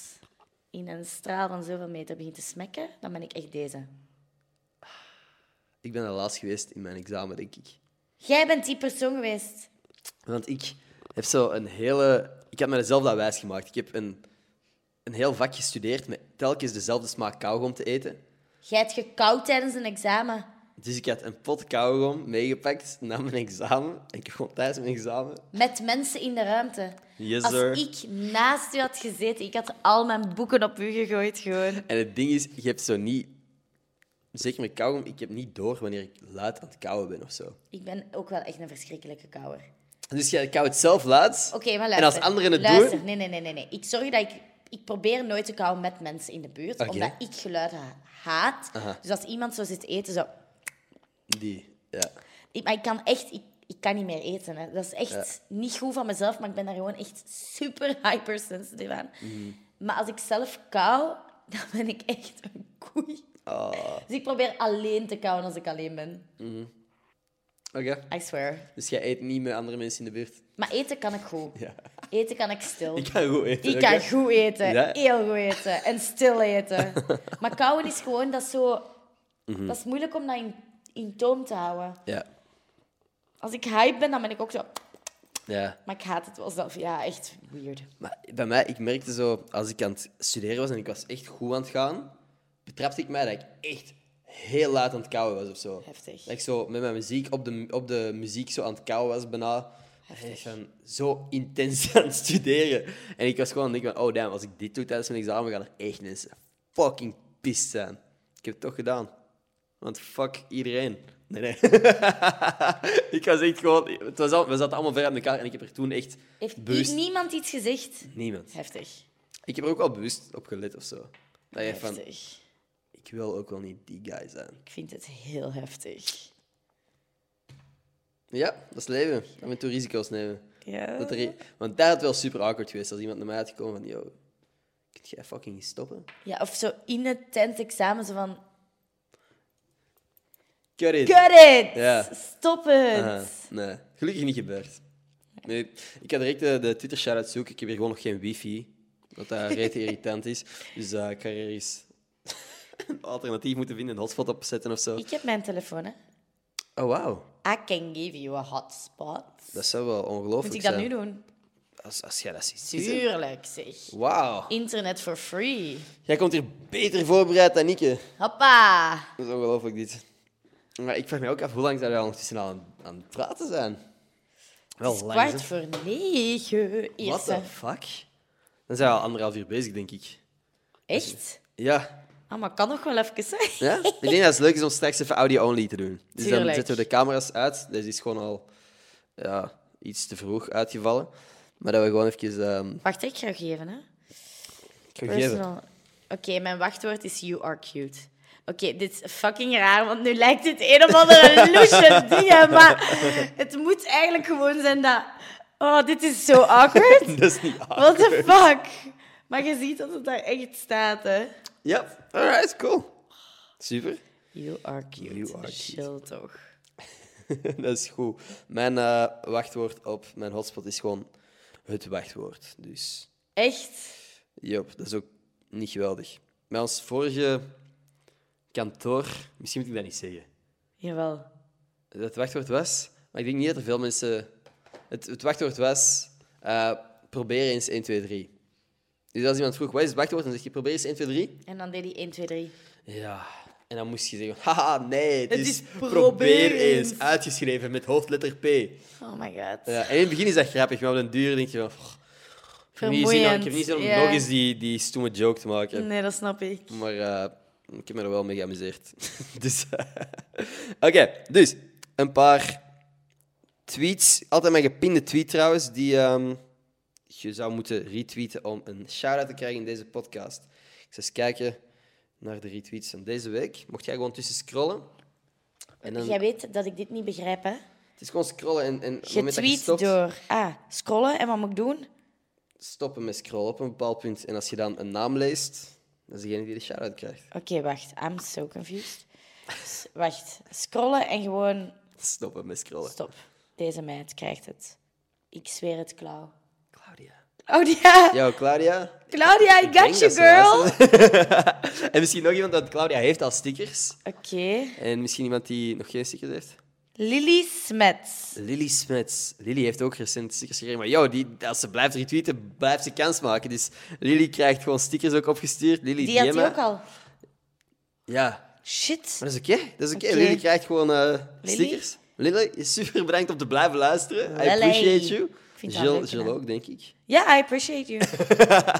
B: in een straal van zoveel meter begint te smekken, dan ben ik echt deze.
A: Ik ben de laatst geweest in mijn examen, denk ik.
B: Jij bent die persoon geweest.
A: Want ik heb zo een hele... Ik heb mezelf dat wijs gemaakt. Ik heb een, een heel vak gestudeerd met telkens dezelfde smaak kauwgom te eten.
B: Jij hebt gekoud tijdens een examen.
A: Dus ik had een pot kauwgom meegepakt na mijn examen. En ik gewoon tijdens mijn examen...
B: Met mensen in de ruimte.
A: Yes,
B: Als
A: sir.
B: ik naast u had gezeten, ik had al mijn boeken op u gegooid gewoon.
A: En het ding is, je hebt zo niet... Zeker met kauwgom, ik heb niet door wanneer ik luid aan het kauwen ben of zo.
B: Ik ben ook wel echt een verschrikkelijke kouwer. Oké,
A: Dus jij kauwt het zelf luid.
B: maar
A: En
B: luister.
A: als anderen het
B: luister.
A: doen...
B: Nee, nee, nee, nee, nee. Ik zorg dat ik... Ik probeer nooit te kauwen met mensen in de buurt,
A: Oké.
B: omdat ik geluid ha- haat.
A: Aha.
B: Dus als iemand zo zit eten, zo...
A: Die, ja.
B: Ik, maar ik kan echt... Ik, ik kan niet meer eten. Hè. Dat is echt niet goed van mezelf, maar ik ben daar gewoon echt super hypersensitive aan.
A: Mhm.
B: Maar als ik zelf kauw, dan ben ik echt een koei.
A: Oh.
B: Dus ik probeer alleen te kauwen als ik alleen ben.
A: Oké.
B: I swear.
A: Dus jij eet niet met andere mensen in de buurt?
B: Maar eten kan ik goed.
A: Ja.
B: Eten kan ik stil.
A: Ik kan goed eten.
B: Ik
A: oké?
B: kan goed eten.
A: Ja.
B: Heel goed eten. En stil eten. Maar kauwen is gewoon, dat is zo...
A: Mhm.
B: Dat is moeilijk om dat in, in toom te houden.
A: Ja.
B: Als ik hype ben, dan ben ik ook zo...
A: Ja.
B: Maar ik haat het wel zelf. Ja, echt weird.
A: Maar bij mij, ik merkte zo, als ik aan het studeren was en ik was echt goed aan het gaan, betrapte ik mij dat ik echt heel laat aan het kauwen was of zo.
B: Heftig.
A: Dat ik zo met mijn muziek op de, op de muziek zo aan het kauwen was bijna. En ik van zo intens aan het studeren. En ik was gewoon aan het denken van, oh damn, als ik dit doe tijdens mijn examen, gaan er echt mensen fucking pissed zijn. Ik heb het toch gedaan. Want fuck iedereen. Nee, nee. ik was echt gewoon... Het was al, we zaten allemaal ver aan elkaar en ik heb er toen echt
B: Heeft i-
A: bewust...
B: niemand iets gezegd?
A: Niemand.
B: Heftig.
A: Ik heb er ook wel bewust op gelet of zo. Dat je Ah, van,
B: Heftig.
A: ik wil ook wel niet die guy zijn.
B: Ik vind het heel heftig.
A: Ja, dat is leven. Af en toe risico's nemen.
B: Ja.
A: Dat er, want daar had wel super awkward geweest als iemand naar mij had gekomen van, yo, kun jij fucking stoppen?
B: ja, of zo in het tentexamen, zo van...
A: Cut it.
B: Cut it!
A: Ja.
B: Stop het!
A: Ah, nee, gelukkig niet gebeurd. Nee, ik ga direct eh, de Twitter shout-out zoeken. Ik heb hier gewoon nog geen wifi. Wat daar rete irritant is. Dus eh, ik ga hier eens een alternatief moeten vinden, een hotspot opzetten of zo.
B: Ik heb mijn telefoon, hè.
A: Oh, wauw.
B: I can give you a hotspot.
A: Dat zou wel
B: Moet
A: ongelooflijk
B: ik dat
A: zijn.
B: nu doen?
A: Als, als jij dat ziet. zitten.
B: Tuurlijk, zeg.
A: Wauw.
B: Internet for free.
A: Jij komt hier beter voorbereid dan ik. hè.
B: Hoppa!
A: Dat is ongelooflijk dit. Maar ik vraag me ook af hoe lang zijn wij ondertussen al aan, aan het praten zijn. Wel
B: Het is
A: lang,
B: kwart voor negen.
A: hè? What
B: Eerste.
A: the fuck? Dan zijn we al anderhalf uur bezig, denk ik.
B: Echt?
A: Ja,
B: Ah, maar kan nog wel even, hè?
A: Ja? Ik denk dat het leuk is om straks even audio-only te doen. Dus dan
B: Tuurlijk.
A: zetten we de camera's uit. Deze is gewoon al ja, iets te vroeg uitgevallen. Maar dat we gewoon even... ehm
B: Wacht, ik ga geven, hè.
A: gegeven.
B: Personal. Oké, mijn wachtwoord is you are cute. Oké, dit is fucking raar, want nu lijkt het een of andere loesje dingen, maar het moet eigenlijk gewoon zijn dat... Oh, dit is zo awkward.
A: Dat is niet af.
B: What the fuck? Maar je ziet dat het daar echt staat, hè.
A: Ja, alright, cool. Super.
B: You are cute.
A: You are cute.
B: Chill toch.
A: dat is goed. Mijn eh, wachtwoord op mijn hotspot is gewoon het wachtwoord. Dus,
B: Echt?
A: jop, dat is ook niet geweldig. Bij ons vorige kantoor... Misschien moet ik dat niet zeggen.
B: Jawel.
A: dat het wachtwoord was. Maar ik denk niet dat er veel mensen. Het, het wachtwoord was. eh, probeer eens 1, 2, 3. Dus als iemand vroeg wat is het wachtwoord, dan zeg je probeer eens 1, 2, 3.
B: En dan deed hij 1, 2, 3.
A: Ja. En dan moest je zeggen: haha, nee, het,
B: Het
A: is,
B: is
A: probeer,
B: probeer
A: eens.
B: eens.
A: Uitgeschreven met hoofdletter P.
B: Oh my god.
A: Ja, en in het begin is dat grappig, maar op den duur denk je van. "Pff, ik heb niet zin om- ik heb niet zin om
B: Vermoeiend,
A: nog
B: ja.
A: eens die, die stomme joke te maken.
B: Nee, dat snap ik.
A: Maar eh, ik heb me er wel mee geamuseerd. dus, eh, Oké, dus een paar tweets. Altijd mijn gepinde tweet trouwens, die ehm, je zou moeten retweeten om een shout-out te krijgen in deze podcast. Ik zal eens kijken naar de retweets van deze week. Mocht jij gewoon tussen scrollen. En dan,
B: Jij weet dat ik dit niet begrijp, hè?
A: het is gewoon scrollen en, en op het
B: Je
A: moment dat je
B: tweet
A: stopt,
B: door... Ah, scrollen. En wat moet ik doen?
A: stoppen met scrollen op een bepaald punt. En als je dan een naam leest, dat is degene die de shout-out krijgt.
B: Oké, wacht. I'm so confused. S- wacht. Scrollen en gewoon...
A: Stoppen met scrollen.
B: Stop. Deze meid krijgt het. Ik zweer het, Klauw.
A: Claudia.
B: Claudia!
A: Yo, Claudia.
B: Oh, Claudia, I
A: denk
B: got you,
A: dat ze
B: girl!
A: luisteren. en misschien nog iemand dat Claudia heeft als stickers.
B: Oké.
A: En misschien iemand die nog geen stickers heeft.
B: Lily Smets.
A: Lily Smets. Lily heeft ook recent stickers gekregen. Maar yo, die, als ze blijft retweeten, blijft ze kans maken. Dus Lily krijgt gewoon stickers ook opgestuurd. Lily,
B: Die had
A: DM
B: hij
A: mij.
B: ook al.
A: Ja,
B: Shit.
A: maar dat is oké. Dat is oké.
B: Oké.
A: Lily krijgt gewoon eh,
B: Lily?
A: stickers. Lily, je super bedankt om te blijven luisteren. I
B: Lily.
A: appreciate you.
B: Ik vind dat een
A: Jill,
B: leuke
A: Jill
B: naam.
A: ook, denk ik.
B: Ja, I appreciate you.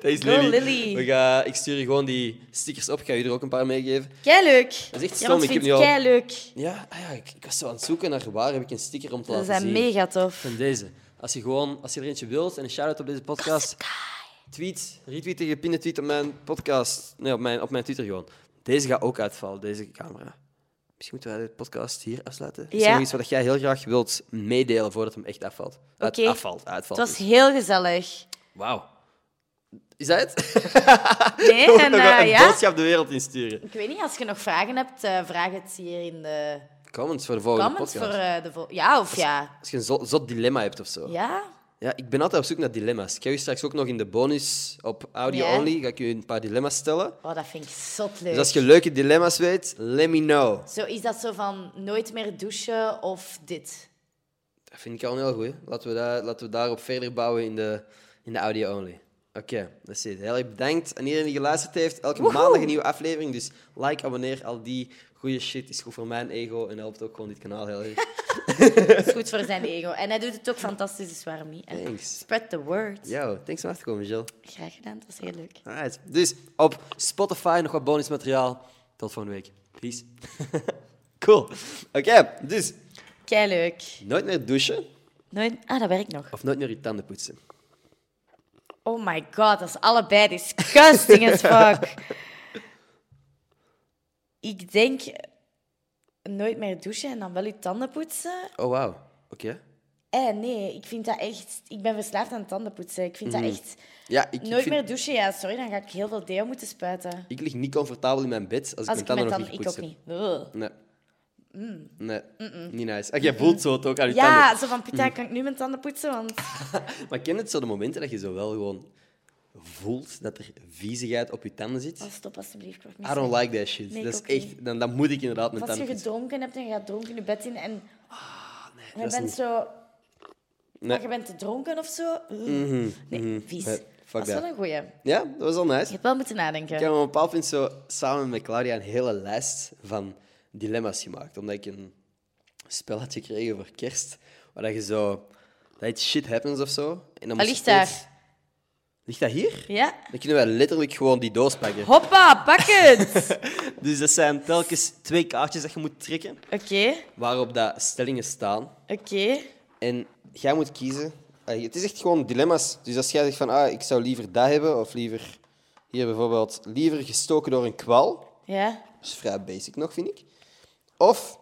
A: Dat is
B: Go,
A: Lily.
B: Lily.
A: We gaan, ik stuur je gewoon die stickers op. Ik ga je er ook een paar meegeven.
B: Kei leuk.
A: Dat is echt
B: Ja,
A: stom,
B: want
A: ik heb
B: vindt
A: nu al-
B: kei leuk.
A: Ja, ah ja ik, ik was zo aan het zoeken naar waar heb ik een sticker om te
B: Dat
A: laten
B: zijn
A: zien.
B: mega tof.
A: Van deze. Als je, gewoon, als je er eentje wilt en een shout-out op deze podcast, tweet, retweet en gepinde tweet op mijn podcast. Nee, op mijn, op mijn Twitter gewoon. Deze gaat ook uitvallen, deze camera. Misschien moeten wij de podcast hier afsluiten. Is er
B: Ja.
A: nog iets wat jij heel graag wilt meedelen voordat hem echt afvalt? Uit,
B: Oké.
A: Afvalt,
B: Het
A: uitvalt.
B: was heel gezellig.
A: Wauw. Is dat het?
B: Nee, en
A: Nog
B: eh,
A: een
B: ja.
A: boodschap de wereld insturen.
B: Ik weet niet, als je nog vragen hebt, eh, vraag het hier in de
A: Comments voor Oh, de volgende
B: comments. Voor,
A: podcast.
B: eh, de vol- ja, of ja.
A: Als je een zot, zot dilemma hebt of zo.
B: Ja?
A: Ja, ik ben altijd op zoek naar dilemma's. Ik ga u straks ook nog in de bonus op audio
B: Ja.
A: only ga ik u een paar dilemma's stellen.
B: Oh, dat vind ik zot leuk.
A: Dus als je leuke dilemma's weet, let me know.
B: Zo is dat zo van nooit meer douchen of dit.
A: Dat vind ik al een heel goed. Laten we, daar, laten we daarop verder bouwen in de, in de audio only. Oké, dat is het. Heel erg bedankt aan iedereen die geluisterd heeft. Elke maandag een nieuwe aflevering. Dus like, abonneer, al die goede shit is goed voor mijn ego en helpt ook gewoon dit kanaal heel erg.
B: Dat is goed voor zijn ego. En hij doet het ook fantastisch, dus waarom niet? En
A: Thanks.
B: Spread the word.
A: Yo, thanks om af te komen, Jill.
B: Graag gedaan, dat was heel leuk.
A: Alright. Dus op Spotify nog wat bonusmateriaal. Tot volgende week. Peace. cool. Oké, dus
B: Kei leuk.
A: nooit meer douchen
B: Nooit... Ah, dat werkt nog.
A: of nooit meer je tanden poetsen.
B: Oh my god, dat is allebei disgusting as fuck. Ik denk nooit meer douchen en dan wel je tanden poetsen.
A: Oh, wauw. Oké.
B: Eh, nee, ik vind dat echt... Ik ben verslaafd aan tanden poetsen. Ik vind dat echt...
A: Ja, Mm. ik, ik,
B: Nooit
A: vind-
B: meer douchen, ja, sorry, dan ga ik heel veel deo moeten spuiten.
A: ik lig niet comfortabel in mijn bed als,
B: Als
A: ik mijn tanden nog
B: tanden...
A: niet
B: Ik ook
A: gepoetst
B: niet. Ugh.
A: heb. Nee. Nee, niet nice. Ah, jij voelt zo het ook aan je
B: Ja, zo van,
A: Mm.
B: Pita, kan ik nu mijn tanden poetsen? Want
A: tanden. Maar ken je het zo de momenten dat je zo wel gewoon voelt dat er viezigheid op je tanden zit?
B: Oh, stop alsjeblieft. Ik word
A: I don't
B: misselijk.
A: like that shit.
B: Nee, ik
A: dat is
B: ook
A: echt, dan, dan moet ik inderdaad mijn
B: Als je
A: tanden poetsen.
B: gedronken hebt en je gaat dronken in je bed in en
A: Ah, Dat
B: je
A: is
B: bent
A: niet-
B: zo...
A: Nee. Mhm,
B: Maar je bent te dronken of zo. Ugh. Nee, vies.
A: Nee, fuck
B: dat is
A: that.
B: wel een goeie. Je
A: Ja, dat was al nice.
B: hebt wel moeten nadenken.
A: Ik heb op een bepaald punt zo samen met Claudia een hele lijst van dilemma's gemaakt. Omdat ik een spel had gekregen voor kerst. Waar dat je zo... Dat heet Shit Happens of zo. En dan
B: Wat
A: moest
B: Ah, ligt
A: je steeds-
B: daar?
A: Ligt dat hier?
B: Ja?
A: Dan kunnen wij letterlijk gewoon die doos pakken.
B: Hoppa, pak het!
A: Dus dat zijn telkens twee kaartjes dat je moet trekken.
B: Oké,
A: Waarop dat stellingen staan.
B: oké.
A: En jij moet kiezen. Ah, Het is echt gewoon dilemma's. Dus als jij zegt van, ah, ik zou liever dat hebben, of liever hier bijvoorbeeld, liever gestoken door een kwal.
B: Ja?
A: Dat is vrij basic nog, vind ik. Of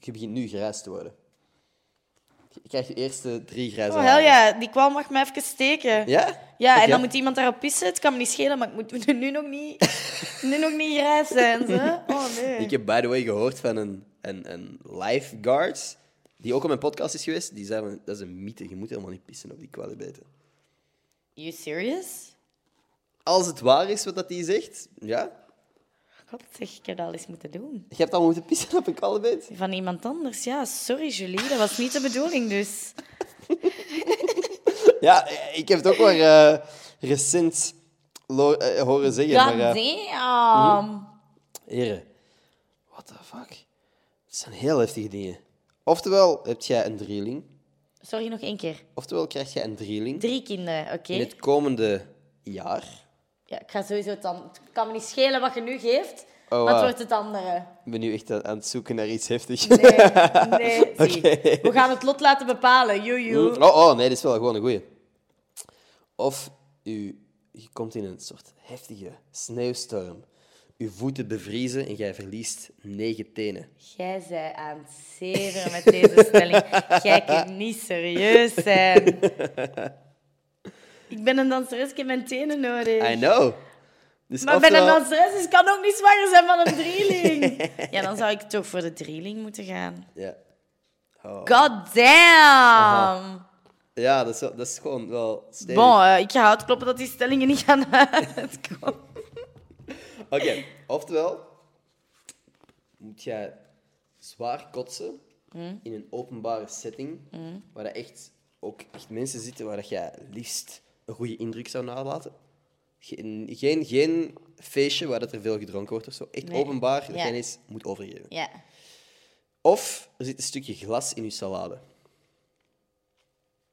A: je begint nu grijs te worden. Je krijgt de eerste drie grijze
B: Oh, hel
A: haren.
B: ja. Die kwal mag mij even steken.
A: Ja?
B: Ja,
A: Oké.
B: en dan moet iemand daarop pissen. Het kan me niet schelen, maar ik moet nu nog niet, nu nog niet grijs zijn. Zo. Oh nee.
A: Ik heb, by the way, gehoord van een, een, een lifeguard, die ook op mijn podcast is geweest. Die zei, van, dat is een mythe, je moet helemaal niet pissen op die kwaliteiten.
B: You serious?
A: Als het waar is wat dat die zegt, ja.
B: God, zeg, ik heb dat al eens moeten doen.
A: Je hebt al moeten pissen op een kwaliteit.
B: Van iemand anders, ja. Sorry, Julie, dat was niet de bedoeling, dus.
A: Ja, ik heb het ook maar eh, recent lo- eh, horen zeggen.
B: God
A: maar, eh, Mhm.
B: damn.
A: Heren, what the fuck? Het zijn heel heftige dingen. Oftewel heb jij een drieling,
B: Sorry, nog één keer.
A: oftewel krijg jij een drieling
B: Drie kinderen, oké?
A: in het komende jaar.
B: Ja, ik ga sowieso het dan. Het kan me niet schelen wat je nu geeft,
A: Oh, wauw.
B: maar het wordt het andere.
A: Ik ben nu echt aan aan het zoeken naar iets heftigs.
B: Nee, nee. zie. We gaan het lot laten bepalen, joejoe.
A: Oh, oh, nee, dit is wel gewoon een goeie. Of u, je komt in een soort heftige sneeuwstorm. Uw voeten bevriezen en jij verliest negen tenen.
B: Jij zij aan het zeveren met deze stelling. Jij kunt niet serieus zijn. Ik ben een danseres, ik heb mijn tenen nodig.
A: I know. Dus
B: Maar ik ben een
A: oftewel-
B: danseres, dus ik kan ook niet zwanger zijn van een drieling. Ja, dan zou ik toch voor de drieling moeten gaan.
A: Ja.
B: God damn!
A: ja, dat is, wel- dat is gewoon wel stevig.
B: Bon, eh, ik ga uitkloppen dat die stellingen niet gaan uitkomen.
A: Oké, oftewel moet jij zwaar kotsen in een openbare setting waar er echt ook echt mensen zitten waar dat jij liefst een goede indruk zou nalaten. Geen, geen, geen feestje waar dat er veel gedronken wordt of zo. Echt
B: Nee.
A: openbaar dat
B: Ja.
A: jij eens moet overgeven.
B: Ja.
A: Of er zit een stukje glas in je salade.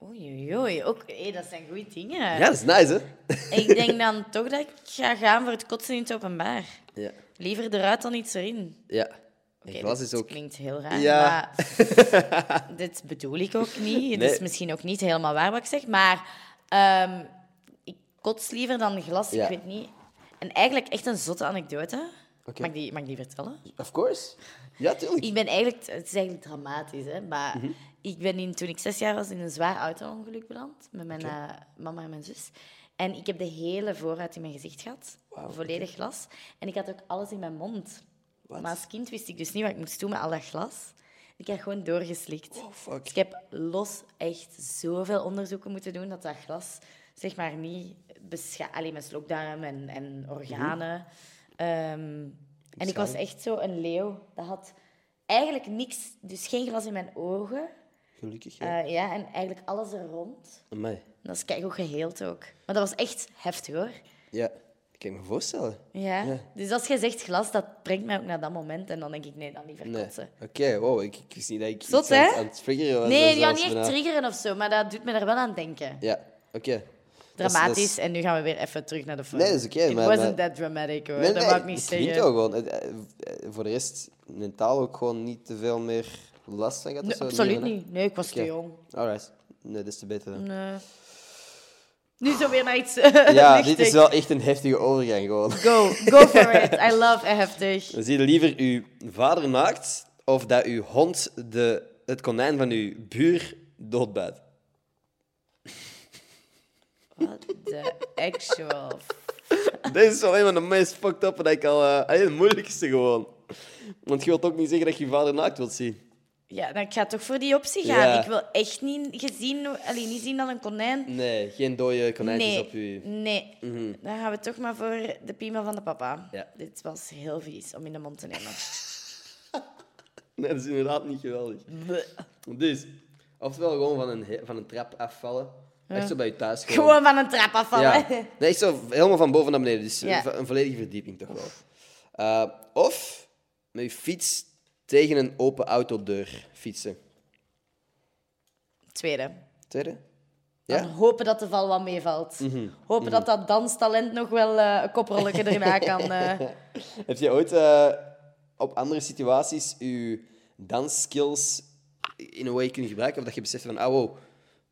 B: Oei, oei, oei. Ook, hé, dat zijn goede dingen.
A: Ja, dat is nice, hè?
B: Ik denk dan toch dat ik ga gaan voor het kotsen in het openbaar.
A: Ja.
B: Liever eruit dan iets erin.
A: ja. En
B: Oké,
A: glas
B: dit
A: is dus ook...
B: klinkt heel raar,
A: Ja.
B: maar dit bedoel ik ook niet. Het
A: Nee.
B: is misschien ook niet helemaal waar wat ik zeg, maar ehm, ik kots liever dan glas,
A: Ja.
B: ik weet niet. En eigenlijk echt een zotte anekdote.
A: Oké.
B: Mag, ik die, mag ik die vertellen?
A: Of course. Ja, tuurlijk.
B: Ik ben eigenlijk, het is eigenlijk dramatisch, hè, maar
A: Mhm.
B: ik ben in, toen ik zes jaar was in een zwaar auto-ongeluk beland met mijn eh, mama en mijn zus. En ik heb de hele voorruit in mijn gezicht gehad,
A: Wauw,
B: volledig glas. En ik had ook alles in mijn mond.
A: Wat?
B: Maar als kind wist ik dus niet wat ik moest doen met al dat glas. Ik heb gewoon doorgeslikt.
A: Oh, fuck.
B: Dus ik heb los echt zoveel onderzoeken moeten doen dat dat glas zeg maar niet beschadigd... Alleen mijn slokdarm en, en organen. Ehm, en ik was echt zo een leeuw. Dat had eigenlijk niks, dus geen glas in mijn ogen.
A: Gelukkig, ja.
B: Eh, ja, en eigenlijk alles er rond.
A: Amai.
B: Dat is kijk ook geheeld ook. Maar dat was echt heftig hoor.
A: Ja, dat kan ik me voorstellen.
B: Ja.
A: Ja.
B: Dus als jij zegt glas, dat brengt mij ook naar dat moment. En dan denk ik, nee, dan liever
A: Nee.
B: kotsen.
A: Oké, wow, ik, ik wist niet dat ik
B: Zot,
A: iets aan, het-
B: hè?
A: aan het triggeren was.
B: Nee, die
A: ja,
B: gaan niet echt triggeren of zo, maar dat doet me er wel aan denken.
A: Ja, oké. Dat is-
B: Dramatisch,
A: dat is-
B: en nu gaan we weer even terug naar de film.
A: Nee, dat is oké,
B: It
A: maar-
B: wasn't
A: maar-
B: that dramatic, hoor.
A: Nee,
B: dat
A: nee,
B: wou ik niet
A: het klinkt
B: zeggen.
A: ook gewoon. Het- eh, eh, Voor de rest, mentaal ook gewoon niet te veel meer last van gaat. of
B: Nee,
A: zo?
B: absoluut
A: hè?
B: niet. Nee, ik was
A: Oké.
B: te jong.
A: Alright. Nee, dat is te beter dan.
B: Nee. Nu zo weer naar iets
A: Ja, dit
B: luchtigs.
A: is wel echt een heftige overgang gewoon.
B: Go, go for it. I love heftig.
A: Dan zie je liever uw vader maakt of dat uw hond de, het konijn van uw buur doodbuit.
B: What the actual...
A: Dit is alleen maar de meest fucked up dat ik al... eh allee, de moeilijkste gewoon. Want je wilt ook niet zeggen dat je je vader naakt wilt zien.
B: Ja, dan ik ga toch voor die optie gaan.
A: Ja.
B: Ik wil echt niet gezien... Allee, niet zien dat een konijn...
A: Nee, geen dode konijntjes
B: Nee,
A: op je... Mhm.
B: nee. Dan gaan we toch maar voor de piemel van de papa.
A: Ja.
B: Dit was heel vies om in de mond te nemen.
A: Nee, dat is inderdaad niet geweldig. Dus, oftewel gewoon van een, he- van een trap afvallen. Echt zo bij je thuis gewoon.
B: Gewoon van een trap afvallen.
A: Ja. Nee, echt zo helemaal van boven naar beneden. Dus
B: Ja.
A: een vo- een volledige verdieping toch wel. Eh, of met je fiets tegen een open autodeur fietsen.
B: Tweede.
A: Tweede?
B: Dan
A: Ja? Mhm.
B: hopen dat de val wat meevalt. Hopen dat dat danstalent nog wel eh, een koprolletje erna kan... eh.
A: Heb je ooit eh, op andere situaties je dansskills in een way kunnen gebruiken? Of dat je beseft van, ah wow,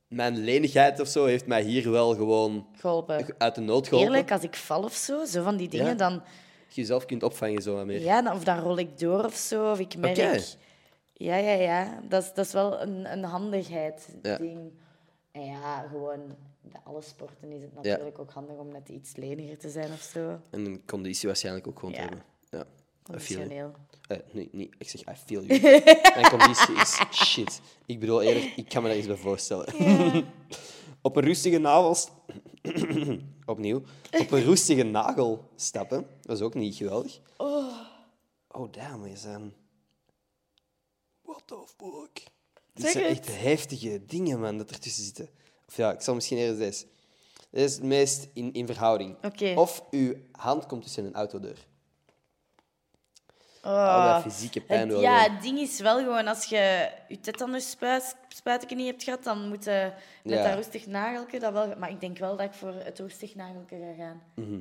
A: mijn lenigheid of zo heeft mij hier wel gewoon
B: Geholpen.
A: uit de nood geholpen.
B: Eerlijk, als ik val of zo, zo van die dingen,
A: Ja.
B: dan,
A: Dat je jezelf kunt opvangen zo wat meer.
B: ja, dan, of dan rol ik door of zo, of ik merk...
A: Oké.
B: Ja, ja, ja. Dat is, dat is wel een, een handigheid
A: Ja.
B: ding. En ja, gewoon bij alle sporten is het natuurlijk ook handig om net iets leniger te zijn of zo.
A: En een conditie waarschijnlijk ook gewoon te
B: Ja.
A: hebben. Ja. I feel you.
B: Conditioneel.
A: Eh, nee, nee, ik zeg I feel you. Mijn conditie is shit. Ik bedoel eerlijk, ik kan me daar iets bij voorstellen. op een roestige nagel... st- Opnieuw. Op een roestige nagel stappen, dat is ook niet geweldig. Oh, damn, we zijn... What the fuck? Dit
B: Zeg
A: zijn
B: het.
A: echt heftige dingen, man, dat ertussen zitten. Of ja, ik zal misschien eerst deze. Dit is het meest in, in verhouding.
B: Oké.
A: Of uw hand komt tussen een autodeur.
B: Oh.
A: Al dat fysieke pijn
B: Het-
A: wel
B: ja,
A: gewoon.
B: het ding is wel gewoon, als je je tetanus spuis- spuitje niet hebt gehad, dan moet je met
A: Ja.
B: dat roestig nageltje dat wel... Maar ik denk wel dat ik voor het roestig nageltje ga gaan.
A: Mhm.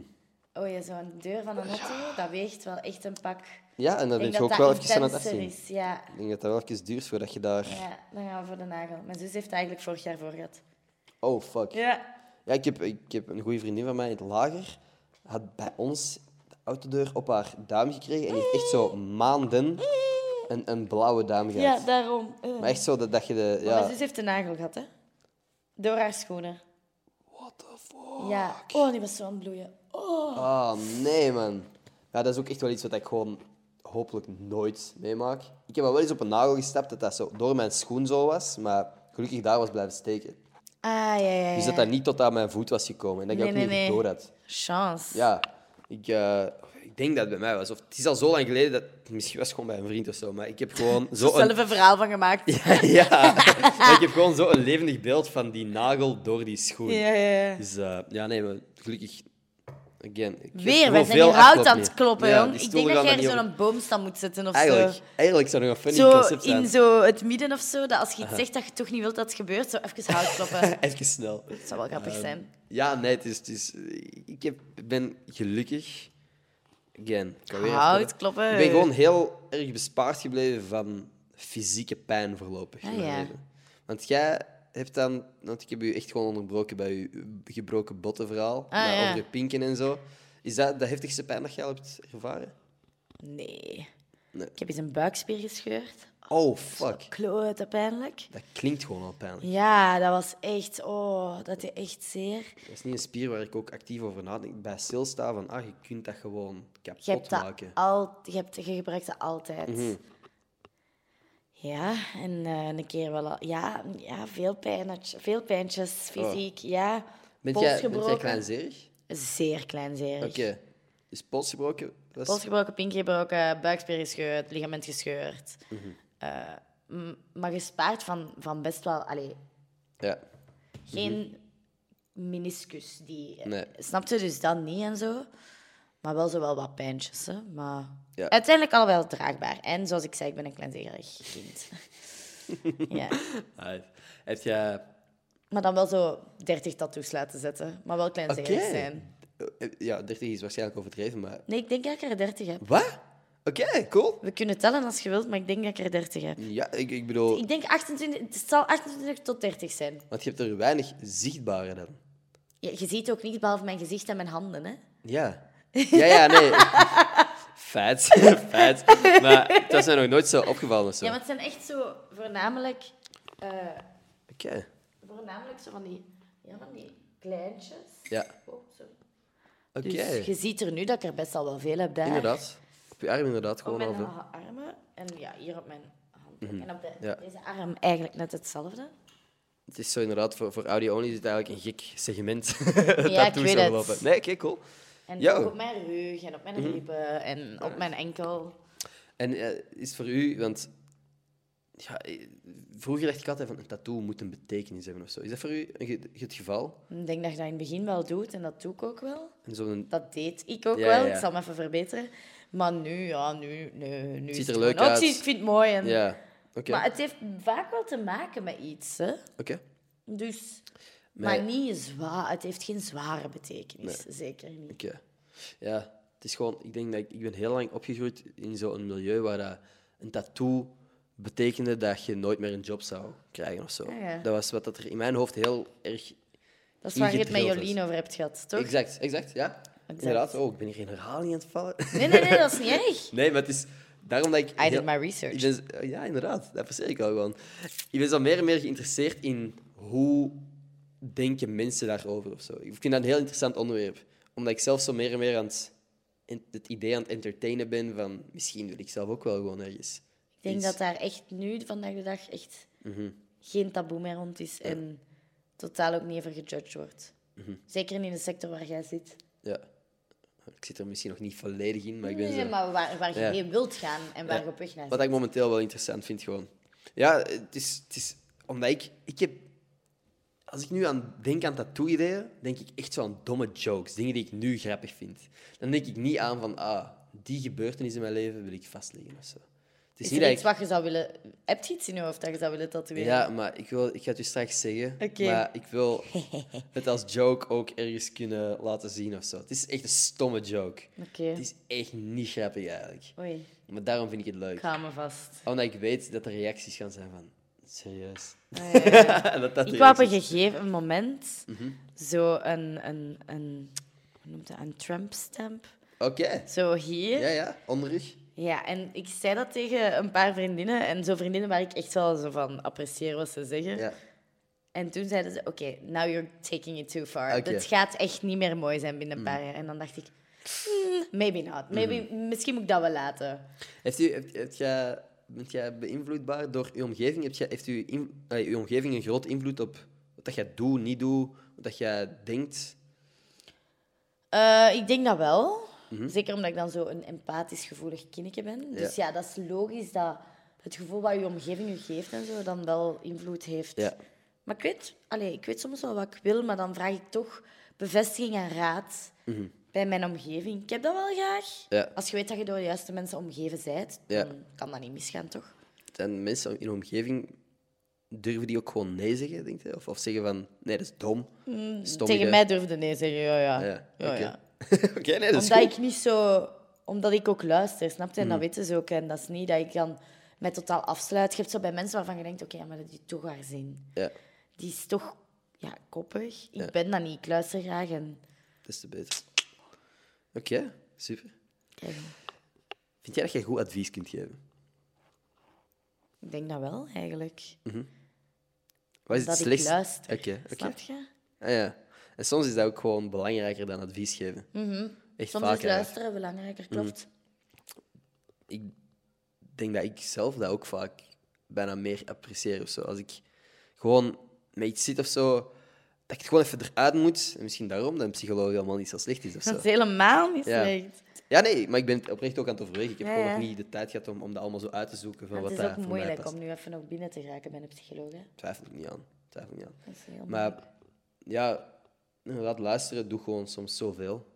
B: Oh ja, zo'n deur van een auto, dat weegt wel echt een pak.
A: Ja, en dan
B: Ik
A: ben
B: denk
A: je
B: dat
A: ook
B: dat
A: wel even aan het
B: intenser
A: afzien.
B: is, ja.
A: Ik denk dat dat wel even duurt voordat je daar...
B: ja. Dan gaan we voor de nagel. Mijn zus heeft het eigenlijk vorig jaar voor gehad.
A: Oh, fuck. Ja,
B: Ja.
A: ik, heb, ik heb een goede vriendin van mij in het lager. Had bij ons de autodeur op haar duim gekregen. En die heeft echt zo maanden een, een blauwe duim
B: Ja,
A: gehad.
B: daarom. Eh.
A: Maar echt zo dat, dat je de...
B: Maar Mijn
A: Ja.
B: zus heeft de nagel gehad, hè. Door haar schoenen.
A: What the fuck?
B: Ja. Oh, die was zo aan het bloeien.
A: Ah, nee, man. Ja, dat is ook echt wel iets wat ik gewoon hopelijk nooit meemaak. Ik heb al wel eens op een nagel gestapt dat dat zo door mijn schoen zo was. Maar gelukkig daar was blijven steken.
B: Ah, ja, ja, ja.
A: Dus dat dat niet tot aan mijn voet was gekomen. En dat ik
B: Nee,
A: ook niet
B: nee, nee.
A: door had.
B: Chance.
A: Ja, ik, eh, ik denk dat het bij mij was. Of het is al zo lang geleden dat misschien was het gewoon bij een vriend of zo, maar ik heb gewoon zo
B: zelf
A: een,
B: een verhaal van gemaakt.
A: Oh, ja, maar ik heb gewoon zo een levendig beeld van die nagel door die schoen.
B: Ja, ja, ja.
A: Dus eh, ja, nee, maar gelukkig. Again, ik heb
B: Weer,
A: gewoon
B: we zijn
A: veel
B: hier hout
A: afkoop
B: aan
A: meer.
B: het kloppen,
A: Ja,
B: jong.
A: die
B: Ik denk
A: stoelen
B: dat
A: gaan
B: jij
A: er
B: er
A: niet
B: zo'n boomstam moet zetten of
A: op. Eigenlijk, eigenlijk zou nog een funny
B: zo. Zo
A: concept zijn.
B: in zo het midden of zo, dat als je iets zegt dat je toch niet wilt dat het gebeurt, zo even hout kloppen.
A: Even snel.
B: Dat zou wel grappig
A: Ehm,
B: zijn.
A: Ja, nee, het is... Het is ik heb, ben gelukkig... Again, ik kan weer
B: Hout
A: afkomen.
B: kloppen.
A: Ik ben gewoon heel erg bespaard gebleven van fysieke pijn voorlopig in
B: Ah,
A: mijn
B: ja.
A: leven. Want jij hebt dan... Want ik heb u echt gewoon onderbroken bij uw gebroken bottenverhaal.
B: Ah,
A: maar
B: ja.
A: Over je pinken en zo. Is dat de heftigste pijn dat jij al hebt ervaren?
B: Nee.
A: Nee.
B: Ik heb eens een buikspier gescheurd.
A: Oh, fuck.
B: Klote pijnlijk.
A: Dat klinkt gewoon al pijnlijk.
B: Ja, dat was echt... Oh, dat deed echt zeer.
A: Dat is niet een spier waar ik ook actief over nadenk. Bij stilstaan van, ah, je kunt dat gewoon kapot
B: Je, hebt dat
A: maken.
B: al, je, hebt, je gebruikt dat altijd.
A: Mhm.
B: Ja, en eh, een keer wel al. Ja, ja veel, pijnetj- veel pijntjes, fysiek. Ja,
A: Oh. Bent
B: pols
A: jij, bent jij
B: gebroken.
A: kleinzerig?
B: Zeer kleinzerig.
A: Oké. Dus pols gebroken? was-
B: Pols gebroken, pink gebroken, buikspier gescheurd, ligament gescheurd.
A: Mhm.
B: Eh, m- maar gespaard van, van best wel... Allee,
A: Ja.
B: geen meniscus die...
A: Hm.
B: eh,
A: Nee.
B: Snap je? Dus dat niet en zo. Maar wel zo wel wat pijntjes, hè. Maar
A: Ja.
B: uiteindelijk al wel draagbaar. En zoals ik zei, ik ben een kleinzerig kind. ja.
A: Alright. Heb jij...
B: Maar dan wel zo 30 tattoos laten zetten. Maar wel kleinzerig
A: Oké.
B: zijn.
A: Eh, Ja, 30 is waarschijnlijk overdreven, maar...
B: Nee, ik denk dat ik er 30 heb.
A: Wat? Oké, cool.
B: We kunnen tellen als je wilt, maar ik denk dat ik er 30 heb.
A: Ja, ik, ik bedoel...
B: Ik denk 28, het zal 28 tot 30 zijn.
A: Want je hebt er weinig zichtbare dan.
B: Je, je ziet ook niets behalve mijn gezicht en mijn handen, hè?
A: Ja. Ja, ja, nee. Feit. Feit. Maar dat is mij nog nooit zo opgevallen of zo.
B: Ja, maar het zijn echt zo voornamelijk, eh,
A: Oké.
B: voornamelijk zo van die, ja, van die kleintjes.
A: Ja.
B: Oh, sorry.
A: Oké.
B: Dus je ziet er nu dat ik er best al wel veel heb daar.
A: Inderdaad. Op je arm inderdaad,
B: Op
A: gewoon
B: Oh, mijn
A: al veel. Mhm.
B: ha- armen en ja, hier op mijn hand. En op de,
A: Ja.
B: deze arm eigenlijk net hetzelfde.
A: Het is zo inderdaad, voor, voor audio only is het eigenlijk een gek segment.
B: ik
A: toe
B: weet
A: zou
B: het.
A: lopen. Nee, oké, cool.
B: En
A: Ja.
B: ook op mijn rug en op mijn
A: Mhm.
B: ribben en op mijn enkel.
A: En eh, is voor u, want ja, eh, vroeger dacht ik altijd van een tattoo moet een betekenis hebben of zo. Is dat voor u een ge- het geval?
B: Ik denk dat je dat in het begin wel doet en dat doe ik ook wel.
A: En zo'n
B: Dat deed ik ook
A: Ja,
B: wel.
A: ja, ja.
B: Ik zal me even verbeteren. Maar nu, ja, nu, nee, nu is
A: ziet er
B: het
A: leuk
B: gewoon, oh,
A: uit.
B: het is- ik vind het mooi. En,
A: ja, oké,
B: Maar het heeft vaak wel te maken met iets, hè.
A: oké.
B: Dus,
A: Nee.
B: maar niet zwaar. Het heeft geen zware betekenis, zeker niet.
A: Oké. Ja, het is gewoon, ik denk dat ik, ik ben heel lang opgegroeid in zo'n milieu waar dat een tattoo betekende dat je nooit meer een job zou krijgen of zo.
B: Ah, ja.
A: Dat was wat dat er in mijn hoofd heel erg.
B: Dat is waar je het met
A: ingedrild is.
B: Jolien over hebt gehad, toch?
A: Exact, exact, ja. Inderdaad. Oh, ik ben hier geen herhaling aan het vallen.
B: Nee, nee, nee, dat is niet erg.
A: nee, maar het is daarom dat ik.
B: I
A: heel-
B: did my
A: Ik
B: research.
A: ben- eh, ja, inderdaad. Dat verzeker ik wel gewoon. Ik ben zo meer en meer geïnteresseerd in hoe denken mensen daarover of zo. Ik vind dat een heel interessant onderwerp. Omdat ik zelf zo meer en meer aan het, en- het idee aan het entertainen ben van... Misschien wil ik zelf ook wel gewoon ergens.
B: Ik denk
A: iets.
B: dat daar echt nu, vandaag de dag, echt
A: Mhm.
B: geen taboe meer rond is. En totaal ook niet over gejudged wordt.
A: Mhm.
B: Zeker niet in de sector waar jij zit.
A: Ja. Ik zit er misschien nog niet volledig in, maar ik ben
B: Nee,
A: zo...
B: maar waar, waar je
A: Ja.
B: heen wilt gaan en waar
A: Ja.
B: je op weg naar
A: Wat
B: zit.
A: ik momenteel wel interessant vind, gewoon. Ja, het is... Het is omdat ik... Ik heb... Als ik nu aan denk aan tattoo-ideeën, denk ik echt zo aan domme jokes. Dingen die ik nu grappig vind. Dan denk ik niet aan van, ah, die gebeurtenis in mijn leven wil ik vastleggen of zo. Het is,
B: Is
A: niet
B: er
A: dat
B: iets
A: ik...
B: wat je zou willen... Heb je iets in je hoofd dat je zou willen tatoeëren?
A: Ja, maar ik, wil, ik ga het u straks zeggen.
B: Oké.
A: Maar ik wil het als joke ook ergens kunnen laten zien of zo. Het is echt een stomme joke.
B: Oké.
A: Het is echt niet grappig eigenlijk.
B: Oei,
A: Maar daarom vind ik het leuk.
B: ik hou me vast.
A: Omdat Oh, ik weet dat er reacties gaan zijn van... Serieus? En dat dat Mhm.
B: Ik
A: de
B: wou op een
A: reacties-
B: gegeven moment zo een... een, een hoe noemt dat? Een Trump-stamp.
A: Oké.
B: Zo hier.
A: Ja, ja. Onderrug.
B: Ja, en ik zei dat tegen een paar vriendinnen. En zo vriendinnen waar ik echt wel zo van apprecieer wat ze zeggen.
A: Ja.
B: En toen zeiden ze, oké, now you're taking it too far.
A: Oké. Mm.
B: Het gaat echt niet meer mooi zijn binnen een paar jaar. En dan dacht ik, "Hmm, maybe not. Maybe,
A: Mhm.
B: Misschien moet ik dat wel laten.
A: Heeft u, hebt, hebt jij, bent jij beïnvloedbaar door uw omgeving? Hebt jij, heeft uw, in- eh, uw omgeving een groot invloed op wat dat jij doet, niet doet, wat dat jij denkt?
B: Eh, ik denk dat wel.
A: Mhm.
B: Zeker omdat ik dan zo een empathisch gevoelig kindje ben. Dus ja, dat is logisch dat het gevoel wat je omgeving je geeft en zo dan wel invloed heeft.
A: Ja.
B: Maar ik weet, allee, ik weet soms wel wat ik wil, maar dan vraag ik toch bevestiging en raad bij mijn omgeving. Ik heb dat wel graag.
A: Mhm. Ja.
B: Als je weet dat je door de juiste mensen omgeven bent,
A: Ja.
B: dan kan dat niet misgaan, toch?
A: En mensen in uw omgeving, durven die ook gewoon nee zeggen, denk je? Of, of zeggen van, nee, dat is dom. Stom
B: Mm, Tegen
A: idee. Ah
B: mij durfde nee zeggen, ja, ja.
A: Ja,
B: ja,
A: oké.
B: ja.
A: Oké, nee, dat is
B: Omdat
A: goed.
B: ik niet zo... Omdat ik ook luister, snap je? En
A: Hmm.
B: dat weten ze ook. En dat is niet dat ik dan mij totaal afsluit. Je hebt zo bij mensen waarvan je denkt, oké, ja, maar dat heeft toch haar zin.
A: Ja,
B: Die is toch ja, koppig. Ik ben dat niet. Ik luister graag en...
A: dat is te beter. Oké, super.
B: Kijk,
A: Vind jij dat jij goed advies kunt geven?
B: ik denk dat wel, eigenlijk.
A: Wat is
B: Dat
A: het
B: ik
A: slechtste?
B: luister.
A: Oké, oké.
B: Snap je?
A: Ah, ja. En soms is dat ook gewoon belangrijker dan advies geven. Echt
B: Mhm. Soms
A: vaker.
B: is luisteren belangrijker,
A: Hmm.
B: klopt.
A: ik denk dat ik zelf dat ook vaak bijna meer apprecieer of zo. Als ik gewoon met iets zit of zo, dat ik het gewoon even eruit moet. En misschien daarom dat een psycholoog helemaal niet zo slecht is of zo.
B: Dat is helemaal niet
A: Ja.
B: slecht.
A: Ja, nee, maar ik ben het oprecht ook aan het overwegen. Ik heb
B: Ja,
A: gewoon
B: ja.
A: nog niet de tijd gehad om, om dat allemaal zo uit te zoeken. Van
B: Maar
A: wat
B: het is
A: dat
B: ook
A: voor mij
B: moeilijk
A: past.
B: om nu even nog binnen te geraken bij een psycholoog. Hè?
A: Twijfel ik niet aan. Twijfel ik niet aan.
B: Dat is heel moeilijk.
A: Maar ja, inderdaad, luisteren doe gewoon soms zoveel.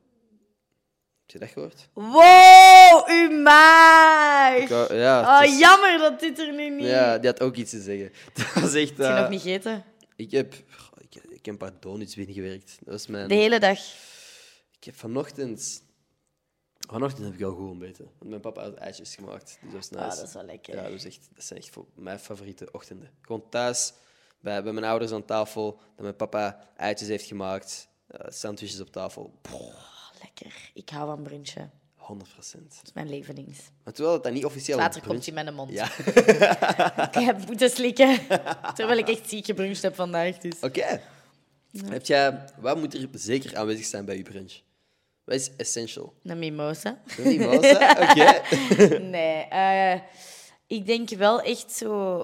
A: Heb je dat gehoord?
B: Wow, u maag!
A: Ik wou- ja,
B: oh,
A: het is-
B: jammer dat dit er nu niet...
A: Ja, die had ook iets te zeggen. Dat was echt...
B: Heb je
A: eh,
B: nog niet gegeten?
A: Ik heb, goh, ik, ik heb een paar donuts binnengewerkt. Dat was mijn...
B: De hele dag.
A: Ik heb vanochtend... Vanochtend heb ik al goed ontbeten. Want mijn papa had ijsjes gemaakt. Dus dat was nice.
B: Ah, dat is wel lekker.
A: Ja, dat, is echt, dat zijn echt voor mijn favoriete ochtenden. Gewoon thuis, bij, bij mijn ouders aan tafel, dat mijn papa eitjes heeft gemaakt. eh, sandwiches op tafel. Pff,
B: Oh, lekker. Ik hou van brunchen. Dat
A: 100%.
B: is mijn levelings.
A: Maar terwijl het dan niet officieel
B: Later
A: Oh, brunch-
B: komt hij met de mond.
A: Ja.
B: Ik heb moeten slikken. Terwijl ik echt ziek gebruncht heb vandaag. Dus.
A: Oké. Heb jij, wat moet er zeker aanwezig zijn bij je brunch? Wat is essential?
B: Een mimosa.
A: Een mimosa? Oké.
B: Nee, eh, ik denk wel echt zo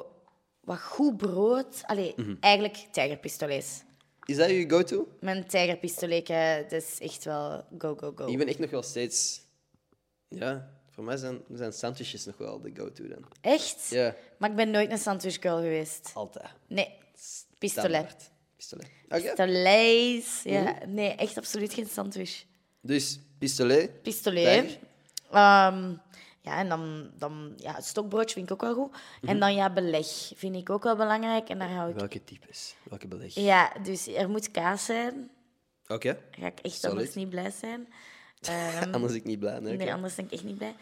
B: wat goed brood. Allee,
A: Mhm.
B: eigenlijk tijgerpistolets.
A: Is dat je go-to?
B: Mijn tijgerpistoletje, dat is echt wel go, go, go.
A: Ik ben echt nog wel steeds... Ja, voor mij zijn, zijn sandwiches nog wel de go-to dan.
B: Echt?
A: Ja,
B: Maar ik ben nooit een sandwich girl geweest.
A: altijd.
B: Nee, pistolet.
A: Standaard. Pistolet. Oké.
B: Pistolets, ja. Nee, echt absoluut geen sandwich.
A: Dus, pistolet.
B: Pistolet.
A: Tijger.
B: Ehm, ja, en dan, dan ja, het stokbroodje vind ik ook wel goed. En dan ja, beleg vind ik ook wel belangrijk. En daar hou ik...
A: Welke types? Welke beleg?
B: Ja, dus er moet kaas zijn.
A: Oké.
B: Ga ik echt
A: Solid.
B: anders niet blij zijn. Ehm,
A: Anders ik niet blij. Nee, Oké.
B: Nee, anders ben ik echt niet blij.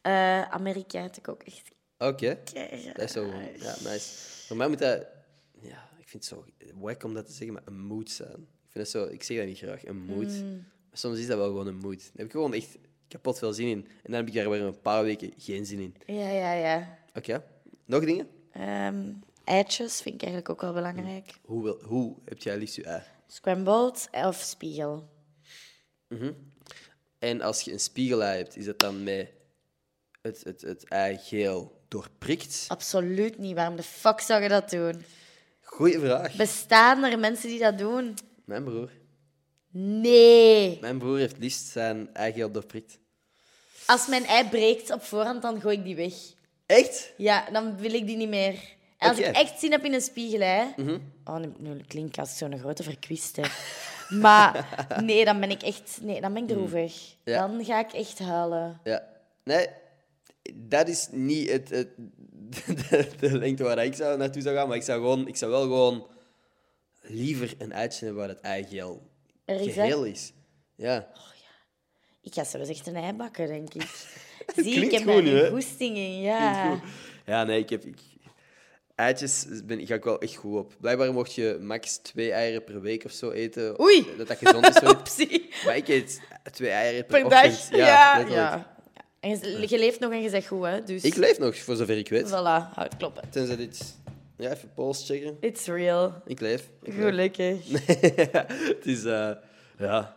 B: Eh Amerika vind ik ook echt...
A: Oké.
B: kei-
A: Dat is zo. Ja, nice. Voor mij moet dat. Ja, ik vind het zo wack om dat te zeggen, maar een mood zijn. Ik vind dat zo. Ik zeg dat niet graag, een mood.
B: Mm.
A: Maar soms is dat wel gewoon een mood. Daar heb ik gewoon echt kapot veel zin in. En dan heb ik daar weer een paar weken geen zin in.
B: Ja, ja, ja.
A: Oké. Nog dingen?
B: Ehm, eitjes vind ik eigenlijk ook wel belangrijk.
A: Hoe, wil, hoe heb jij liefst je ei?
B: Scrambled of spiegel.
A: En als je een spiegelei hebt, is dat dan met het, het, het ei geel doorprikt?
B: Absoluut niet. Waarom de fuck zou je dat doen?
A: Goeie vraag.
B: Bestaan er mensen die dat doen?
A: Mijn broer.
B: Nee.
A: Mijn broer heeft liefst zijn ei geel doorprikt.
B: Als mijn ei breekt op voorhand, dan gooi ik die weg.
A: Echt?
B: Ja, dan wil ik die niet meer. En als
A: Oké. Mhm.
B: ik echt zin heb in een spiegel, hè... Oh, nu, nu klink ik als zo'n grote verkwiste. maar nee, dan ben ik echt... Nee, dan ben ik droevig.
A: Mhm. Ja.
B: Dan ga ik echt huilen.
A: Ja. Nee, dat is niet het, het, de, de lengte waar ik zou naartoe zou gaan, maar ik zou, gewoon, ik zou wel gewoon liever een uitje hebben waar het ei geel
B: Er is, hè?
A: geheel is. Ja.
B: Ik ga zelfs echt een ei bakken, denk ik. Zie, ik
A: klinkt
B: heb
A: goed
B: daar
A: nu,
B: een
A: hè?
B: goesting in, ja.
A: Ja, nee, ik heb... Ik, eitjes ben, ga ik wel echt goed op. Blijkbaar mocht je max twee eieren per week of zo eten.
B: Oei.
A: Dat dat gezond is. Voor
B: Optie.
A: je. maar ik eet twee eieren per,
B: Per dag.
A: ochtend.
B: Ja, ja.
A: letterlijk.
B: En je, je leeft nog en je zegt goed, hè. Dus
A: Ik leef nog, voor zover ik weet.
B: voilà, houdt kloppen.
A: Tenzij dit... Ja, even pols checken.
B: It's real.
A: Ik leef. Ik leef.
B: Gelukkig.
A: het is, eh, ja.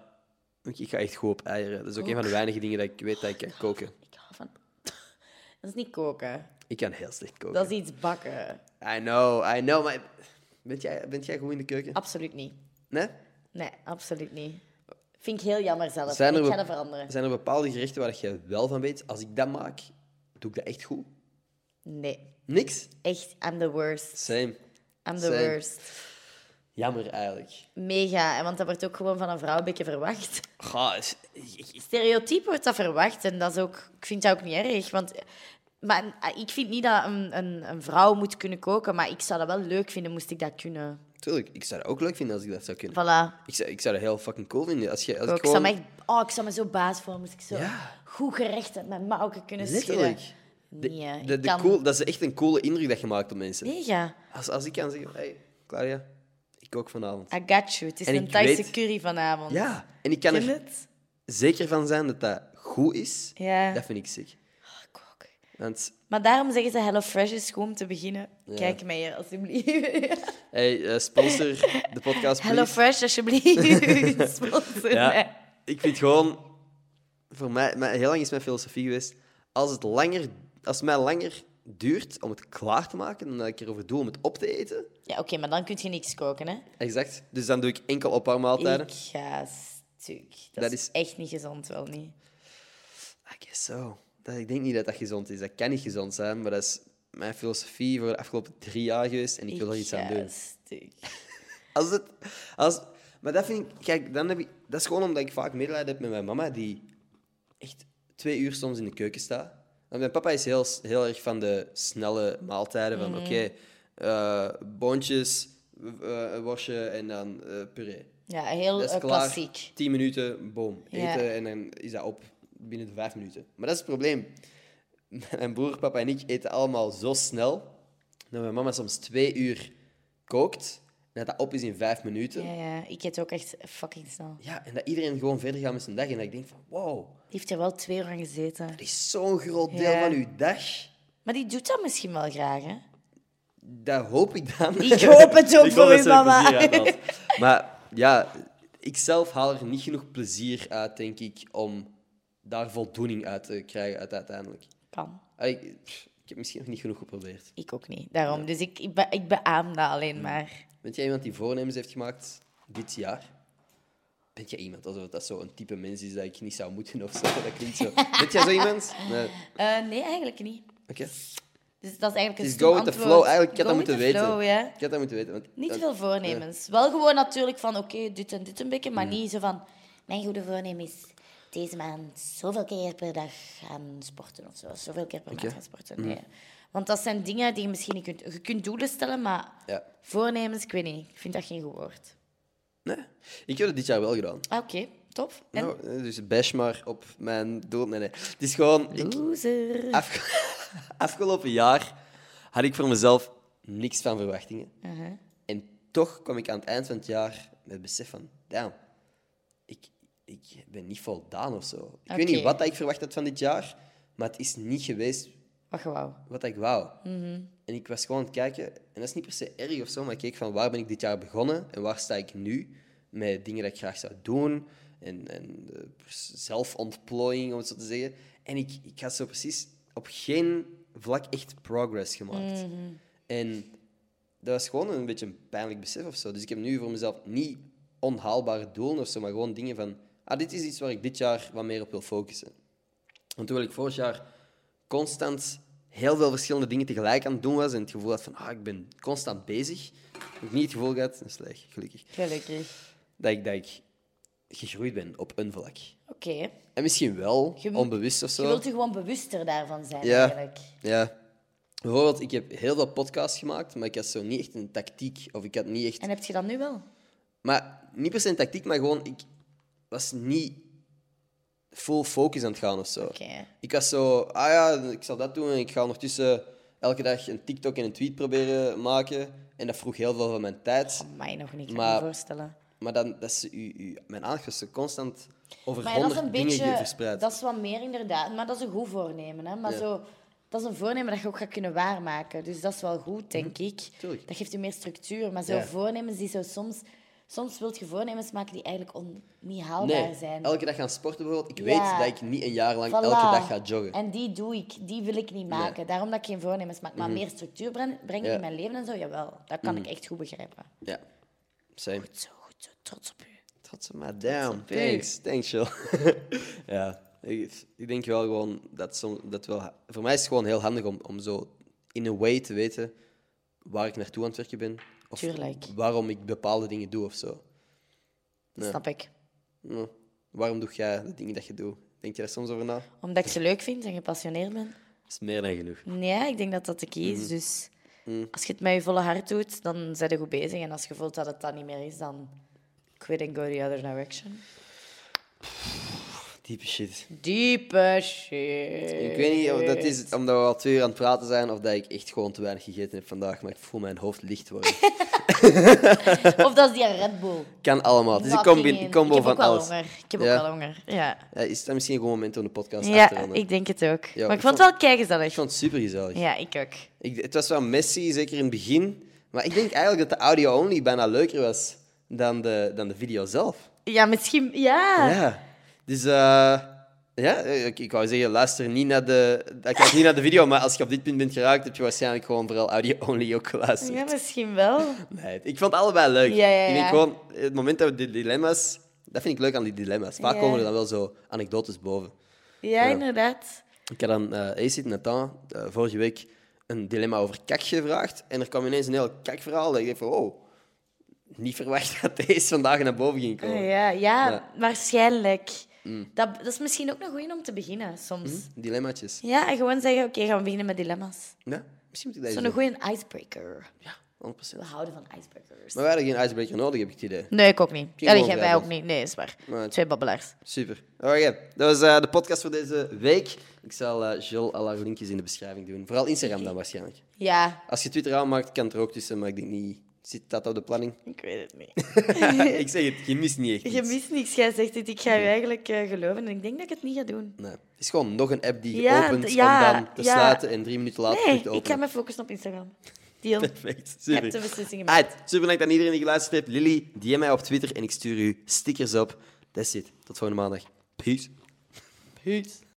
A: Ik, ik ga echt goed op eieren. Dat is ook een van de weinige dingen dat ik weet dat ik kan koken.
B: Ik hou van... Dat is niet koken.
A: Ik kan heel slecht koken.
B: Dat is iets bakken.
A: I know, I know, maar bent jij, bent jij goed in de keuken?
B: Absoluut niet.
A: Nee?
B: Nee, absoluut niet. Vind ik heel jammer zelf.
A: Zijn er
B: ik
A: wel-
B: ga dat veranderen.
A: Zijn er bepaalde gerechten waar jij wel van weet? Als ik dat maak, doe ik dat echt goed?
B: Nee.
A: Niks?
B: Echt, I'm the worst.
A: Same.
B: I'm the
A: Same.
B: worst.
A: Jammer eigenlijk.
B: Mega. En want dat wordt ook gewoon van een vrouw een beetje verwacht.
A: Goh, is- ik- ik- ik-
B: Stereotyp wordt dat verwacht. En dat is ook... Ik vind dat ook niet erg. Want... Maar eh, ik vind niet dat een, een, een vrouw moet kunnen koken. Maar ik zou dat wel leuk vinden, moest ik dat kunnen.
A: tuurlijk, ik zou dat ook leuk vinden als ik dat zou kunnen.
B: Voilà.
A: Ik zou, ik zou dat heel fucking cool vinden. Als je, als
B: Ik,
A: ik gewoon...
B: zou me echt... Oh, ik zou me zo baas voor. Moest ik zo
A: Ja.
B: goed gerecht uit mijn mouwen kunnen schudden.
A: Letterlijk. De-
B: Nee,
A: de-
B: eh, ik
A: de
B: kan-
A: cool, dat is echt een coole indruk dat je maakt op mensen.
B: Mega.
A: Als, als ik kan zeggen, hey, Claudia, ik kook vanavond.
B: I got you. Het is
A: En
B: een
A: ik
B: Thaise
A: weet-
B: curry vanavond.
A: Ja, en ik kan
B: Ken
A: er
B: het?
A: zeker van zijn dat dat goed is.
B: Ja.
A: Dat vind ik sick.
B: Ah, ik ook.
A: Want,
B: Maar daarom zeggen ze Hello Fresh is gewoon om te beginnen. Kijk mij hier, alsjeblieft.
A: hey, eh, sponsor de podcast,
B: Hello
A: please.
B: Fresh, alsjeblieft. Sponsor mij.
A: Ja, ik vind gewoon... Voor mij, mijn- heel lang is mijn filosofie geweest, als het, langer, als het mij langer duurt om het klaar te maken dan dat ik erover doe om het op te eten,
B: Ja, oké, maar dan kun je niks koken, hè.
A: exact, dus dan doe ik enkel opwarmmaaltijden.
B: Ik ga stuk. Dat,
A: Dat
B: is,
A: is-
B: echt niet gezond, wel niet.
A: I guess so. Dat, ik denk niet dat dat gezond is. Dat kan niet gezond zijn, maar dat is mijn filosofie voor de afgelopen drie jaar geweest en ik wil er iets aan
B: ga
A: doen.
B: stuk.
A: Als het, als, maar dat vind ik, kijk, dan heb ik, dat is gewoon omdat ik vaak medelijden heb met mijn mama, die echt twee uur soms in de keuken staat. Want mijn papa is heel, s- heel erg van de snelle maaltijden, van oké, eh, boontjes, eh, een worstje en dan eh, puree.
B: Ja, heel
A: Dat is
B: eh,
A: klaar.
B: klassiek.
A: 10 minuten, boom.
B: Ja.
A: Eten en dan is dat op binnen de vijf minuten. Maar dat is het probleem. Mijn broer, papa en ik eten allemaal zo snel dat mijn mama soms twee uur kookt En dat dat op is in vijf minuten.
B: Ja,
A: Ja,
B: ja, ik eet ook echt fucking snel.
A: en dat iedereen gewoon verder gaat met zijn dag. En dat ik denk van, wow,
B: Die heeft er wel twee uur aan gezeten.
A: dat is zo'n groot deel
B: Ja.
A: van uw dag.
B: Maar die doet dat misschien wel graag, hè?
A: Dat hoop ik dan.
B: Ik hoop het ook
A: Ik
B: voor
A: hoop dat
B: u,
A: ze er
B: mama.
A: plezier uit haalt. Maar ja, ik zelf haal er niet genoeg plezier uit, denk ik, om daar voldoening uit te krijgen uit uiteindelijk.
B: Kan.
A: Allee, Ik, pff, ik heb misschien nog niet genoeg geprobeerd.
B: Ik ook niet. Daarom. Dus ik, ik, be, ik beaam dat alleen maar.
A: Bent jij iemand die voornemens heeft gemaakt dit jaar? Bent jij iemand alsof dat zo'n type mens is dat ik niet zou moeten of zo? Dat klinkt zo. Bent jij zo iemand? Nee. Oké.
B: Eh, nee, eigenlijk niet. Dus dat is eigenlijk een
A: Het is
B: stom
A: go with the
B: antwoord.
A: flow. Eigenlijk, ik had
B: Go
A: dat moeten
B: with the
A: weten.
B: flow, ja.
A: Ik had dat moeten weten. Want,
B: Niet
A: want-
B: veel voornemens. Wel gewoon natuurlijk van, oké, dit en dit een beetje, maar niet zo van... Mijn goede voornemen is deze maand zoveel keer per dag gaan sporten of zo. Zoveel keer per
A: Oké. Mm.
B: maand gaan sporten. Nee. Want dat zijn dingen die je misschien niet kunt... Je kunt doelen stellen, maar
A: Ja.
B: voornemens, ik weet niet. Ik vind dat geen goed woord.
A: Nee. Ik heb dat dit jaar wel gedaan.
B: Ah, oké. Top. En
A: Nou, eh, dus bash maar op mijn doel. Nee, nee. Het is gewoon... ik-
B: loser.
A: afge- afgelopen jaar had ik voor mezelf niks van verwachtingen.
B: Uh-huh.
A: En toch kwam ik aan het eind van het jaar met het besef van... Damn, ik, ik ben niet voldaan of zo. Ik weet
B: Oké.
A: niet wat ik verwacht had van dit jaar, maar het is niet geweest
B: Wat je wou.
A: wat ik wou. En ik was gewoon aan het kijken, en dat is niet per se erg of zo, maar ik keek van waar ben ik dit jaar begonnen en waar sta ik nu met dingen dat ik graag zou doen en, en eh, pers- zelfontplooiing, om het zo te zeggen. En ik, ik had zo precies op geen vlak echt progress gemaakt. En dat was gewoon een beetje een pijnlijk besef of zo. Dus ik heb nu voor mezelf niet onhaalbare doelen of zo, maar gewoon dingen van, ah, dit is iets waar ik dit jaar wat meer op wil focussen. Want terwijl ik vorig jaar constant heel veel verschillende dingen tegelijk aan het doen was en het gevoel had van, ah, ik ben constant bezig, heb ik niet het gevoel gehad, dat is leeg, gelukkig,
B: Gelukkig.
A: dat ik, dat ik gegroeid ben op een vlak.
B: Oké.
A: En misschien wel,
B: Je moet-
A: onbewust of zo.
B: Je wilt je gewoon bewuster daarvan zijn,
A: Ja.
B: eigenlijk.
A: Ja. Bijvoorbeeld, ik heb heel veel podcasts gemaakt, maar ik had zo niet echt een tactiek. Of ik had niet echt...
B: En heb je dat nu wel?
A: Maar niet per se een tactiek, maar gewoon, ik was niet full focus aan het gaan of zo.
B: Oké.
A: Ik was zo, ah ja, ik zal dat doen en ik ga ondertussen elke dag een TikTok en een tweet proberen maken. En dat vroeg heel veel van mijn tijd.
B: Mij nog niet, kan ik
A: Maar-
B: me voorstellen.
A: Maar dan, dat is, u, u, mijn aandacht was zo constant over
B: Maar ja, dat is een
A: honderd dingen
B: beetje...
A: verspreid.
B: Dat is wat meer, inderdaad. Maar dat is een goed voornemen, hè. Maar
A: Ja.
B: zo... Dat is een voornemen dat je ook gaat kunnen waarmaken. Dus dat is wel goed, denk ik.
A: Mhm. Tuurlijk.
B: Dat geeft je meer structuur. Maar zo
A: Ja.
B: voornemens die zo soms... Soms wil je voornemens maken die eigenlijk on, niet haalbaar zijn.
A: elke dag gaan sporten bijvoorbeeld. Ik
B: Ja.
A: weet dat ik niet een jaar lang
B: Voilà.
A: elke dag ga joggen.
B: En die doe ik. Die wil ik niet maken. Daarom dat ik geen voornemens maak. Maar meer structuur brengen brengen
A: Mhm. Ja. Mhm.
B: in mijn leven en zo, jawel. Dat kan ik echt goed begrijpen.
A: Ja, same.
B: Goed zo, goed zo. Trots op u.
A: Tot maar, damn.
B: op u.
A: Thanks, thanks, Jill. ja, ik, ik denk wel gewoon dat, som, dat wel... ha- Voor mij is het gewoon heel handig om, om zo in een way te weten waar ik naartoe aan het werken ben. Of
B: Tuurlijk.
A: waarom ik bepaalde dingen doe of zo.
B: Dat snap ik.
A: Hm, Waarom doe jij de dingen dat je doet? Denk je daar soms over na? Dat
B: Omdat ik ze leuk vind en gepassioneerd ben.
A: is meer dan genoeg.
B: Nee, ik denk dat dat de key is.
A: Mhm.
B: Dus als je het met je volle hart doet, dan zijn je goed bezig. En als je voelt dat het dat niet meer is, dan quit and go the other direction.
A: Diepe shit.
B: Diepe shit.
A: Ik weet niet of dat is omdat we al twee uur aan het praten zijn of dat ik echt gewoon te weinig gegeten heb vandaag, maar ik voel mijn hoofd licht worden.
B: Of dat is die Red Bull.
A: kan allemaal. Het is een
B: Fucking
A: Dus combi-
B: in.
A: combo
B: ik heb
A: van
B: ook wel
A: alles.
B: Honger. Ik heb
A: Ja.
B: ook wel honger. Ja,
A: Ja, is dat misschien een goed moment om de podcast af te
B: ja
A: ronden?
B: ik denk het ook.
A: Ja,
B: maar
A: ik
B: ik vond het wel kijkgezellig.
A: Ik vond het super gezellig.
B: Ja, ik ook.
A: Ik, het was wel messy, zeker in het begin. Maar ik denk eigenlijk dat de audio-only bijna leuker was dan de, dan de video zelf.
B: Ja, misschien... Ja.
A: Ja. Dus eh, ja, ik, ik wou zeggen, luister niet naar, de, ik kijk niet naar de video, maar als je op dit punt bent geraakt, heb je waarschijnlijk gewoon vooral audio-only ook geluisterd.
B: Ja, misschien wel.
A: Nee, ik vond het allebei leuk.
B: Ja, ja,
A: Ik denk
B: ja.
A: gewoon, het moment dat we die dilemma's... Dat vind ik leuk aan die dilemma's. Vaak
B: Ja.
A: komen er dan wel zo anekdotes boven.
B: Ja, inderdaad.
A: Ik had aan eh Acid Nathan eh, vorige week een dilemma over kak gevraagd. En er kwam ineens een heel kakverhaal. Dat ik dacht van, oh, niet verwacht dat deze vandaag naar boven ging komen.
B: Ah, ja, ja,
A: Ja. Mm.
B: waarschijnlijk. Dat, dat is misschien ook nog goed om te beginnen, soms.
A: Dilemmaatjes.
B: Ja, en gewoon zeggen, oké, gaan we beginnen met dilemma's.
A: Ja, misschien moet ik dat eens
B: Zo'n
A: doen.
B: goede icebreaker.
A: Ja, 100%.
B: We houden van icebreakers.
A: Maar wij hadden geen icebreaker nodig, heb ik het idee.
B: Nee, ik ook niet.
A: Misschien
B: Allee,
A: gewoon
B: jij- wij ook
A: vrijdag.
B: niet. Nee, is waar.
A: Maar-
B: Twee babbelaars.
A: Super. Alright, dat was eh, de podcast voor deze week. Ik zal eh Jill al haar linkjes in de beschrijving doen. Vooral Instagram dan waarschijnlijk.
B: Ja,
A: Als je Twitter aanmaakt, kan het er ook tussen, maar ik denk niet Zit dat op de planning?
B: Ik weet het niet.
A: ik zeg het, je mist niet echt
B: Je
A: iets.
B: mist niks. Jij zegt het. Ik ga je eigenlijk eh, geloven. En ik denk dat ik het niet ga doen.
A: Nee. Het is gewoon nog een app die je
B: Ja,
A: opent
B: d- ja,
A: om dan te
B: ja.
A: sluiten en drie minuten later terug te
B: Nee, ik
A: openen.
B: ga me focussen op Instagram. Deal.
A: Perfect,
B: Je hebt de
A: super.
B: beslissing gemaakt.
A: Alright, super bedankt aan iedereen die geluisterd heeft. Lily, DM mij op Twitter en ik stuur u stickers op. That's it. Tot volgende maandag. Peace. Peace.